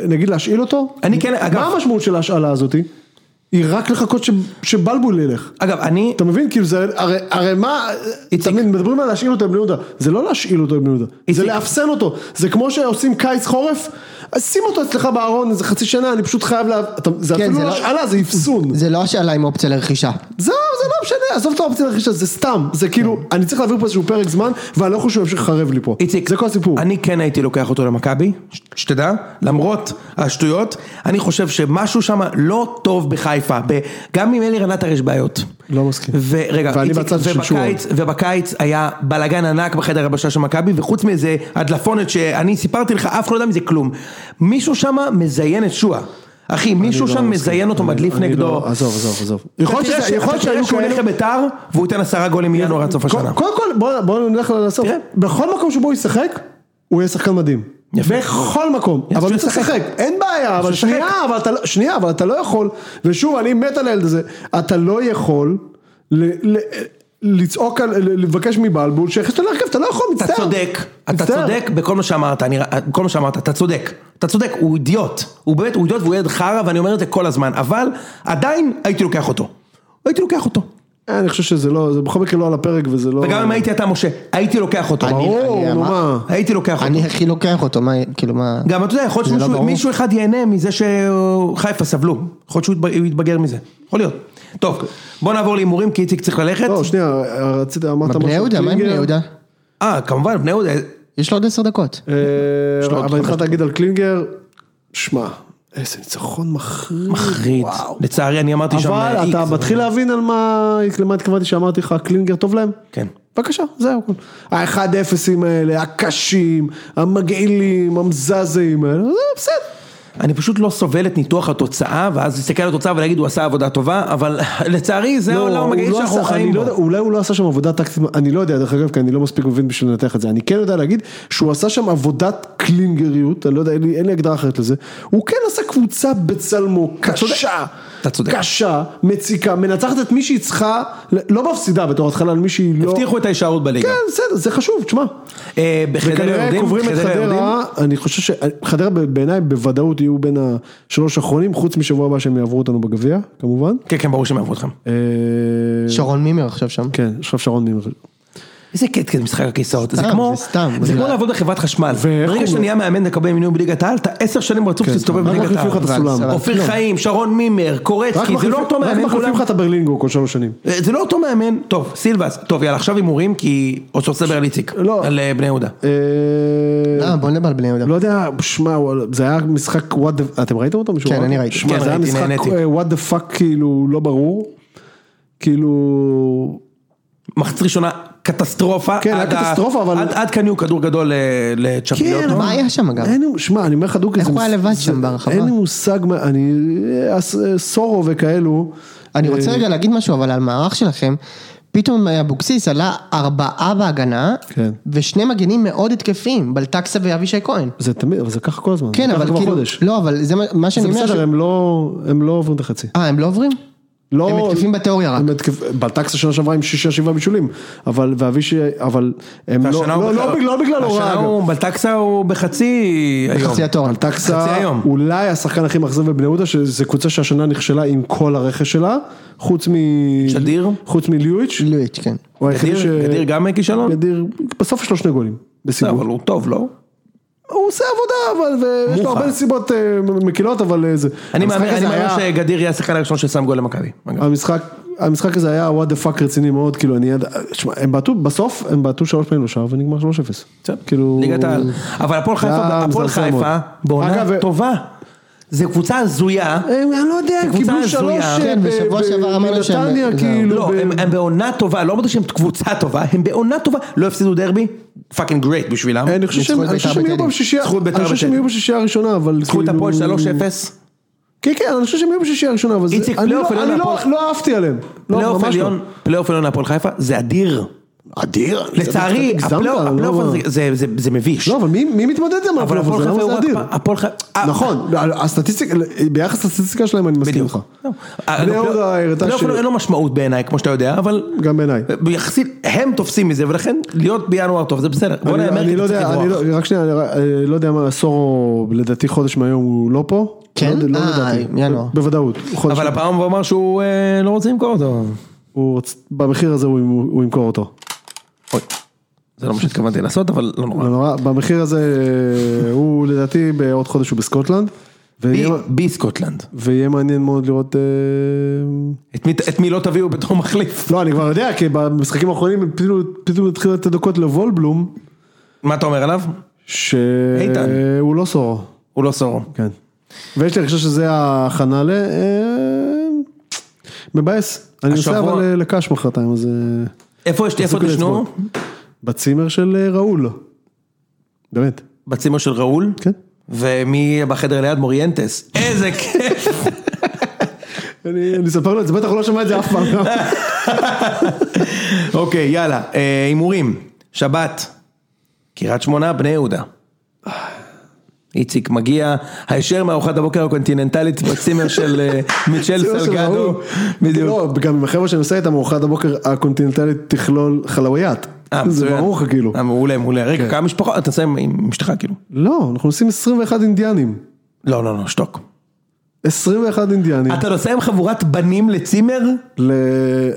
Speaker 3: נגיד להשאיל אותו,
Speaker 2: אני כן, אגב-
Speaker 3: מה המשמעות של ההשאלה הזאתי? היא רק לחכות ש- שבלבול ילך.
Speaker 2: אגב, אני...
Speaker 3: אתה מבין? כאילו זה, הרי, הרי מה,
Speaker 2: איציק.
Speaker 3: תמיד מדברים על להשאיל אותו עם בני יהודה, זה לא להשאיל אותו עם בני יהודה, זה
Speaker 2: איציק.
Speaker 3: לאפסן אותו, זה כמו שעושים קיץ חורף, אז שים אותו אצלך בארון איזה חצי שנה, אני פשוט חייב, לה... אתה, זה
Speaker 4: כן,
Speaker 3: אפילו
Speaker 4: זה
Speaker 3: לא
Speaker 4: לא-
Speaker 3: השאלה, זה אפסון,
Speaker 4: זה לא השאלה עם אופציה לרכישה.
Speaker 3: זהו, זה לא משנה, עזוב את האופציה לרכישה, זה סתם, זה כאילו, אני צריך להעביר פה איזשהו פרק זמן, ואני לא חושב שהוא ימשיך לחרב לי פה,
Speaker 2: איציק,
Speaker 3: זה כל הסיפור,
Speaker 2: אני כן הייתי לוקח אותו למכבי, ש- שתדע, למרות השטויות, אני חושב שמשהו שם לא טוב בחיפה, ב- גם עם אלי רנטר יש בעיות.
Speaker 3: לא מסכים.
Speaker 2: ורגע,
Speaker 3: ואני
Speaker 2: איציק,
Speaker 3: בצד של
Speaker 2: ובקיץ, ובקיץ היה בלאגן ענק בחדר הבשה של מכבי, וחוץ מאיזה הדלפונת שאני סיפרתי לך, אף אחד לא יודע מזה כלום. מישהו שם מזיין את שועה. אחי, מישהו שם מזיין אותו, מדליף
Speaker 3: לא אני
Speaker 2: נגדו.
Speaker 3: לא, עזוב, עזוב, עזוב,
Speaker 2: יכול להיות שזה- יכול להיות שהיו שהוא הולך לביתר, והוא ייתן עשרה גולים מינואר עד סוף השנה.
Speaker 3: קודם כל, כל- בוא, בוא נלך לסוף.
Speaker 2: תראה.
Speaker 3: בכל מקום שבו הוא ישחק, הוא יהיה שחקן מדהים.
Speaker 2: יפה.
Speaker 3: בכל מקום, אבל הוא צריך לשחק, אין בעיה, אבל
Speaker 2: לשחק.
Speaker 3: שנייה, אבל אתה, לא- שנייה, אבל אתה לא יכול, ושוב, אני מת על הילד הזה, אתה לא יכול ל- ל- לצעוק, על- ל- לבקש מבלבול שיכניס אותו להרכב, אתה לא יכול, מצטער.
Speaker 2: אתה צודק, אתה
Speaker 3: מצטער.
Speaker 2: צודק בכל מה שאמרת, אני, בכל מה שאמרת, אתה צודק, אתה צודק, הוא אידיוט, הוא באמת, הוא אידיוט והוא ילד חרא ואני אומר את זה כל הזמן, אבל עדיין הייתי לוקח אותו, הייתי לוקח אותו,
Speaker 3: אה, אני חושב שזה לא, זה בכל מקרה לא על הפרק וזה לא...
Speaker 2: וגם אם הייתי אתה משה, הייתי לוקח אותו,
Speaker 4: אה. אני-
Speaker 3: ברור, נו
Speaker 4: אמר-
Speaker 3: מה.
Speaker 2: הייתי לוקח
Speaker 3: נכון.
Speaker 2: אותו,
Speaker 4: אני הכי לוקח אותו, מה, כאילו מה...
Speaker 2: גם אתה יודע, יכול להיות
Speaker 4: זה לא
Speaker 2: שמישהו
Speaker 4: ברור.
Speaker 2: מישהו אחד ייהנה מזה שחיפה סבלו, יכול להיות שהוא יתבג- הוא יתבגר מזה, יכול להיות, טוב, בוא נעבור להימורים כי איציק צריך ללכת,
Speaker 3: לא, שנייה, רצית, אמרת משהו.
Speaker 4: בני יהודה, מה עם בני
Speaker 3: קלינגר?
Speaker 4: יהודה?
Speaker 2: אה כמובן בני יהודה,
Speaker 4: יש לו עוד עשר דקות.
Speaker 3: אה,
Speaker 2: לו עוד
Speaker 3: אבל
Speaker 2: חמש
Speaker 3: התחלת להגיד על קלינגר, שמע, איזה ניצחון מחריד.
Speaker 2: מחריד, לצערי אני אמרתי שם, אה,
Speaker 3: אבל אתה
Speaker 2: איקס, לא-
Speaker 3: מתחיל להבין על מה, למה התכוונתי שאמרתי לך, קלינגר טוב להם?
Speaker 2: כן.
Speaker 3: בבקשה, זהו. ה-1-0ים האלה, הקשים, המגעילים, המזזים האלה, זה בסדר.
Speaker 2: אני פשוט לא סובל את ניתוח התוצאה, ואז להסתכל על התוצאה ולהגיד הוא עשה עבודה טובה, אבל לצערי זה העולם
Speaker 3: הוא
Speaker 2: המגעיל
Speaker 3: לא
Speaker 2: שאנחנו
Speaker 3: עשה- אני
Speaker 2: חיים
Speaker 3: לא
Speaker 2: בו.
Speaker 3: יודע, אולי הוא לא עשה שם עבודה טקטית, אני לא יודע, דרך אגב, כי אני לא מספיק מבין בשביל לנתח את זה. אני כן יודע להגיד שהוא עשה שם עבודת קלינגריות, אני לא יודע, אין לי- אין לי הגדרה אחרת לזה. הוא כן עשה קבוצה בצלמו, קשה.
Speaker 2: אתה צודק.
Speaker 3: קשה, מציקה, מנצחת את מי שהיא צריכה, לא מפסידה בתור התחלה, על מי שהיא לא...
Speaker 2: הבטיחו את ההישארות בליגה.
Speaker 3: כן, בסדר, זה חשוב, תשמע.
Speaker 2: אה, בחדרה
Speaker 3: וכנראה
Speaker 2: יורדים,
Speaker 3: קוברים את
Speaker 2: חדרה יורדים.
Speaker 3: חדרה, אני חושב שחדרה בעיניי בוודאות יהיו בין השלוש האחרונים, חוץ משבוע הבא שהם יעברו אותנו בגביע, כמובן.
Speaker 2: כן, כן, ברור שהם יעברו אתכם.
Speaker 3: אה,
Speaker 4: שרון מימר עכשיו שם.
Speaker 3: כן, עכשיו שרון מימר.
Speaker 2: איזה קטע זה משחק הכיסאות, זה
Speaker 3: אה,
Speaker 4: סתם,
Speaker 2: כמו,
Speaker 4: זה סתם,
Speaker 2: זה
Speaker 4: זה
Speaker 2: כמו
Speaker 4: לא-
Speaker 2: לעבוד בחברת חשמל.
Speaker 3: ואיך
Speaker 2: ברגע
Speaker 3: הוא-
Speaker 2: שאתה נהיה מאמן לקבל מינוי בליגת העל, אתה עשר שנים רצוף שתסתובב
Speaker 3: כן, רק
Speaker 2: בליגת
Speaker 3: מחליפים לך את
Speaker 2: העל.
Speaker 3: הסולם.
Speaker 2: אופיר
Speaker 3: כלום.
Speaker 2: חיים, שרון מימר,
Speaker 3: רק
Speaker 2: קורצקי, זה לא
Speaker 3: מחליפים-
Speaker 2: אותו
Speaker 3: רק
Speaker 2: מאמן כולם.
Speaker 3: מחליפים לך את הברלינגו כל שלוש שנים.
Speaker 2: אה, זה לא אותו מאמן, טוב, סילבס, טוב יאללה עכשיו הימורים כי עוד שאתה מדבר על איציק,
Speaker 3: לא.
Speaker 2: על אה, בני יהודה.
Speaker 3: אה,
Speaker 4: לא, בוא נדבר על בני יהודה.
Speaker 3: לא יודע, שמע, וואלה, זה היה משחק what the... אתם ראיתם אותו? מישהו
Speaker 4: כן,
Speaker 3: ראה?
Speaker 4: אני ראיתי.
Speaker 3: שמע,
Speaker 2: כן,
Speaker 3: זה היה
Speaker 2: ראיתי,
Speaker 3: משחק
Speaker 2: נהניתי.
Speaker 3: אה, what the fuck כאילו לא ברור. כאילו...
Speaker 2: מחצית ראשונה קטסטרופה.
Speaker 3: כן, היה
Speaker 2: עד ה-
Speaker 3: קטסטרופה, אבל- כן,
Speaker 2: עד- עד כאן יהיו כדור גדול אה, לצ'פיוטו.
Speaker 4: כן, מה היה שם אגב?
Speaker 3: לא אין לי, שמע, אני אומר לך דוגרי,
Speaker 4: איך
Speaker 3: זה
Speaker 4: הוא היה
Speaker 3: מס-
Speaker 4: לבד
Speaker 3: זה-
Speaker 4: שם ברחבה?
Speaker 3: אין לי מושג מה, אני, אה, הס- אה, סורו וכאלו.
Speaker 4: אני
Speaker 3: אה,
Speaker 4: רוצה רגע להגיד משהו אבל על מערך שלכם. פתאום אבוקסיס עלה ארבעה בהגנה,
Speaker 3: כן.
Speaker 4: ושני מגנים מאוד התקפיים, בלטקסה ואבישי כהן.
Speaker 3: זה תמיד, אבל זה ככה כל הזמן.
Speaker 4: כן,
Speaker 3: זה ככה
Speaker 4: אבל
Speaker 3: כבר
Speaker 4: כאילו,
Speaker 3: חודש.
Speaker 4: לא, אבל זה מה- מה שאני
Speaker 3: זה
Speaker 4: אומר,
Speaker 3: בסדר,
Speaker 4: ש-
Speaker 3: הם לא, הם לא עוברים את החצי.
Speaker 4: אה, הם לא עוברים?
Speaker 3: לא,
Speaker 4: הם מתקפים בתיאוריה רק.
Speaker 3: הם התקפ... בלטקסה שנה שעברה עם שישה שבעה בישולים, אבל, ואבישי, אבל הם לא,
Speaker 2: והשנה הוא
Speaker 3: לא,
Speaker 2: בכלל-
Speaker 3: לא, בגלל- לא בגלל הוראה
Speaker 2: השנה
Speaker 3: אגב.
Speaker 2: הוא בלטקסה הוא בחצי היום.
Speaker 4: חצי התואר.
Speaker 2: חצי
Speaker 3: בלטקסה
Speaker 2: היום.
Speaker 3: אולי השחקן הכי מאכזב בבני יהודה, שזו קבוצה שהשנה נכשלה עם כל הרכש שלה, חוץ מ...
Speaker 2: שדיר?
Speaker 3: חוץ מליואיץ'.
Speaker 4: לואיץ', כן.
Speaker 3: הוא היחידי ש-
Speaker 2: גדיר גדיר גם כישלון?
Speaker 3: גדיר, בסוף יש לו שני גולים,
Speaker 2: בסדר,
Speaker 3: בסיבוב.
Speaker 2: אבל הוא טוב, לא?
Speaker 3: הוא עושה עבודה, אבל ויש לו
Speaker 2: מוחה.
Speaker 3: הרבה נסיבות אה, מקילות, אבל אה, זה...
Speaker 2: אני
Speaker 3: המשחק
Speaker 2: מאמין
Speaker 3: הזה
Speaker 2: אני מאמין
Speaker 3: היה-
Speaker 2: שגדיר יהיה השחקן הראשון ששם גול למכבי. אגב.
Speaker 3: המשחק, המשחק הזה היה וואט דה פאק רציני מאוד, כאילו אני... יד- תשמע, הם בעטו, בסוף הם בעטו שלוש פעמים לשער ונגמר 3-0.
Speaker 2: בסדר.
Speaker 3: כאילו...
Speaker 2: ליגת העל. אבל הפועל
Speaker 3: זה היה
Speaker 2: חיפה, הפועל
Speaker 3: מזעזע
Speaker 2: חיפה,
Speaker 3: מאוד.
Speaker 2: בעונה
Speaker 3: אגב, אה- ו-
Speaker 2: טובה. זו קבוצה הזויה.
Speaker 3: הם, אני לא יודע, הם
Speaker 2: קבוצה
Speaker 3: קיבלו
Speaker 2: הזויה.
Speaker 3: שלוש... אה,
Speaker 4: כן,
Speaker 3: ב-
Speaker 4: בשבוע
Speaker 3: ב-
Speaker 4: שעבר אמרנו שהם-
Speaker 3: בנתניה,
Speaker 4: זהו.
Speaker 3: כאילו...
Speaker 2: לא,
Speaker 3: ב-
Speaker 2: הם הם בעונה טובה, לא אמרתי שהם קבוצה טובה, הם בעונה טובה, לא הפסידו דרבי, פאקינג גרייט בשבילם.
Speaker 3: אני חושב שהם
Speaker 4: ניצחו את
Speaker 3: אני חושב
Speaker 4: בית"ר
Speaker 3: שהם יהיו
Speaker 4: בטדי.
Speaker 3: בשישייה,
Speaker 2: ניצחו את בית"ר
Speaker 3: אני חושב שהם
Speaker 2: בטדי.
Speaker 3: יהיו בשישייה הראשונה, אבל כאילו-
Speaker 2: ניצחו את הפועל 3-0.
Speaker 3: כן, כן, אני חושב שהם היו בשישייה הראשונה, אבל זה-
Speaker 2: איציק,
Speaker 3: אני
Speaker 2: פלייאוף
Speaker 3: לא-
Speaker 2: עליון
Speaker 3: אני לא-
Speaker 2: להפועל.
Speaker 3: לא אהבתי עליהם. לא,
Speaker 2: פלייאוף
Speaker 3: ממש לא.
Speaker 2: עליון, פלייאוף עליון להפועל חיפה, זה אדיר.
Speaker 3: אדיר.
Speaker 2: לצערי,
Speaker 3: הגזמת,
Speaker 2: הפלייאוף
Speaker 3: לא,
Speaker 2: הפלייאוף הזה, זה- זה- זה מביש.
Speaker 3: לא, אבל מי- מי מתמודד עם
Speaker 2: אבל
Speaker 3: הפלייאוף
Speaker 2: הפועל
Speaker 3: הזה?
Speaker 2: חיפה
Speaker 3: למה
Speaker 2: הוא
Speaker 3: זה לא אדיר?
Speaker 2: רק... הפועל חיפה... אה,
Speaker 3: נכון, הסטטיסטיקה, ביחס לסטטיסטיקה שלהם אני מסכים
Speaker 2: בדיוק.
Speaker 3: איתך.
Speaker 2: לא.
Speaker 3: בני יהודה הראתה
Speaker 2: פלייאוף
Speaker 3: ש...
Speaker 2: עליון אין לו משמעות בעיניי, כמו שאתה יודע, אבל...
Speaker 3: גם בעיניי.
Speaker 2: יחסית, הם תופסים מזה, ולכן להיות בינואר טוב זה בסדר. בוא
Speaker 3: אני
Speaker 2: נאמר
Speaker 3: אני
Speaker 2: כי
Speaker 3: לא
Speaker 2: צריך
Speaker 3: יודע, אני
Speaker 2: לברוח.
Speaker 3: לא- רק שנייה, אני רק- אה, לא יודע מה, סורו לדעתי חודש מהיום הוא לא פה.
Speaker 4: כן?
Speaker 3: לא- לא
Speaker 4: אה,
Speaker 3: לדעתי.
Speaker 4: ינואר.
Speaker 3: ב- בוודאות. הוא חודש
Speaker 2: אבל
Speaker 3: מהיום.
Speaker 2: הפעם הוא אמר שהוא אה, לא רוצה למכור אותו.
Speaker 3: הוא רוצ- במחיר הזה הוא הוא ימכור אותו.
Speaker 2: אוי, זה לא מה שהתכוונתי לעשות, אבל לא נורא.
Speaker 3: לא נורא, במחיר הזה אה, הוא לדעתי בעוד חודש הוא בסקוטלנד. ויהיה-
Speaker 2: בי- בי סקוטלנד.
Speaker 3: ויהיה מעניין מאוד לראות... אה,
Speaker 2: את מי- את מי לא תביאו בתור מחליף?
Speaker 3: לא, אני כבר יודע, כי במשחקים האחרונים הם פתאום- פתאום התחילו לתת דקות לוולבלום,
Speaker 2: מה אתה אומר עליו? איתן.
Speaker 3: שהוא לא סורו.
Speaker 2: הוא לא סורו.
Speaker 3: כן. ויש לי הרגשה שזה ההכנה ל... אה, מבאס. אני נוסע
Speaker 2: השבוע-
Speaker 3: אבל אה, לקאש מחרתיים, אז... אה,
Speaker 2: איפה יש- איפה
Speaker 3: תפסיקו
Speaker 2: תשנו?
Speaker 3: לצפות. בצימר של אה, ראול. באמת,
Speaker 2: בצימר של ראול?
Speaker 3: כן.
Speaker 2: ומי בחדר ליד? מוריינטס. איזה כיף.
Speaker 3: אני אני אספר לו את זה, בטח הוא לא שמע את זה אף פעם.
Speaker 2: אוקיי, יאללה. אה, הימורים. שבת. קריית שמונה, בני יהודה. איציק מגיע הישר מארוחת הבוקר הקונטיננטלית בצימר של אה, מיצ'ל
Speaker 3: הצימר של
Speaker 2: סלגדו.
Speaker 3: ראול.
Speaker 2: בדיוק.
Speaker 3: לא, גם עם החבר'ה שאני עושה איתם, ארוחת הבוקר הקונטיננטלית תכלול חלוויית.
Speaker 2: אה,
Speaker 3: זה
Speaker 2: מצוין.
Speaker 3: ברור לך כאילו.
Speaker 2: אה, מעולה, מעולה. רגע, כמה משפחות? אתה עושה עם- עם אשתך כאילו.
Speaker 3: לא, אנחנו עושים 21 אינדיאנים.
Speaker 2: לא, לא, לא, שתוק.
Speaker 3: 21 אינדיאנים.
Speaker 2: אתה נוסע עם חבורת בנים לצימר?
Speaker 3: ל...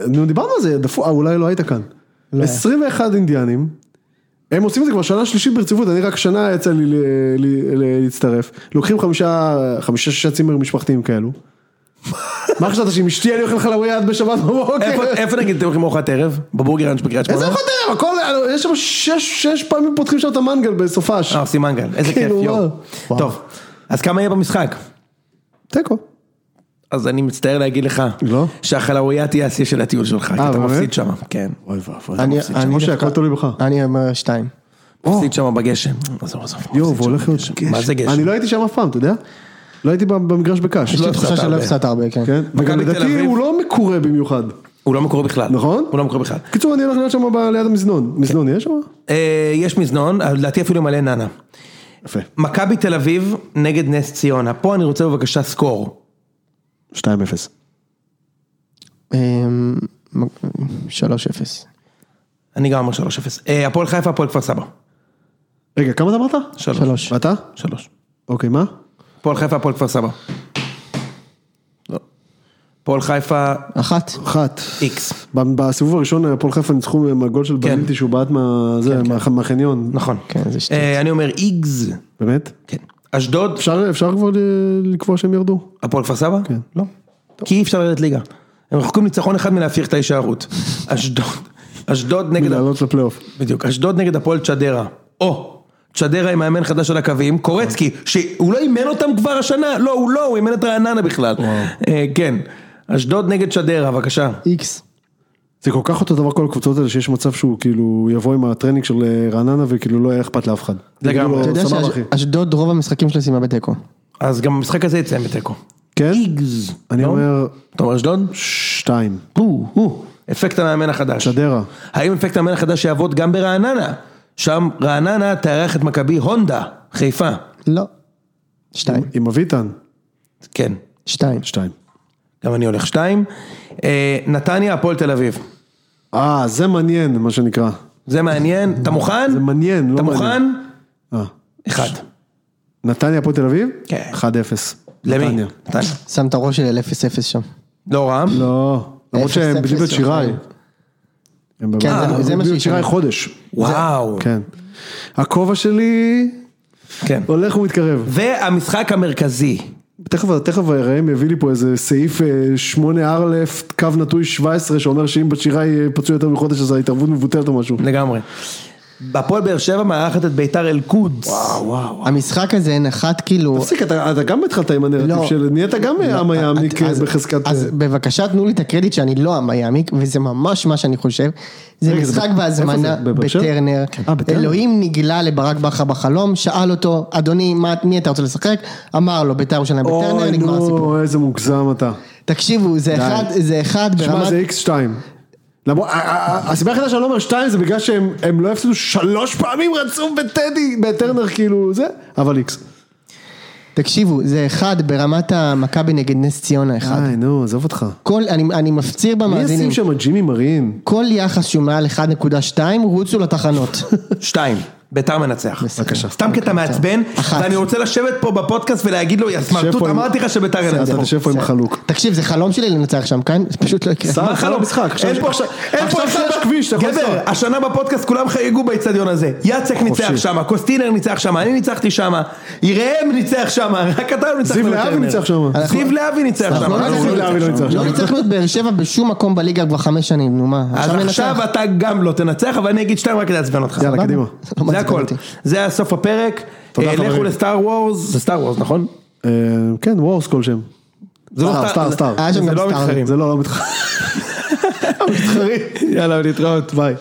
Speaker 3: נו, דיברנו על זה, דפו, אה, אולי לא היית כאן. 21 אינדיאנים, הם עושים את זה כבר שנה שלישית ברציפות, אני רק שנה יצא לי ל... ל... ל... להצטרף. לוקחים חמישה, חמישה שישה צימרים משפחתיים כאלו. מה חשבת שעם אשתי אני אוכל חלאווי עד בשבת בבוקר?
Speaker 2: איפה- איפה נגיד אתם הולכים לארוחת ערב? בבורגראנץ' בקריית שמונה?
Speaker 3: איזה אוכל תראה, הכל, יש שם שש, שש פעמים פותחים שם את המנגל בסופש.
Speaker 2: אה, עושים מנגל, איזה כיף,
Speaker 3: כאילו,
Speaker 2: יואו.
Speaker 3: מה?
Speaker 2: טוב, אז כמה יהיה במשחק?
Speaker 3: תיקו.
Speaker 2: אז אני מצטער להגיד לך,
Speaker 3: לא? אה,
Speaker 2: שהחלאויה תהיה השיא של הטיול שלך, כי אתה
Speaker 3: באמת?
Speaker 2: מפסיד שם, כן.
Speaker 3: אוי ואבוי.
Speaker 4: אני- אני
Speaker 3: משה, הכל
Speaker 4: דווקא-
Speaker 3: תלוי בך.
Speaker 4: אני אומר שתיים.
Speaker 3: לא
Speaker 2: מפסיד שם בגשם. עזוב, עזוב.
Speaker 3: יואו,
Speaker 2: מפסיד שם
Speaker 3: והולך להיות
Speaker 2: בגשם.
Speaker 3: גשם.
Speaker 2: מה זה
Speaker 3: אני
Speaker 2: גשם?
Speaker 3: לא הייתי שם אף פעם, אתה יודע? לא הייתי במגרש בקש.
Speaker 4: יש לי
Speaker 2: לא
Speaker 4: תחושה
Speaker 2: הפסדת
Speaker 4: שלא
Speaker 2: הרבה.
Speaker 4: הפסדת הרבה, כן.
Speaker 3: כן, וגם
Speaker 2: מכבי תל
Speaker 3: לדעתי
Speaker 2: אביב.
Speaker 3: הוא לא מקורה במיוחד.
Speaker 2: הוא לא מקור בכלל.
Speaker 3: נכון?
Speaker 2: הוא לא מקור בכלל.
Speaker 3: קיצור, אני הולך להיות שם ב- ליד המזנון. מזנון יש שם?
Speaker 2: אה, יש מזנון, אבל לדעתי אפילו מלא נאנה.
Speaker 3: יפה.
Speaker 2: מכבי תל אביב נגד נס ציונה. פה אני רוצה בבקשה סקור.
Speaker 3: 2-0.
Speaker 4: אמ, מ- 3-0.
Speaker 2: אני גם אומר 3-0. אה, הפועל חיפה, הפועל כפר סבא.
Speaker 3: רגע, כמה אתה אמרת?
Speaker 2: 3.
Speaker 3: ואתה?
Speaker 2: 3.
Speaker 3: אוקיי, מה?
Speaker 2: הפועל חיפה, הפועל כפר סבא. לא. הפועל חיפה,
Speaker 4: אחת.
Speaker 3: אחת.
Speaker 2: איקס.
Speaker 3: ב- בסיבוב הראשון הפועל חיפה ניצחו מהגול של
Speaker 2: כן.
Speaker 3: בלילטי שהוא בעט מה- זה, מה- מהחניון.
Speaker 2: נכון.
Speaker 4: כן, זה שטות.
Speaker 2: אה, אני אומר איגז.
Speaker 3: באמת?
Speaker 2: כן. אשדוד,
Speaker 3: אפשר אפשר כבר ל- לקבוע שהם ירדו?
Speaker 2: הפועל כפר סבא? כן. לא. כי אי אפשר לרדת ליגה. הם רחוקים ניצחון אחד מלהפיך את ההישארות. אשדוד, אשדוד נגד,
Speaker 3: לעלות לפלייאוף.
Speaker 2: בדיוק, אשדוד נגד הפועל צ'דרה. או, צ'דרה עם מאמן חדש על הקווים, קורצקי, שהוא לא אימן אותם כבר השנה, לא, הוא לא, הוא אימן את רעננה בכלל. אה, כן. אשדוד נגד צ'דרה, בבקשה.
Speaker 3: אה.
Speaker 4: איקס.
Speaker 3: זה כל כך אותו דבר כל הקבוצות האלה שיש מצב שהוא כאילו יבוא עם הטרנינג של אה, רעננה וכאילו לא יהיה אכפת לאף אחד.
Speaker 2: לגמרי.
Speaker 3: יגידו לו,
Speaker 4: אתה יודע
Speaker 3: "סבבה, אחי."
Speaker 4: שאשדוד רוב המשחקים שלה סיימה בתיקו.
Speaker 2: אז גם המשחק הזה יצא בתיקו.
Speaker 3: כן?
Speaker 2: איגז.
Speaker 3: אני
Speaker 2: לא?
Speaker 3: אומר
Speaker 2: אתה אומר אשדוד?
Speaker 3: שתיים.
Speaker 2: או, או. אפקט המאמן החדש.
Speaker 3: שדרה.
Speaker 2: האם אפקט המאמן החדש יעבוד גם ברעננה? שם רעננה תארח את מכבי הונדה, חיפה.
Speaker 4: לא. שתיים.
Speaker 3: עם אביטן.
Speaker 2: כן,
Speaker 4: שתיים.
Speaker 3: שתיים.
Speaker 2: גם אני הולך שתיים. אה, נתניה, הפועל תל אביב.
Speaker 3: אה, זה מעניין, מה שנקרא.
Speaker 2: זה מעניין, אתה מוכן?
Speaker 3: זה מעניין,
Speaker 2: אתה
Speaker 3: לא
Speaker 2: מוכן?
Speaker 3: מעניין. אה.
Speaker 2: אחד.
Speaker 3: נתניה הפועל תל אביב?
Speaker 2: כן.
Speaker 3: 1-0.
Speaker 2: למי?
Speaker 3: נתניה.
Speaker 2: נתניה.
Speaker 4: שם את הראש שלי על 0-0 שם.
Speaker 2: לא רע.
Speaker 3: לא. למרות שהם
Speaker 4: אפס,
Speaker 3: בלי בית
Speaker 4: אפס,
Speaker 3: שיראי.
Speaker 4: אוקיי.
Speaker 3: הם
Speaker 4: כן,
Speaker 3: בבית.
Speaker 4: זה-
Speaker 3: הם
Speaker 4: זה מה
Speaker 3: בלי בית
Speaker 4: שישנה.
Speaker 3: שיראי חודש.
Speaker 2: וואו.
Speaker 3: כן. הכובע שלי
Speaker 2: כן.
Speaker 3: הולך ומתקרב.
Speaker 2: והמשחק המרכזי.
Speaker 3: תכף, תכף ראם יביא לי פה איזה סעיף 8 א' אה, קו נטוי 17 שאומר שאם בת שיראי אה, פצוי יותר מחודש אז ההתערבות מבוטלת או משהו.
Speaker 2: לגמרי. הפועל באר שבע מארחת את ביתר אל-קודס.
Speaker 3: וואו.
Speaker 4: המשחק הזה נחת כאילו...
Speaker 3: תפסיק, אתה אתה גם התחלת עם הנרטיב
Speaker 4: לא.
Speaker 3: של... נהיית גם
Speaker 4: לא,
Speaker 3: עם היעמיק
Speaker 4: אז-
Speaker 3: בחזקת... אה.
Speaker 4: אז בבקשה תנו לי את הקרדיט שאני לא עם היעמיק, וזה ממש מה שאני חושב. זה
Speaker 3: רגע, זה
Speaker 4: משחק
Speaker 3: ב-
Speaker 4: בהזמנה
Speaker 3: איפה זה? בבאר שבע?
Speaker 4: בטרנר.
Speaker 3: אה, בטרנר.
Speaker 4: אלוהים נגלה לברק בכר בחלום, שאל אותו, אדוני, מה- מי אתה רוצה לשחק? אמר לו, בית"ר ירושלים בטרנר,
Speaker 3: אוי,
Speaker 4: נגמר הסיפור.
Speaker 3: נו, איזה מוגזם אתה.
Speaker 4: תקשיבו, זה אחד, זה אחד
Speaker 3: תשמע,
Speaker 4: ברמת...
Speaker 3: זה איקס שתיים. למרות- ה- ה- ה- הסיבה היחידה שאני לא אומר שתיים זה בגלל שהם הם לא הפסידו שלוש פעמים רצוף בטדי, בטרנר כאילו זה, אבל איקס.
Speaker 4: תקשיבו, זה אחד ברמת המכבי נגד נס ציונה אחד.
Speaker 3: די, נו, עזוב אותך.
Speaker 4: כל, אני, אני מפציר
Speaker 3: מי
Speaker 4: במאזינים,
Speaker 3: ישים שם את ג'ימי מרין?
Speaker 4: כל יחס שהוא מעל 1.2 רוצו לתחנות.
Speaker 2: שתיים, ביתר מנצח.
Speaker 4: בבקשה.
Speaker 2: סתם כי אתה
Speaker 3: אוקיי,
Speaker 2: מעצבן,
Speaker 4: אחת.
Speaker 2: ואני רוצה לשבת פה בפודקאסט ולהגיד לו, יא
Speaker 3: שב
Speaker 2: סמרטוט,
Speaker 3: פה עם-
Speaker 2: אמרתי לך שביתר
Speaker 3: אתה
Speaker 2: ינצחו.
Speaker 3: תשב פה עם חלוק.
Speaker 4: תקשיב, כן, זה חלום שלי לנצח שם, כאן זה פשוט לא יקרה.
Speaker 3: סע, סע
Speaker 2: חלום?
Speaker 3: למשחק. עכשיו-
Speaker 2: אין פה
Speaker 3: עכשיו-
Speaker 2: אין פה
Speaker 3: עכשיו
Speaker 2: אחד
Speaker 3: סע בכביש, אתה יכול
Speaker 2: גבר,
Speaker 3: לנסוע.
Speaker 2: השנה בפודקאסט כולם חייגו באיצטדיון הזה. יאצק ניצח שמה, קוסטינר ניצח שמה, אני ניצחתי שמה, יראם ניצח שמה, רק אתה לא ניצח
Speaker 3: זיו
Speaker 2: בטרנר.
Speaker 3: להבי ניצח שמה.
Speaker 2: זיו להבי ניצח
Speaker 4: אנחנו
Speaker 2: שמה.
Speaker 4: לא
Speaker 3: מה זה זיו להבי לא ניצח
Speaker 4: לא
Speaker 3: שם?
Speaker 4: ניצחנו את באר שבע בשום מקום בליגה כבר חמש שנים, נו מה.
Speaker 2: אז עכשיו
Speaker 4: ננצח.
Speaker 2: אתה גם לא תנצח, אבל אני אגיד שתיים רק כדי לעצבן אותך.
Speaker 3: יאללה, קדימה.
Speaker 4: לא
Speaker 2: זה
Speaker 4: מעצבן
Speaker 2: הכל.
Speaker 4: אותי.
Speaker 2: זה הסוף הפרק.
Speaker 3: תודה,
Speaker 2: אה, לכו
Speaker 3: חברים.
Speaker 2: לסטאר וורס, זה סטאר וורס, נכון?
Speaker 3: אה, כן, וורס כלשהם.
Speaker 2: זה לא
Speaker 3: סטאר, סטאר, סטאר.
Speaker 4: היה שם
Speaker 2: זה
Speaker 4: גם
Speaker 2: לא
Speaker 4: סטאר.
Speaker 2: מתחרים.
Speaker 3: זה לא, לא מתחרים.
Speaker 2: יאללה, להתראות.
Speaker 3: ביי.